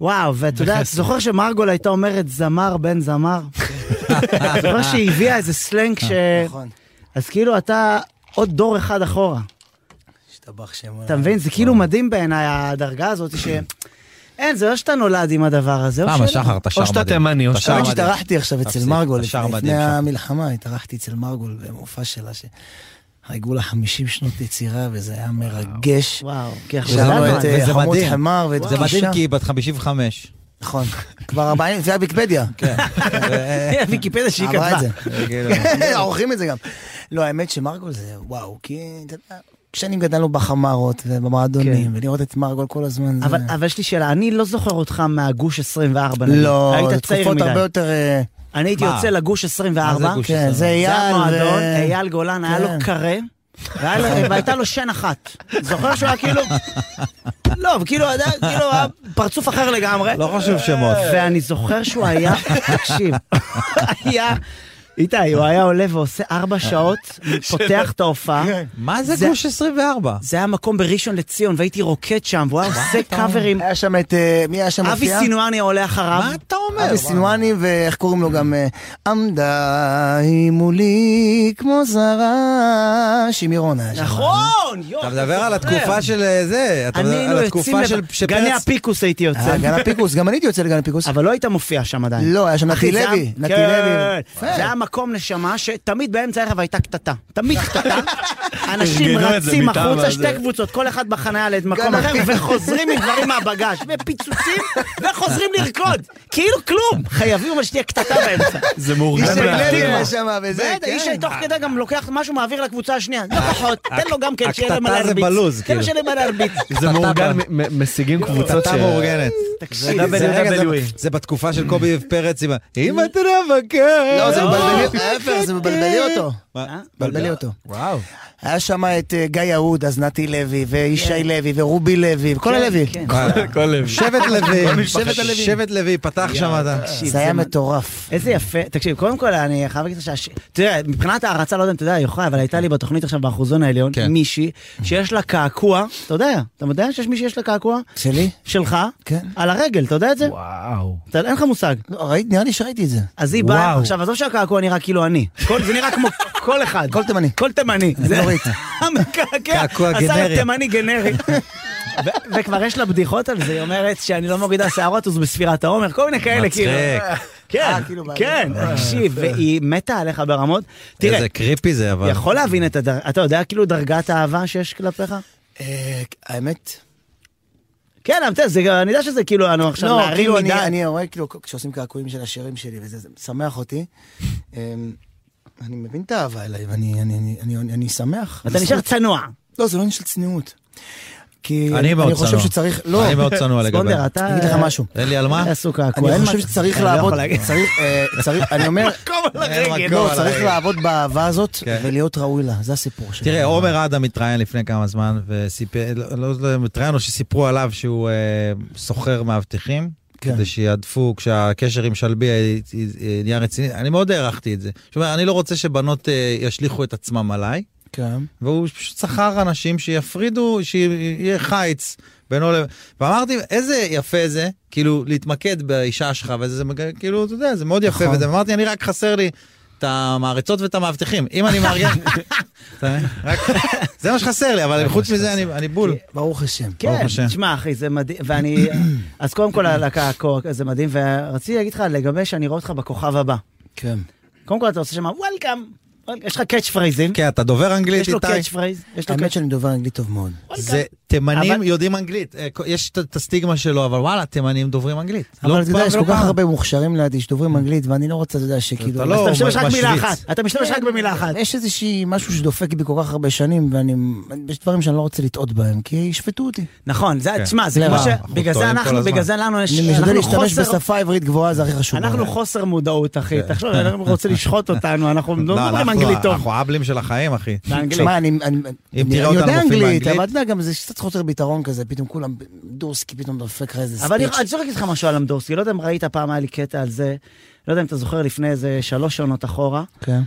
C: וואו, ואתה יודע, אתה זוכר שמרגול הייתה אומרת זמר בן זמר? אתה זוכר שהיא הביאה איזה סלנג ש...
I: נכון,
C: אז כאילו אתה עוד דור אחד אחורה.
I: השתבח שם.
C: אתה מבין? זה
I: אה.
C: כאילו מדהים בעיניי הדרגה הזאת ש... אין, זה לא שאתה נולד עם הדבר הזה. או
B: למה,
C: שלא.
B: שחר, אתה שר
A: או שאתה
B: מדהים.
A: תימני, או
B: אתה שר
A: שאתה...
I: האמת
B: מדהים.
I: שהתארחתי עכשיו אצל
B: תפסיק,
I: מרגול,
B: אתה שר
I: לפני
B: מדהים, שחר.
I: המלחמה, התארחתי אצל מרגול במופע שלה, שחגגו לה 50 שנות יצירה, וזה היה מרגש.
C: וואו, כי אנחנו
I: שאלנו
C: ידענו
I: את
C: את
I: אה,
B: וזה
I: חמוד
B: מדהים.
I: חמר ואת
B: זה
I: גישה.
B: מדהים כי היא בת 55.
I: נכון, כבר 40, זה היה ויקיפדיה. כן.
C: ויקיפדיה שהיא
I: אמרה
C: כתבה.
I: את זה.
B: כאילו.
I: עורכים את זה גם. לא, האמת שמרגול זה וואו, כי אתה יודע, כשאני גדלנו בחמרות ובמועדונים,
B: כן.
I: ולראות את מרגול כל הזמן, זה...
C: אבל, אבל יש לי שאלה, אני לא זוכר אותך מהגוש 24 נגיד.
I: לא,
C: היית
I: זה
C: צעיר
I: תקופות
C: מדי.
I: הרבה יותר... אה,
C: אני הייתי
B: מה?
C: יוצא לגוש 24,
B: גוש?
I: כן, זה
C: זה
I: אייל
C: המועדון,
I: ו-
C: אייל גולן, היה לו
I: כן.
C: קרה. והיה לו- והייתה לו שן אחת. זוכר שהוא היה כאילו... לא, כאילו, אתה יודע, כאילו, היה פרצוף אחר לגמרי.
B: לא חשוב לא שמות.
C: ואני זוכר שהוא היה, תקשיב, היה איתי, הוא היה עולה ועושה ארבע שעות, פותח את ההופעה.
B: מה זה
C: זה-
B: גוש 24?
C: זה היה מקום בראשון לציון, והייתי רוקד שם, והוא היה עושה קאברים.
I: היה שם את... אה, מי היה שם
C: אבי
I: מופיע?
C: סינואני עולה אחריו.
B: מה אתה אומר?
I: אבי סינואני, ואיך קוראים לו גם? אה, עמדה היא מולי כמו זרה, שמירון היה שם.
C: נכון! יואו,
B: אתה מדבר על
C: זוכר.
B: התקופה של אה, זה, אתה מדבר
C: אני
B: על
C: היינו יוצאים
B: התקופה של
C: לב-
B: שפרץ-
C: גני הפיקוס הייתי יוצא.
I: אה, גן הפיקוס, גם אני הייתי יוצא לגן הפיקוס.
C: אבל לא היית מופיע שם עדיין.
I: לא, היה שם נתי
C: אחי, זה
I: לוי,
C: היה-
I: נתי
C: כן.
I: לוי. יפה.
C: זה היה מקום נשמה שתמיד באמצע הערב הייתה קטטה. תמיד קטטה. אנשים
A: ארגנו את זה
C: רצים
A: מטעם
C: החוצה,
A: הזה.
C: שתי קבוצות, כל אחד בחניה למקום
I: גם
C: אחר,
I: אני.
C: וחוזרים עם דברים מהבגש, ופיצוצים, וחוזרים לרקוד. כאילו כלום. חייבים אבל שתהיה קטטה באמצע.
A: זה מאורגן.
I: איש
A: מהפתח.
I: לוי היה שם וזה, כן.
C: בטח, איש תוך כדי גם לוקח משהו, מעביר לקבוצה השנייה. לא
A: אה,
C: פחות, תן לו גם כן שיהיה להם מה
B: הקטטה זה
C: להרביץ.
B: בלוז,
C: תן
B: כאילו.
C: לו שיהיה להם מה להרביץ.
A: זה מאורגן, מ- מ- משיגים קבוצות ש...
B: אתה מאורגנת.
C: תקשיב,
B: זה-
A: זה-
B: רגע,
A: WWE.
B: זה- זה בתקופה של קובי פרץ עם ה... אם את רווקה.
I: לא, זה
C: לא.
I: מבלבלי, ההפך, זה מבלבלי אותו.
B: אה, מה?
I: מבלבלי אותו.
B: וואו.
I: היה שם את אה, גיא יהוד, אז נתי לוי, וישי לוי, ורובי לוי, וכל הלוי.
C: כן.
A: כל לב.
B: שבט לוי, שבט
A: משפחה.
B: הלוי, שבט לוי, פתח שם אתה.
I: זה היה מטורף.
C: איזה יפה, תקשיב, קודם כל אני חייב להגיד לך שהש... תראה, מבחינת הערצה, לא יודע אם אתה יודע, יוחאי, אבל הייתה לי בתוכנית עכשיו באחוזון העליון,
B: כן.
C: מישהי שיש לה קעקוע, אתה יודע, אתה יודע שיש מישהי שיש לה קעקוע?
I: שלי?
C: שלך?
I: כן.
C: על הרגל, אתה יודע את זה?
A: וואו.
C: אתה, אין לך מושג.
I: לא, ראיתי, נראה לי שראיתי את זה.
C: אז היא באה, עכשיו עזוב שהקעקוע נראה כאילו אני, כל, זה נראה כמו כל אחד.
I: כל תימני. לא
C: כל תימני. זה
I: נורית.
C: המקעקע.
B: קעקוע
C: עשה
B: גנרי.
C: תימני גנרי. ו- וכבר יש לה בדיחות על זה, היא אומרת שאני לא מורידה שערות, אז בספירת העומר, כל מיני כאלה, כאילו.
B: מצחיק. אה,
C: כן,
I: כאילו,
C: כן, תקשיב, והיא מתה עליך ברמות. תראה,
B: איזה קריפי זה אבל.
C: יכול להבין את הדרגה, אתה יודע כאילו דרגת האהבה שיש כלפיך?
I: אה, האמת?
C: כן, אבל אתה יודע, זה- אני יודע שזה כאילו, אני עכשיו
I: לא,
C: נערים
I: כאילו, אני-
C: מדי.
I: אני רואה, כאילו, כשעושים קעקועים של השירים שלי וזה, זה משמח אותי. אמ, אני מבין את האהבה אליי, ואני אני- אני- אני- אני שמח.
C: אתה נשאר צנוע.
I: לא, זה לא עניין של צניעות. כי
B: אני מאוד צנוע.
I: חושב שצריך... לא,
B: אני מאוד צנוע לגבי.
C: ספונדר, אתה...
I: אני אגיד לך משהו.
B: תן לי על מה?
C: עשו קעקוע.
I: אני
C: אין
I: חושב
C: מה-
I: שצריך
C: אני לא יכול
I: לעבוד...
C: להגיד.
I: צריך, אה, צריך- אני אומר...
B: אין מקום
I: לא,
B: על
I: צריך
B: הרגל.
I: לעבוד באהבה הזאת
B: כן.
I: ולהיות ראוי לה, זה הסיפור שלי.
B: תראה, עומר אדם התראיין לפני כמה זמן, וסיפר, לא- לא לא, התראיין או שסיפרו עליו שהוא אה, סוחר מאבטחים,
I: כן.
B: כדי שיעדפו, כשהקשר עם שלבי אה, אה, נהיה רציני, אני מאוד הערכתי את זה. זאת אומרת, אני לא רוצה שבנות אה, ישליכו את עצמם עליי,
I: כן.
B: והוא פשוט שכר אנשים שיפרידו, שיהיה חיץ בינו לב... ואמרתי, איזה יפה זה, כאילו, להתמקד באישה שלך, וזה, זה, מג- כאילו, אתה יודע, זה מאוד יפה,
I: נכון.
B: וזה, ואמרתי, אני רק חסר לי את המעריצות ואת המאבטחים, אם אני מארגן... אתה מבין? אה? רק- זה מה שחסר לי, אבל חוץ מזה אני- אני בול.
I: ברוך השם.
B: ברוך
C: כן,
B: השם.
C: תשמע אחי, זה מדהים, ואני, אז קודם כל על הקעקוע, זה מדהים, ורציתי להגיד לך לגבי שאני רואה אותך בכוכב הבא.
I: כן.
C: קודם כל אתה עושה שם וולקאם, יש לך קאץ' פרייזים,
B: כן, אתה דובר אנגלית
C: יש לו
B: איתי?
C: קאץ' פרייז, יש לו
I: האמת
C: קאץ'
I: שאני דובר אנגלית טוב מאוד.
B: זה תימנים
C: אבל-
B: יודעים אנגלית, אה, יש את- את הסטיגמה שלו, אבל וואלה, תימנים דוברים אנגלית. לא
I: אבל אתה
B: פעם
I: יודע, יש
B: ולא
I: כל כך
B: פעם.
I: הרבה מוכשרים לידי
C: Mm.
I: שדוברים אנגלית, ואני לא רוצה, אתה יודע, שכאילו...
B: אתה לא- כן,
C: אתה משתמש רק במילה
B: משוויץ.
C: אחת, אתה משתמש רק במילה אחת.
I: יש איזושהי משהו שדופק בי כל כך הרבה שנים, ואני... יש דברים שאני לא רוצה לטעות בהם, כי ישפטו אותי.
C: נכון, זה, תשמע, זה כמו ש...
I: לרע.
B: כן. אנחנו
C: בגלל זה
B: טועים כל
C: אנחנו,
B: הזמן.
C: בגלל זה לנו יש...
I: אני משתדל
C: אנחנו
I: להשתמש
C: חוסר-
I: בשפה עברית גבוהה, זה הכי חשוב.
C: אנחנו חוסר מודעות, אחי. תחשוב, אדם רוצה לשחוט אותנו, אנחנו לא
B: כן. לא,
C: מדברים
B: אנחנו-
C: אנגלית טוב.
B: אנחנו אבלים של החיים, אחי.
C: באנגלית.
I: תשמע, אני, אני, אני, אני
B: תראה אותנו
I: יודע
B: מופיעים
I: אנגלית,
B: באנגלית.
I: אבל אתה יודע, גם זה קצת חוסר ביטרון כזה, פתאום כולם, דורסקי פתאום דופק לך איזה
C: אבל אני
I: ספיץ'.
C: אני רוצה להגיד לך משהו על אמדורסקי, לא יודע אם ראית פעם, היה לי קטע על זה, לא יודע אם אתה זוכר לפני איזה שלוש עונות אחורה.
I: כן.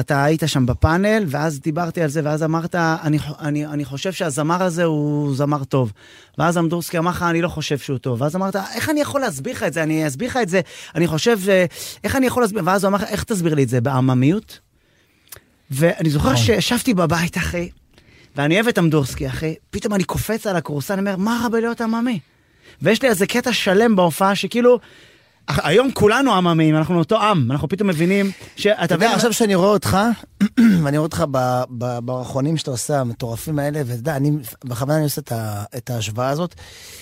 C: אתה היית שם בפאנל, ואז דיברתי על זה, ואז אמרת, אני, אני, אני חושב שהזמר הזה הוא זמר טוב. ואז אמדורסקי אמר לך, אני לא חושב שהוא טוב. ואז אמרת, איך אני יכול להסביר לך את זה? אני אסביר לך את זה, אני חושב, אה, איך אני יכול להסביר? ואז הוא אמר לך, איך תסביר לי את זה? בעממיות? ואני זוכר שישבתי בבית, אחי, ואני אוהב את אמדורסקי, אחי, פתאום אני קופץ על הכורסה, אני אומר, מה רע בלהיות עממי? ויש לי איזה קטע שלם בהופעה שכאילו... אח- היום כולנו עממים, אנחנו אותו עם, אנחנו פתאום מבינים שאתה
I: אתה
C: מבין,
I: יודע, עכשיו שאני רואה אותך, ואני רואה אותך ב- ב- ברחונים שאתה עושה, המטורפים האלה, ואתה יודע, אני, בכוונה אני עושה את ה- את ההשוואה הזאת,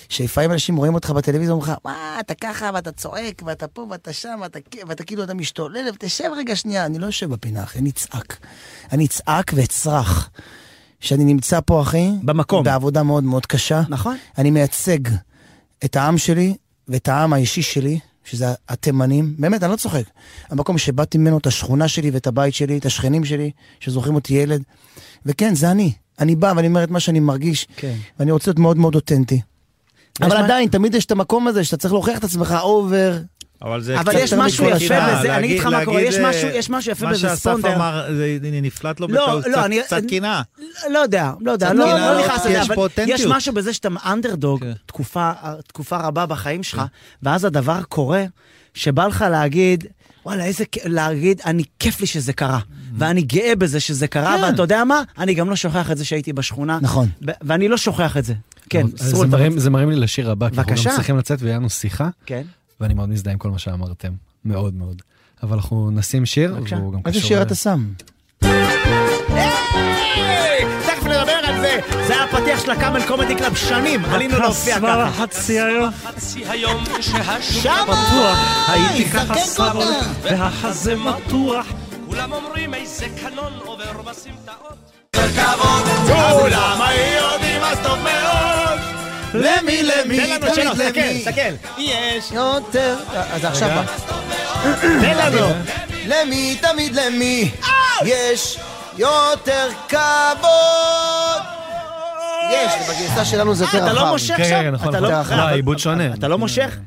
I: שלפעמים אנשים רואים אותך בטלוויזיה, אומרים לך, מה, אתה ככה, ואתה צועק, ואתה פה, ואתה שם, ואתה כ- ואתה כאילו, אתה משתולל, ותשב רגע שנייה, אני לא יושב בפינה, אחי, אני אצעק. אני אצעק ואצרח. שאני נמצא פה, אחי,
C: במקום.
I: בעבודה מאוד מאוד קשה.
C: נכון.
I: אני מייצג את העם שלי ואת העם האישי שלי, שזה התימנים. באמת, אני לא צוחק. המקום שבאתי ממנו, את השכונה שלי ואת הבית שלי, את השכנים שלי, שזוכרים אותי ילד. וכן, זה אני. אני בא ואני אומר את מה שאני מרגיש,
C: כן.
I: ואני רוצה להיות מאוד מאוד אותנטי.
C: מה-
I: אבל עדיין, תמיד יש את המקום הזה שאתה צריך להוכיח את עצמך אובר,
B: אבל זה
C: אבל
I: קצת
C: יש
I: יותר
C: משהו
I: מכל
C: יפה
I: השאר.
C: בזה, אני אגיד לך מה קורה, יש
B: אה,
C: משהו- יש משהו יפה
B: מה
C: בזה
B: שאסף
C: ספונדר.
B: אמר, זה נפלט לו
C: לא,
B: בטעות,
C: לא,
B: קצת-
C: אני-
B: קצת קנאה.
C: לא יודע, לא יודע,
B: קצת
C: לא
B: קנאה,
C: לא
B: לא,
C: נכנס
B: כי
C: לזה,
B: יש
C: אבל
B: פה
C: יש
B: אותנטיות.
C: משהו בזה שאתה אנדרדוג
B: כן.
C: תקופה תקופה רבה בחיים שלך, ואז הדבר קורה, שבא לך להגיד, וואלה, איזה, כ- להגיד, אני כיף לי שזה קרה, ואני גאה בזה שזה קרה,
B: כן.
C: ואתה יודע מה? אני גם לא שוכח את זה שהייתי בשכונה,
I: נכון.
C: ו- ואני לא שוכח את זה. כן,
A: טוב, אז
C: סרול,
A: זה
C: אתה
A: מרים-
C: רוצה-
A: זה מרים לי לשיר הבא, כי אנחנו
C: בבקשה.
A: גם צריכים לצאת והיה לנו שיחה,
C: כן.
A: ואני מאוד מזדהה עם כל מה שאמרתם, מאוד מאוד. אבל אנחנו נשים שיר,
C: בבקשה.
A: והוא גם קשור...
I: איזה שיר
A: ל-
I: אתה שם?
C: תכף נדבר על זה. זה היה הפתיח של הקאמל קומדי קלאב שנים, עלינו להופיע ככה.
D: חצי היום, חצי היום שהשוק
C: שמה!
D: פתוח, הייתי ככה
I: זרקן
D: סבון,
I: קוטה.
D: והחזה מתוח. כולם אומרים איזה קנון עובר בסמטאות.
I: למי, למי,
C: תן לנו שלוש, סתכל, סתכל.
I: יותר.
C: אה,
I: אז עכשיו בא.
C: תן לנו.
I: למי, תמיד למי, יש יותר כבוד. יש, בגרסה שלנו זה יותר רחב.
C: אתה לא מושך
A: כן, כן,
C: שם?
A: נכון,
C: אתה לא-
A: נכון. לא, העיבוד שונה.
C: אתה לא מושך?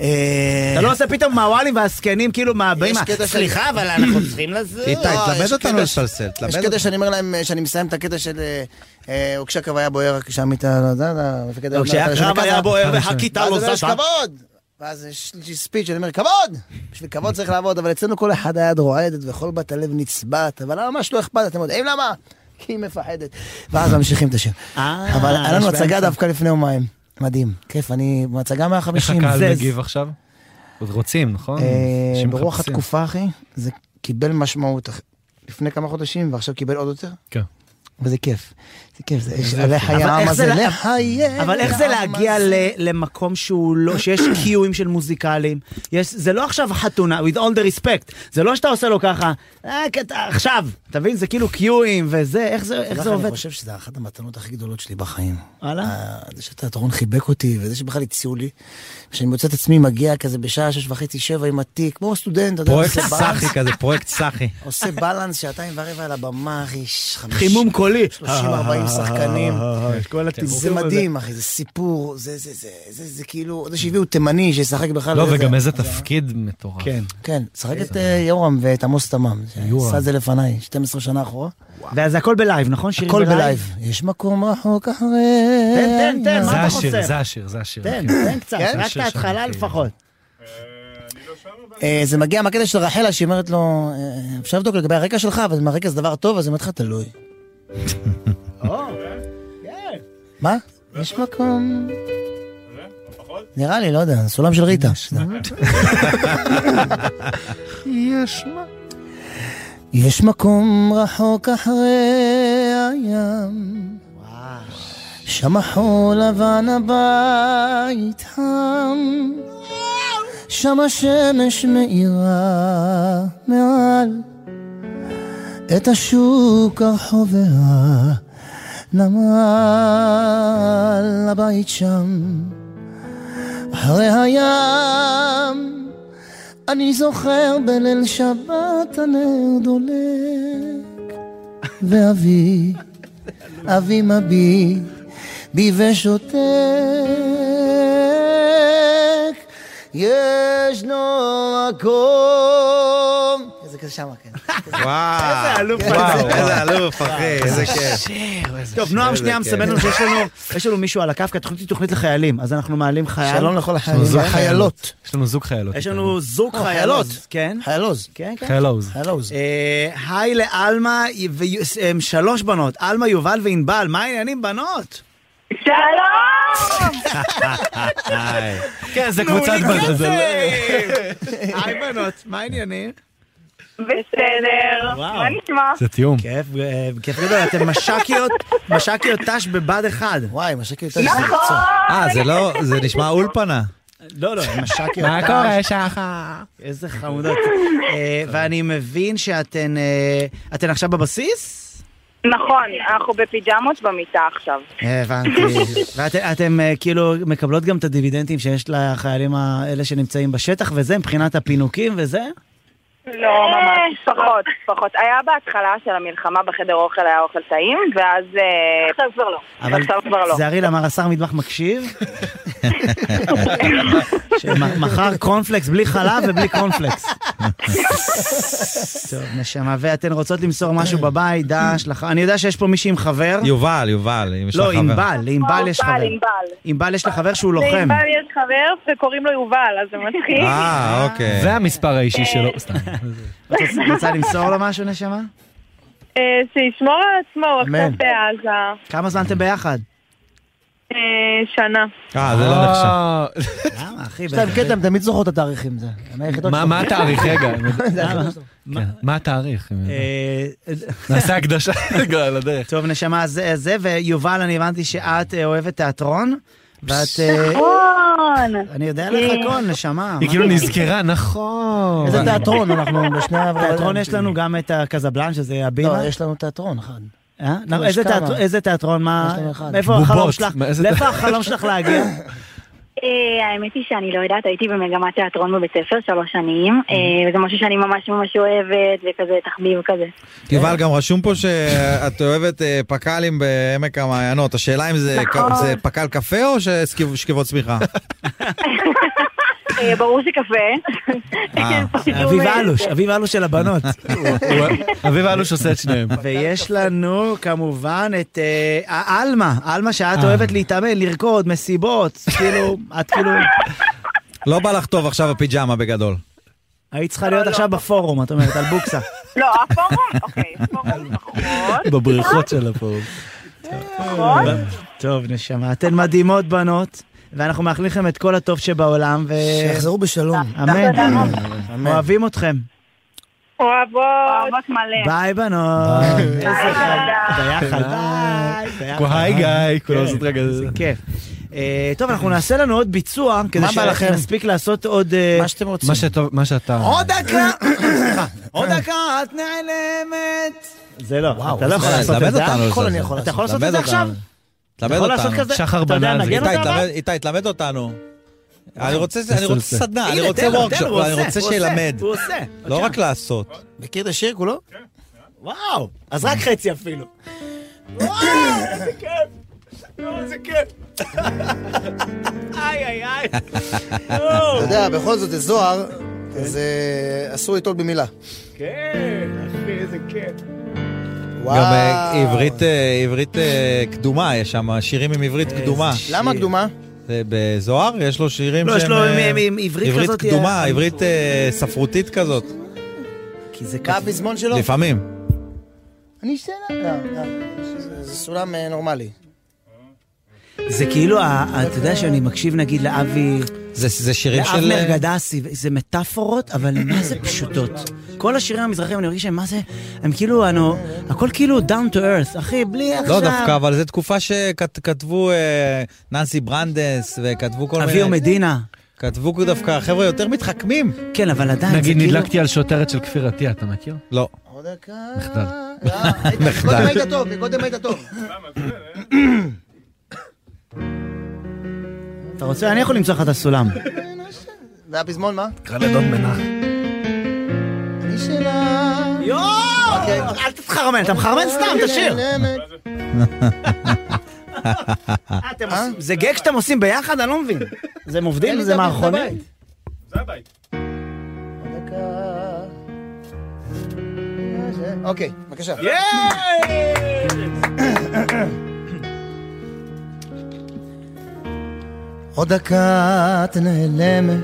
I: אה,
C: אתה לא עושה פתאום מהוואלים והזקנים כאילו מהבאים.
I: יש קטע של-
C: סליחה, אבל אנחנו צריכים לזה.
B: איתי,
I: לא, יש
B: תלמד אותנו
I: קטע-
B: לסלסל,
I: יש
B: תלמד
I: קטע שאני אומר להם, אה, שאני מסיים את הקטע של... אה, אה, או כשהכבאיה בוער, שם איתה, לא יודע, לא, מפקד... האוגדה, אתה יושב
C: כשהקרב
I: ככה,
C: היה בוער
A: ככה.
C: והכיתה
I: ואז
C: לא
I: אני אומר, אה, יש
C: זזה.
I: כבוד! ואז יש לי ספיץ' שאני אומר, כבוד! בשביל כבוד צריך לעבוד, אבל אצלנו כל אחד היד רועדת וכל בת הלב נצבעת, אבל לה ממש לא אכפת, אתם יודעים למה? כי היא מפחדת. ואז ממשיכים את השיר.
C: אה,
I: אבל היה לנו
C: יש
I: הצגה
C: באמצע.
I: דווקא לפני יומיים. מדהים. כיף, אני בהצגה
A: איך
I: 150.
A: הקהל
C: זה-
A: מגיב עכשיו? עוד רוצים, נכון?
I: אה,
A: אנשים
I: ברוח
A: מחפשים.
I: התקופה, אחי, זה קיבל משמעות אח- לפני כמה חודשים, ועכשיו קיבל עוד יותר.
A: כן.
I: וזה כיף. זה כיף, זה יש לחיי
C: אבל
I: העם
C: איך זה
I: הזה, אה,
C: לה-
I: לחיי
C: אבל איך זה
I: העם
C: להגיע
I: הזה.
C: ל- למקום שהוא לא, שיש קיואים של מוזיקלים? יש, זה לא עכשיו חתונה, with all the respect. זה לא שאתה עושה לו ככה, "אה, קטע, עכשיו, אתה מבין? זה כאילו קיואים וזה, איך זה איך
I: לך,
C: זה עובד?
I: אה, אני חושב שזו אחת המתנות הכי גדולות שלי בחיים.
C: וואלה.
I: אה, זה שהתיאטרון חיבק אותי, וזה שבכלל הציעו לי, שאני מוצא את עצמי מגיע כזה בשעה שש וחצי, שבע עם התיק, כמו סטודנט, אתה יודע,
B: פרויקט
I: עושה בלנס,
B: סאחי כזה, פרויקט סאחי.
I: עושה בלנס שעתיים ורבע על הבמה, אחי, ש- חמיש-
C: חימום קולי.
I: 30-40 שחקנים.
C: אה, כל התמרור
I: זה
C: הזה.
I: מדהים, אחי, זה סיפור, זה, זה, זה, זה, זה כאילו, זה שהביאו תימני שישחק בכלל.
A: לא,
I: זה-
A: וגם
I: זה-
A: איזה תפקיד מטורף.
C: כן.
I: כן, שחק את אה, יורם ואת עמוס תמם,
A: יורם.
I: שעשה את זה לפניי, 12 שנה אחורה.
C: ואז הכל בלייב, נכון? שירים
I: הכל בלייב. יש מקום רחוק אחרי...
C: תן, תן, תן,
A: זה
C: מה אתה
A: השיר,
C: חוסם?
A: זה השיר, זה השיר.
C: תן,
A: כן.
C: תן קצת,
I: כן?
C: רק את ההתחלה
A: ששמעתי.
C: לפחות.
I: אה, זה מגיע מהקטע של רחלה, שהיא אומרת לו, אה, אפשר לבדוק לגבי הרקע שלך, אבל אם הרקע זה דבר טוב, אז היא אומרת לך, תלוי. מה? כן. יש מקום... נראה לי, לא יודע, סולם של ריטה. אה?
A: יש מה?
I: יש מקום רחוק אחרי הים, שם החול לבן הבית חם, שם השמש מאירה מעל את השוק הרחוב והנמל, הבית שם, אחרי הים. אני זוכר בליל שבת הנר דולק, ואבי, אבי מביט בי ושותק, ישנו מקום. זה כזה שמה, כן.
B: וואו,
C: אלוף,
B: וואו, איזה אלוף, אחי, איזה כיף.
C: טוב, נועם
B: איזה
C: שנייה
B: כיף.
C: מסמן לנו שיש לנו- יש לנו מישהו על הקו, כי התוכנית היא תוכנית לחיילים, אז אנחנו מעלים חייל.
I: שלום לכל
A: יש לנו
I: החיילים
A: זוג
I: והחיילות.
A: חיילות. יש לנו זוג חיילות.
C: יש לנו זוג
I: אה,
C: חיילות.
I: חיילות.
C: כן,
I: חיילוז.
C: כן, כן.
A: חיילוז.
I: חיילוז.
C: אה, היי לעלמה, ויוס- הם שלוש בנות, עלמה, יובל וענבל, מה העניינים בנות?
F: שלום!
B: היי.
A: כן, זה קבוצת בנות. זה לא-
C: היי בנות, מה העניינים?
F: בסדר.
C: וואו.
F: מה נשמע?
A: זה תיאום.
C: כיף, אה, כיף גדול, אתם מש"קיות, מש"קיות ת"ש בבה"ד 1.
I: וואי, משקר יותר שזה
F: נכון!
I: מקצוע.
B: אה, זה לא, זה נשמע אולפנה.
C: לא, לא, מש"קיות ת"ש.
A: שחר?
C: איזה חמודות. אה, ואני מבין שאתן אה, אתן עכשיו בבסיס?
F: נכון, אנחנו בפיג'מות במיטה עכשיו.
C: הבנתי. ואתם אה, כאילו מקבלות גם את הדיבידנדים שיש לחיילים האלה שנמצאים בשטח וזה, מבחינת הפינוקים וזה?
F: אה.
J: לא, ממש. פחות, פחות. היה בהתחלה של המלחמה בחדר אוכל, היה אוכל טעים, ואז... אה, עכשיו כבר לא.
C: אבל
J: עכשיו כבר לא.
C: זעריל אמר, השר מטבח מקשיב? שמכר קורנפלקס בלי חלב ובלי קורנפלקס. טוב, נשמה, ואתן רוצות למסור משהו בבית, דש, לך... אני יודע שיש פה מישהי עם חבר.
B: יובל, יובל, אם יש לך
C: לא,
B: חבר.
C: ענבל, לענבל יש
K: ענבל,
C: חבר.
K: ענבל.
C: ענבל יש לה חבר שהוא לוחם. אה.
K: לענבל יש חבר וקוראים לו יובל, אז זה מצחיק.
B: אוקיי.
A: זה המספר האישי שלו. סתם.
C: את רוצה- רוצה למסור לו משהו, נשמה?
K: אה, שישמור על עצמו, הוא
C: אמן.
K: עכשיו בעזה.
C: כמה זמן אתם ביחד?
K: אה, שנה.
B: אה,
C: זה לא
I: נחשב.
C: למה, אחי?
I: יש להם קטע, הם תמיד זוכרות את התאריכים, זה. הם היחידות
A: מה
I: שלהם.
A: מה התאריך רגע?
I: זה היחידות שלהם.
A: כן. מה התאריך?
C: אה,
A: נעשה הקדשה רגע על הדרך.
C: טוב, נשמה, זה, זה, ויובל, אני הבנתי שאת אה, אוהבת תיאטרון, ואת... אה,
F: נכון.
C: אני יודע לך
F: כן.
C: הכל, נשמה.
A: היא
C: אה, מה-
A: כאילו נזכרה, נכון.
I: איזה תיאטרון, אנחנו בשני...
C: תיאטרון יש לנו גם את הקזבלן, שזה הבימה.
I: לא, יש לנו תיאטרון אחד.
C: אה?
I: לא,
C: איזה
I: יש כמה.
C: תיאטרון- איזה תיאטרון, מה...
I: יש לנו אחד.
C: מאיפה
A: בובות,
C: החלום שלך?
A: מה, איזה
C: לאיפה
A: תיאטרון?
C: החלום שלך להגיע?
F: אה, האמת היא שאני לא יודעת, הייתי במגמת תיאטרון בבית ספר שלוש שנים, אה, וזה משהו שאני ממש ממש אוהבת, וכזה תחביב כזה.
B: יובל, גם רשום פה שאת אוהבת אה, פק"לים בעמק המעיינות. השאלה אם זה
F: נכון.
B: זה פק"ל קפה או שסקיב- שכיבות צמיחה?
F: אה, ברור שקפה.
B: אה.
C: אביב אלוש, אביב אלוש של הבנות.
A: אביב אלוש עושה את שניהם.
C: ויש לנו כמובן את אה, עלמה, עלמה שאת אוהבת להתאמן, לרקוד, מסיבות, כאילו, את כאילו...
B: לא בא לך טוב עכשיו הפיג'מה בגדול.
C: היית צריכה להיות עכשיו בפורום, את אומרת, על בוקסה.
K: לא, הפורום, אוקיי,
F: לא.
K: פורום פחות.
A: בבריכות של הפורום.
K: נכון?
C: טוב, נשמה, אתן מדהימות בנות, ואנחנו מאחלים לכם את כל הטוב שבעולם, ו...
I: אה, שיחזרו בשלום.
C: אמן.
I: אמן.
C: אוהבים אתכם.
K: אוהבות. אוהבות
F: כן.
K: מלא.
C: ביי בנות. איזה חג. ביחד. ביי. ביחד.
A: היי גיא, כולם עושים רגע.
C: זה כיף. אה, טוב, אנחנו נעשה לנו עוד ביצוע, כדי
I: מה בא לכם?
C: שנספיק לעשות עוד... אה,
I: מה שאתם רוצים.
A: מה שטוב, מה שאתה...
C: עוד דקה! סליחה. עוד דקה, את נעלמת. זה לא, אתה לא יכול
B: זה-
C: לעשות
B: תלמד
C: את זה. אה?
B: אותנו
I: הכל
B: לזה.
I: אני יכול לעשות.
C: אתה יכול לעשות
B: תלמד
C: את זה
B: אותנו.
C: עכשיו? אתה
B: תלמד
C: יכול לעשות
B: אותנו.
C: כזה?
A: שחר
C: אתה יודע
A: בנאלי.
C: לנגן
B: איתי,
C: אותה? אבל?
B: תלמד- איתי, תלמד אותנו.
C: אוקיי.
B: אני רוצה אני
A: עושה,
B: רוצה
A: עושה.
B: סדנה, אני
C: הנה,
B: רוצה
C: תן לו, תן
B: וורקשופ,
C: לו, הוא
B: אני
C: עושה,
B: רוצה
C: הוא עושה,
B: שילמד.
C: הוא עושה.
B: לא רק לעשות.
I: מכיר את השיר כולו?
C: וואו, אז רק חצי אפילו. וואו, איזה כיף. יואו, איזה כיף. איי, איי, איי.
I: אתה יודע, בכל זאת זה זוהר, אז אה, אסור לטעות במילה.
C: כן, אחי, איזה כיף.
I: וואו.
B: גם אה, עברית, אה, עברית אה, קדומה, יש שם שירים עם עברית
C: אה,
B: קדומה.
I: למה קדומה?
B: זה אה, בזוהר יש לו שירים
C: לא, יש לו
B: אה,
C: עם- עם עברית כזאת,
B: עברית קדומה,
C: אה,
B: עברית אה, ספרותית כזאת,
C: כי זה
I: מה
C: כיף.
I: הפזמון שלו?
C: לא.
B: לפעמים.
I: אני אשתה לה. לא, לא. זה- זה סולם אה, נורמלי.
C: זה כאילו, ה- ה- אתה יודע שאני מקשיב נגיד לאבי...
B: זה- זה שירים כן, של... אה,
C: לאבנר גדסי, זה מטאפורות, אבל מה זה פשוטות. כל השירים המזרחיים, אני מרגיש שהם מה זה, הם כאילו, אנו, הכל כאילו down to earth, אחי, בלי עכשיו...
B: לא דווקא, אבל זו תקופה שכתבו ננסי ברנדס, וכתבו כל
C: אביר
B: מיני...
C: מדינה.
B: כתבו דווקא, חבר'ה יותר מתחכמים.
C: כן, אבל עדיין, זה
A: נגיד
C: כאילו...
A: נדלקתי על שוטרת של כפיר עטיה, אתה מכיר?
B: לא.
I: עוד דקה.
A: מחדל.
I: אה, היית-
B: מחדל.
I: קודם היית טוב, קודם היית טוב.
C: אתה רוצה, אני יכול למצוא לך את הסולם.
I: והפזמון מה?
A: קרא לדון מנח.
I: אני שלה.
C: יואו! אוקיי, אל תתחרמן, אתה מחרמן סתם, תשאיר.
A: כן.
C: אה, אתם עושים- זה גג שאתם עושים ביחד? אני לא מבין. זה הם עובדים? זה מערכונים?
I: אוקיי, בבקשה. עוד דקה את נעלמת,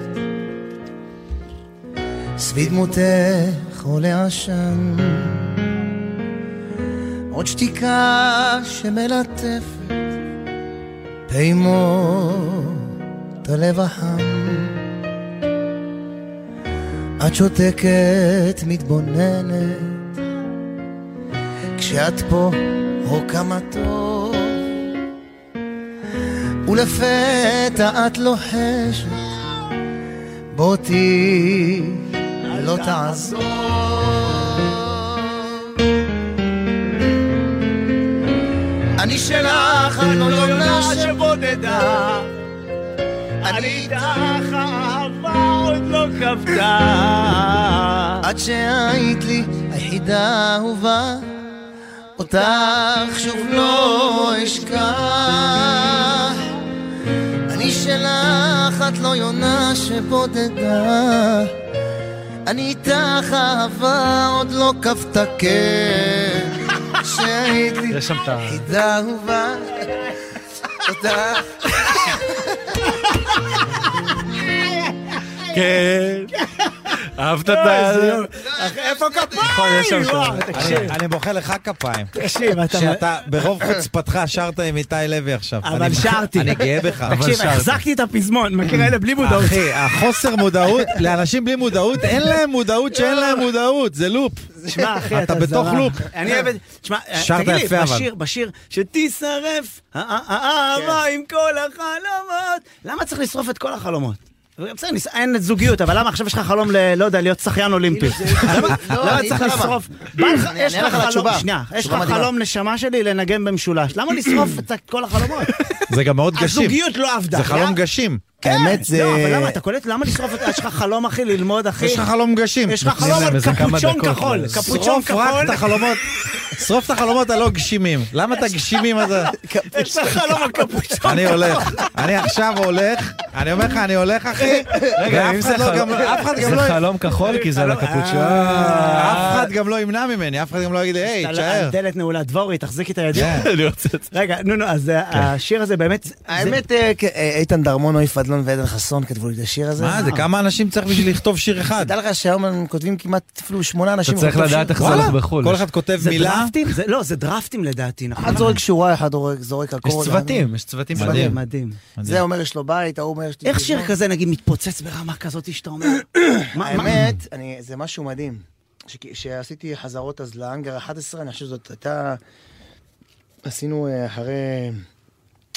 I: סביב דמותך עולה עשן. עוד שתיקה שמלטפת פעימות הלב החם. את שותקת, מתבוננת, כשאת פה, או כמה טוב. ולפתע את לוחשת, בוא תהיי, לא תעזוב. אני שלך, אני לא יונה שבודדה.
D: איתך אהבה עוד לא כבדה.
L: עד שהיית לי היחידה האהובה, אותך שוב לא אשכח. אני שלך, את לא יונה שבודדה. אני איתך אהבה עוד לא כבתה כן. שהיית לי
A: יש שם את
C: אה,
A: ה...
L: היחידה האהובה, אותך.
A: כן. אהבת את ה...
B: איפה
A: נכון, יש שם
B: וואו,
A: שם.
B: תקשיב. אני- אני מוחא לך כפיים.
C: כן.
A: תקשיב, אתה-
B: שאתה ברוב חוצפתך שרת עם איתי לוי עכשיו.
A: אבל
B: אני-
A: שרתי.
B: אני גאה בך.
C: תקשיב, החזקתי את הפזמון, מכיר אלה בלי מודעות.
B: אחי, החוסר מודעות, לאנשים בלי מודעות, אין להם מודעות שאין להם מודעות, זה לופ.
C: תשמע, אחי, אתה
B: אתה בתוך
C: זרה.
B: לופ.
C: אני אוהב את... תשמע,
B: שרת
C: תגיד לי,
B: יפה, אבל.
C: בשיר, בשיר, שתישרף אה,
L: כן.
C: האהבה עם כל החלומות. למה צריך לשרוף את כל החלומות? בסדר, ניס- אין זוגיות, אבל למה עכשיו יש לך חלום ל... לא יודע, להיות שחיין אולימפי? למה-
L: לא,
C: למה
L: אני
C: צריך
L: אגיד לך
C: לשרוף?
L: למה.
C: בא לך-
L: אני
C: יש
L: אענה לך
C: לך
L: על
C: חלום,
L: התשובה.
C: שנייה, יש לך
L: תשובה מדהימה.
C: חלום נשמה שלי לנגן במשולש. למה לשרוף את כל החלומות?
B: זה גם מאוד גשים.
C: הזוגיות לא עבדה.
B: זה חלום
C: למה-
B: גשים.
I: האמת זה...
C: לא, אבל למה, אתה קולט? למה לשרוף את... יש לך חלום, אחי, ללמוד, אחי?
B: יש לך חלום גשים.
C: יש לך חלום על קפוצ'ון כחול. קפוצ'ון
B: שרוף רק
C: כחול.
B: את החלומות, שרוף את החלומות הלא גשימים. למה את הגשימים הזה?
C: יש לך חלום על קפוצ'ון.
B: אני הולך, אני עכשיו הולך, אני אומר לך, אני הולך אחי,
A: רגע,
B: ואף
A: אם
B: אחד לא
A: זה חלום-
B: גם- אף אחד גם
A: זה
B: לא- אה,
A: חלום כחול כי זה על הקפוצ'ון.
B: אף אחד גם לא ימנע ממני, אף אחד גם לא יגיד, היי, תשאר.
C: הדלת נעולה, דבורי, תחזיקי את הידיים.
B: כן.
A: אני רוצה את
C: רגע, נו, נו, אז אה, השיר הזה באמת...
I: האמת, אה, כ- אה, איתן דרמון, רועי פדלון ועדן חסון כתבו לי את השיר הזה.
B: מה זה, כמה אנשים צריך בשביל לכתוב שיר אחד?
I: תדע לך שהיום הם כותבים כמעט אפילו שמונה אנשים. כותבים שיר.
B: וואלה, כל אחד כותב
C: זה
B: מילה.
C: דרפטים? זה- לא, זה דרפטים לדעתי, נכון?
I: אחד זורק שורה, אחד זורק- זורק
A: יש
I: הקורונה.
A: צוותים, יש צוותים
C: מדהים,
A: מדהים.
C: מדהים.
I: זה אומר יש לו בית, ההוא אומר...
C: איך שיר כזה, נגיד, מתפוצץ ברמה כזאת שאתה אומר? מה- מה-
I: האמת, אני- זה משהו מדהים. שכי- שעשיתי חזרות אז להאנגר 11, אני חושב שזאת הייתה... עשינו אה, אחרי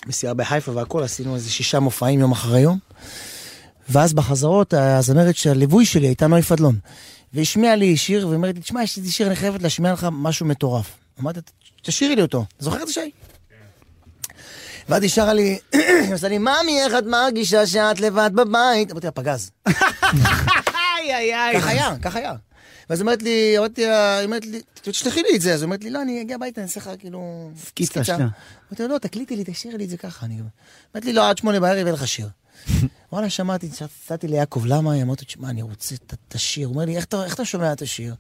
I: מסיעה בחיפה והכל, עשינו איזה שישה מופעים יום אחרי יום. ואז בחזרות, הזמרת של הליווי שלי הייתה נוי פדלון. והשמיעה לי שיר, ואומרת לי, תשמע, יש לי שיר, אני חייבת להשמיע לך משהו מטורף. אמרתי, תשאירי לי אותו. זוכר את זה, שי? ואז היא שרה לי, היא עושה לי, ממי, איך את מרגישה שאת לבד בבית? אמרתי לה, פגז.
C: איי, איי, איי.
I: ככה היה, ככה היה. ואז אמרתי לי, אמרתי לה, היא אומרת לי, תשלחי לי את זה. אז היא אומרת לי, לא, אני אגיע הביתה, אני אעשה לך כאילו...
C: סקיצה, שנייה.
I: אמרתי לו, לא, תקליטי לי, תשאירי לי את זה ככה. אני... אמרתי לי, לא, עד שמונה בערב יהיה לך שיר. וואלה, שמעתי, נסעתי ליעקב, למה? היא אמרתי, תשמע, אני רוצה את- את השיר. הוא אומר לי, "איך אתה- איך אתה שומע את השיר?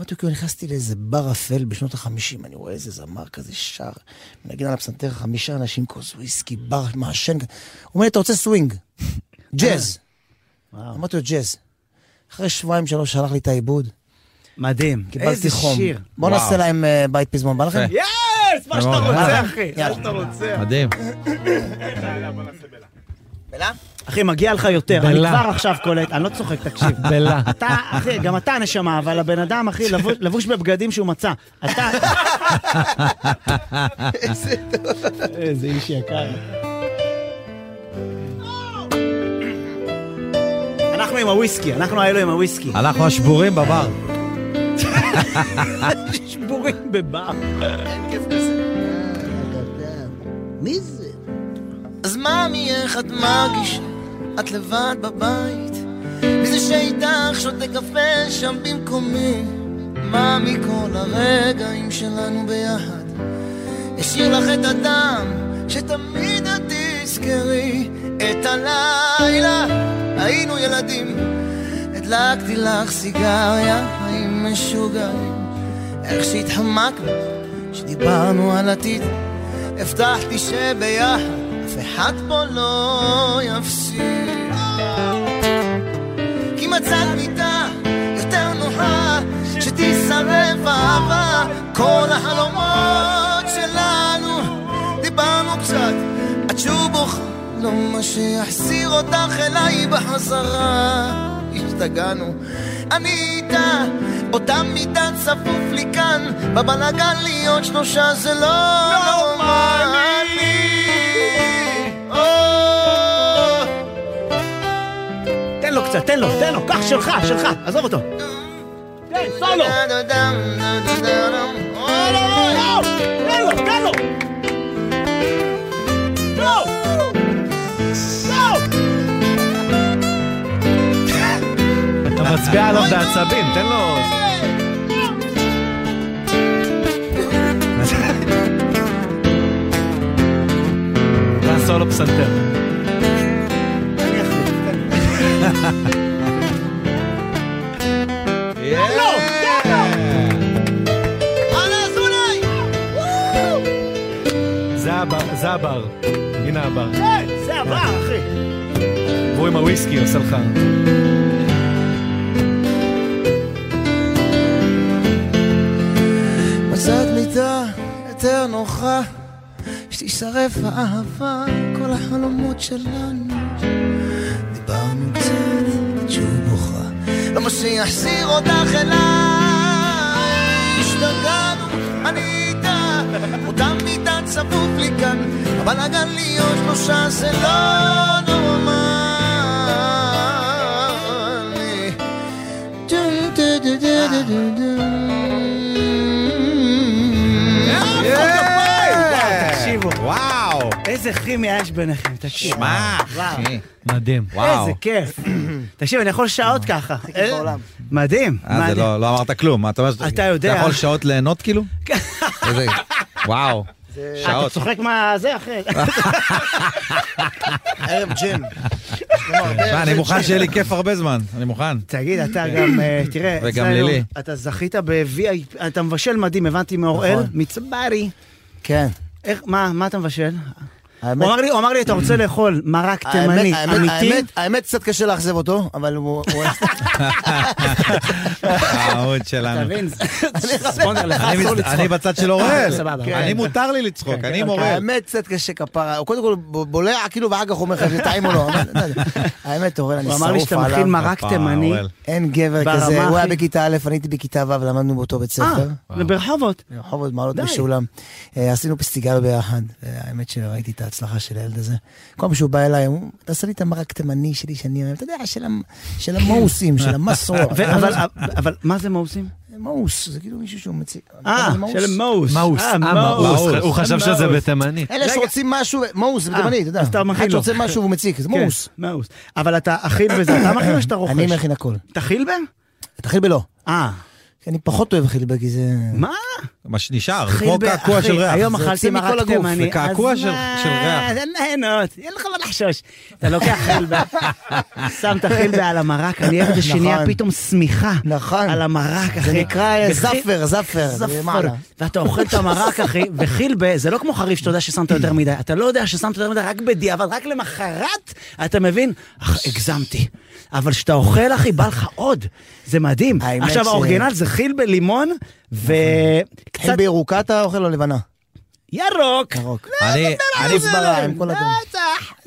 I: אמרתי לו, כאילו, נכנסתי לאיזה בר אפל בשנות החמישים, אני רואה איזה זמר כזה שר, מנגן על הפסנתר, חמישה אנשים, כוס וויסקי, בר, מעשן. הוא אומר לי, אתה רוצה סווינג? ג'אז. אמרתי לו, ג'אז. אחרי שבועיים, שלוש, שלח לי את העיבוד.
C: מדהים.
I: קיבלתי
C: איזה
I: חום.
C: שיר.
I: בוא
C: וואו.
I: נעשה להם אה, בית פזמון, בא לכם?
C: יס! מה שאתה
I: יאללה.
C: רוצה, אחי. מה
I: יאללה.
C: שאתה רוצה.
B: מדהים.
C: אחי, מגיע לך יותר. אני
A: בלה.
C: כבר עכשיו קולט, אני לא צוחק, תקשיב.
A: בלה.
C: אתה, אחי, גם אתה נשמה, אבל הבן אדם, אחי, לבוש- לבוש בבגדים שהוא מצא. אתה... איזה איש יקר. אנחנו עם הוויסקי, אנחנו האלו עם הוויסקי.
B: אנחנו השבורים בבר.
C: שבורים בבר.
I: מי זה? אז מאמי, איך את מרגישה? את לבד בבית? מי זה שאיתך שותה קפה שם במקומי? מה מכל הרגעים שלנו ביחד? אשאיר לך את הדם שתמיד את תזכרי את הלילה היינו ילדים הדלקתי לך סיגריה עם משוגעים איך שהתחמקנו שדיברנו על עתיד הבטחתי שביחד אף אחד פה לא יפסיד כי מצאת מיטה יותר נוחה שתישרף אהבה כל החלומות שלנו דיברנו קצת עד שהוא בוכה לא מה שיחזיר אותך אליי בחזרה השתגענו אני איתה אותה מידה צפוף לי כאן בבלאגן להיות שלושה זה לא נורמלי או,
C: תן לו קצת, תן לו, תן לו, קח שלך, שלך, עזוב אותו. תן, סולו. לא, תן לו, תן לו. לא. לא.
A: מצביעה עליו בעצבים, תן לו... תעשו לו פסנתר. זה הבר, זה הבר. הנה הבר. אה.
C: זה עבר, אחי.
A: והוא עם הוויסקי עושה לך...
L: מצאת מיטה יותר נוחה, שתישרף האהבה, כל החלומות שלנו. דיברנו קצת, שוב בוכה. למה שיחזיר אותך אליי? השתגענו, אני איתה, אותה מיטה צפוף לי כאן, הבלאגן להיות שלושה זה לא נורמלי. דו דו דו דו דו דו
C: תקשיבו.
B: וואו.
C: איזה כימיה יש ביניכם, תקשיב.
B: שמע,
C: וואו.
B: אחי.
A: מדהים.
C: איזה כיף. תקשיב, אני יכול שעות ככה. אה, מדהים.
B: אה, זה
C: מדהים.
B: לא, לא אמרת כלום. מה, אתה אומר שאתה
C: אתה יודע.
B: אתה יכול שעות ליהנות כאילו? איזה- וואו.
C: אתה
B: שעות.
C: צוחק מה זה, אחי?
I: ערב ג'ים.
B: מה, אני מוכן שיהיה לי כיף הרבה זמן. אני מוכן.
C: תגיד, אתה גם, אה, תראה,
B: וגם
C: אצלנו,
B: לילי.
C: אתה זכית ב-VIP, אתה מבשל מדהים, הבנתי מאוראל,
I: נכון.
C: מצברי.
I: כן.
C: איך, מה, מה אתה מבשל?
I: האמת-
C: הוא אמר לי, הוא אמר לי, אתה רוצה לאכול מרק תימני,
I: האמת- האמת-
C: אמיתי?
I: האמת- האמת קצת קשה לאכזב אותו, אבל הוא... הוא-
B: העמוד שלנו.
I: תבין, זה-
C: לא
B: אני מס- אני בצד של אוראל.
I: סבבה.
B: אני
I: כן.
B: מותר לי לצחוק, אני עם אוראל.
I: האמת קצת קשה כפרה, הוא קודם כל ב- בולע כאילו ואחר כך אומר לך זה טעים או לא, אבל לא יודע. האמת אורן אני
C: הוא
I: שרוף
C: אמר
I: עליו.
C: לי שאתה מכין מרק
I: כפרה,
C: תימני.
I: אורן. אין גבר
C: ברמה
I: כזה, הוא היה
C: הכי-
I: בכיתה א', אני הייתי בכיתה ו', למדנו באותו בית ספר.
C: אה, ברחובות.
I: ברחובות מעלות
C: די.
I: משולם. אה, עשינו פסטיגל ביחד, האמת שראיתי את ההצלחה של הילד הזה. כל פעם שהוא בא אליי, הוא תעשה לי את המרק תימני שלי שאני אוהב, אתה יודע, של המ- של המוסים, של המסור.
C: ו- אבל- אבל מה זה מאוסים?
I: מאוס, זה כאילו מישהו שהוא מציג.
C: אה, של מאוס.
A: מאוס,
C: אה,
A: אה, מאוס. הוא חשב שזה בתימני.
I: אלה שרוצים משהו, מאוס, זה
C: אה,
I: בתימני, אתה יודע.
C: אז אתה מכין
I: אחד
C: לו.
I: שרוצה משהו והוא מציק, זה
C: כן,
I: מאוס.
C: מאוס. אבל אתה אכיל בזה, אתה מכין או שאתה רוכש?
I: אני מכין הכל.
C: אתה חילבה?
I: את החילבה לא.
C: אה.
I: כי אני פחות אוהב חילבה, כי זה...
C: מה?
B: מה שנשאר,
I: חילבה,
B: כמו קעקוע
I: אחי,
B: של ריח.
I: היום
B: זה
I: אכלתי
B: יוצא מכל
I: מרק
B: הגוף,
I: תימני,
B: זה קעקוע
I: אז
B: של
I: מה?
B: של ריח.
C: זה נהנות, אין לך מה לחשוש. אתה לוקח חילבה, שם את החילבה על המרק, אני אוהב את זה שנהיה
I: נכון.
C: פתאום שמיכה.
I: נכון.
C: על המרק, אחי.
I: זה נקרא אה,
C: וחי-
I: זאפר, זאפר.
C: זפר.
I: למעלה.
C: ואתה אוכל את המרק, אחי, וחילבה, זה לא כמו חריף שאתה יודע ששמת יותר מדי. אתה לא יודע ששמת יותר מדי רק בדיעבד, רק למחרת, אתה מבין? אך, הגזמתי. אבל כשאתה אוכל, אחי, בא לך עוד. זה מדהים.
I: האמת ש- נכון.
C: עכשיו, האורגינל זה חילבה לימון, וקצת
I: חילבה ירוקה אתה אוכל או לבנה?
C: ירוק.
I: ירוק.
B: אני,
C: אה,
B: אני
I: כוסברה עם כל הדברים.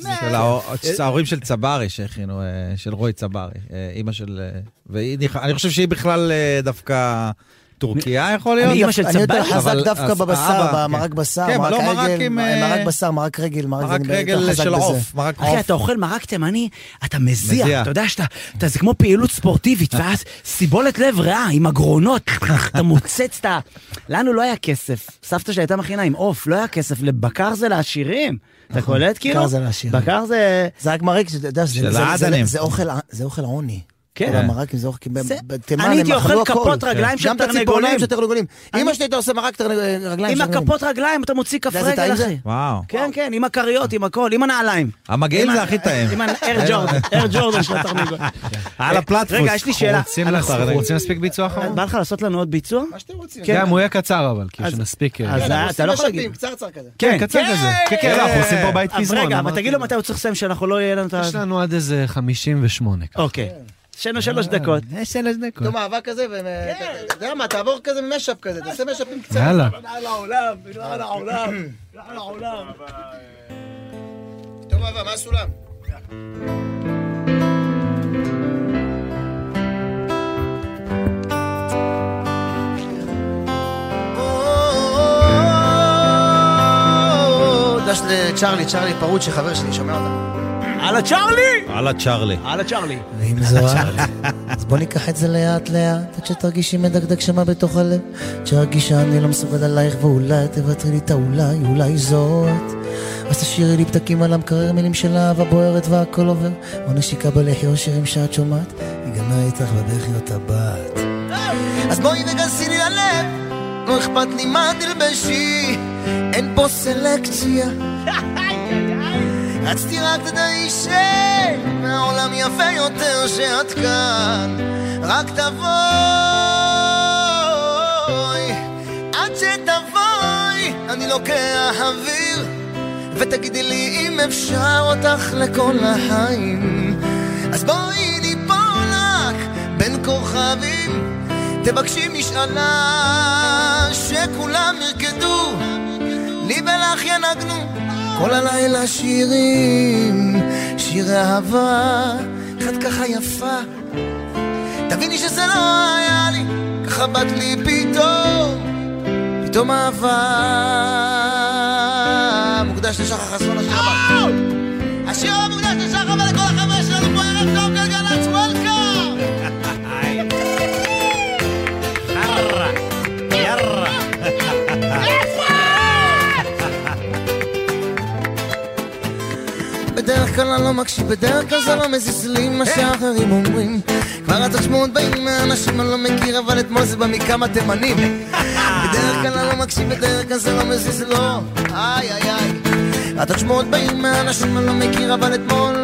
B: של
I: אה,
B: ההור- ההורים של צברי שהכינו, אה, של רוי צברי, אה, אימא של... אה, והיא נכ- אני חושב שהיא בכלל אה, דווקא טורקיה יכול להיות.
C: אימא של
I: אני יותר
C: צברי,
I: חזק
B: אבל-
I: דווקא
B: אז
I: בבשר,
B: האבא,
I: במרק
B: כן.
I: בשר,
B: כן,
I: מרק
B: לא, מרק
I: עגל,
B: עם,
I: מרק
B: אה,
I: בשר, מרק רגל, מרק זה
B: מרק
I: אני יותר
B: רגל
I: חזק
B: של
I: בזה.
B: עוף, מרק עוף.
C: אחי, אתה אוכל מרק תימני, אתה מזיע,
B: מזיע.
C: אתה יודע שאתה, אתה- זה כמו פעילות ספורטיבית, ואז סיבולת לב רעה עם הגרונות, אתה מוצץ את ה... לנו לא היה כסף, סבתא שלי הייתה מכינה עם עוף, לא היה כסף, לבקר זה לעשירים. אתה
I: נכון,
C: קולט כאילו?
I: בקר זה לעשירים.
C: בקר זה...
I: זה רק מרק, שאתה יודע, שזה-
B: של
I: זה- זה-
B: העדנים.
I: זה אוכל- זה אוכל עוני.
C: כן.
I: כל המרק עם זה אוכל, כי ב-
C: זה-
I: בתימן
C: אני הייתי
I: הם אכלו
C: אוכל
I: הכל.
C: כפות רגליים של
I: גם את הציפורניים
C: תרנגולים.
I: של תרנגולים.
C: אני-
I: אמא שלי הייתה עושה מרק תרנג- רגליים
C: עם
I: של תרנגולים.
C: הכפות רגליים אתה מוציא כף
I: יודע איזה
C: רגל,
I: טעים זה?
C: אחי.
B: וואו.
C: כן, כן, עם הכריות, עם הכל, עם הנעליים.
B: המגעיל
C: עם
B: זה
C: ה-
B: הכי טעים.
C: עם האר ג'ורדן, אר ג'ורדן של התרנגול. אה,
B: על הפלטפוס.
C: רגע, יש לי שאלה.
A: רוצים
C: אנחנו-
A: לעשות-
B: אנחנו-
A: רוצים להספיק ביצוע אחרון?
C: בא לך לעשות לנו עוד ביצוע?
I: מה שאתם רוצים.
A: גם הוא יהיה קצר אבל, כאילו שנספיק... אה,
C: כן. אז אתה לא יכול להגיד.
I: קצרצר כזה.
A: כן, קצר כזה. כן, כן, לא, אנחנו עושים פה בית
C: אבל
A: פזמון.
C: רגע, אבל
A: אמרתי
C: תגיד לו מתי הוא צריך לסיים, שאנחנו לא יהיה לנו את ה...
A: יש לנו עד איזה 58.
C: אוקיי. יש לנו שלוש דקות.
A: יש שלוש דקות.
I: אותו מאבק כזה, ו...
C: כן.
I: אתה יודע מה, תעבור כזה משאפ כזה, תעשה משאפים קצרים.
A: יאללה.
E: על העולם, על העולם, על העולם.
I: טוב, אבא, מה הסולם? דש לצ'רלי, צ'רלי פרוט שחבר שלי שומע אותה.
C: הלאה צ'רלי!
B: הלאה צ'רלי.
C: הלאה צ'רלי.
I: ואם זו את, אז בוא ניקח את זה לאט לאט, עד שתרגישי מדקדק שמה בתוך הלב, עד שתרגיש שאני לא מסוגל עלייך ואולי תוותרי לי את האולי, אולי זאת. אז תשאירי לי פתקים על המקרר, מילים של אהבה בוערת והכל עובר, או נשיקה בלחי או שירים שאת שומעת, היא גם
M: שנה איתך בדרך להיות הבת.
I: אז בואי וגסי לי הלב, לא אכפת לי מה תלבשי, אין פה סלקציה. רצתי רק תדעי שהעולם יפה יותר שאת כאן, רק תבואי, עד שתבואי, אני לוקח אוויר, ותגידי לי אם אפשר אותך לכל החיים. אז בואי ניפול רק בין כוכבים, תבקשי משאלה שכולם ירקדו, לי ולך ינגנו כל הלילה שירים, שירי אהבה, אחד ככה יפה. תביני שזה לא היה לי, ככה באת לי פתאום, פתאום אהבה. מוקדש לשחר חסון השיר הבא. השיר המוקדש לשחר ולכל החבר'ה שלנו פה ערב טוב גלגלצ וולקאם!
N: יאללה, יאללה.
I: בדרך כלל אני לא מקשיב, בדרך כלל זה לא מזיז לי מה שאחרים אומרים כבר התשמעות באים מאנשים אני לא מכיר, אבל אתמול זה בא מכמה תימנים בדרך כלל אני לא מקשיב, בדרך כלל זה לא מזיז לו איי איי איי התשמעות באים מאנשים אני לא מכיר, אבל אתמול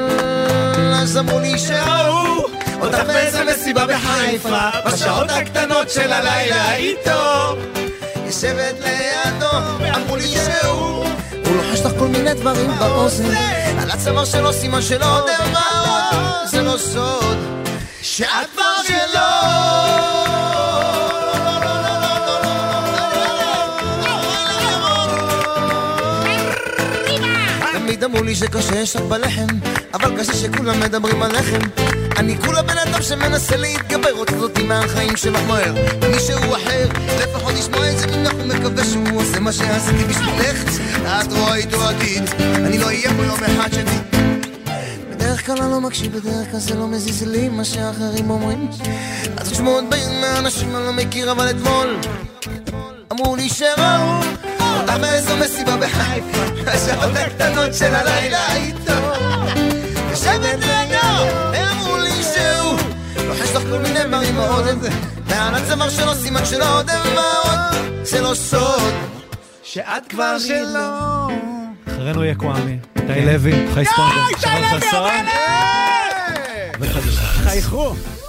I: אז אמרו לי שראו אותך באיזה מסיבה בחיפה בשעות הקטנות של הלילה איתו יושבת לידו אמרו לי שהוא הוא לוחש לך כל מיני דברים באוזן על הצוואר שלו סימן שלא יודע מה עוד זה לא סוד שאת כבר שלו תמיד אמרו לי שקשה יש רק בלחם אבל קשה שכולם מדברים עליכם אני כולה בן אדם שמנסה להתגבר רוצה אותי מהחיים שלך מהר מישהו אחר לפחות נשמע את זה ממך ומקווה שהוא עושה מה שעשיתי בשבילך את רואה איתו עתיד אני לא אהיה פה יום אחד שלי בדרך כלל אני לא מקשיב, בדרך כלל זה לא מזיז לי מה שאחרים אומרים אז תשמעו עוד בין מהאנשים אני לא מכיר אבל אתמול אמרו לי שראו אותה באיזו מסיבה בחיפה השעות הקטנות של הלילה איתו יושבת לידו אמרו לי שהוא לוחש לך כל מיני דברים באוזן ועל הצוואר שלו סימן שלא עוד אמרות זה לא סוד שאת כבר שלו
B: אחרינו יהיה קוואמי, איתי לוי, חי ספונדר, שרון חסון. וחדשה.
O: חייכו.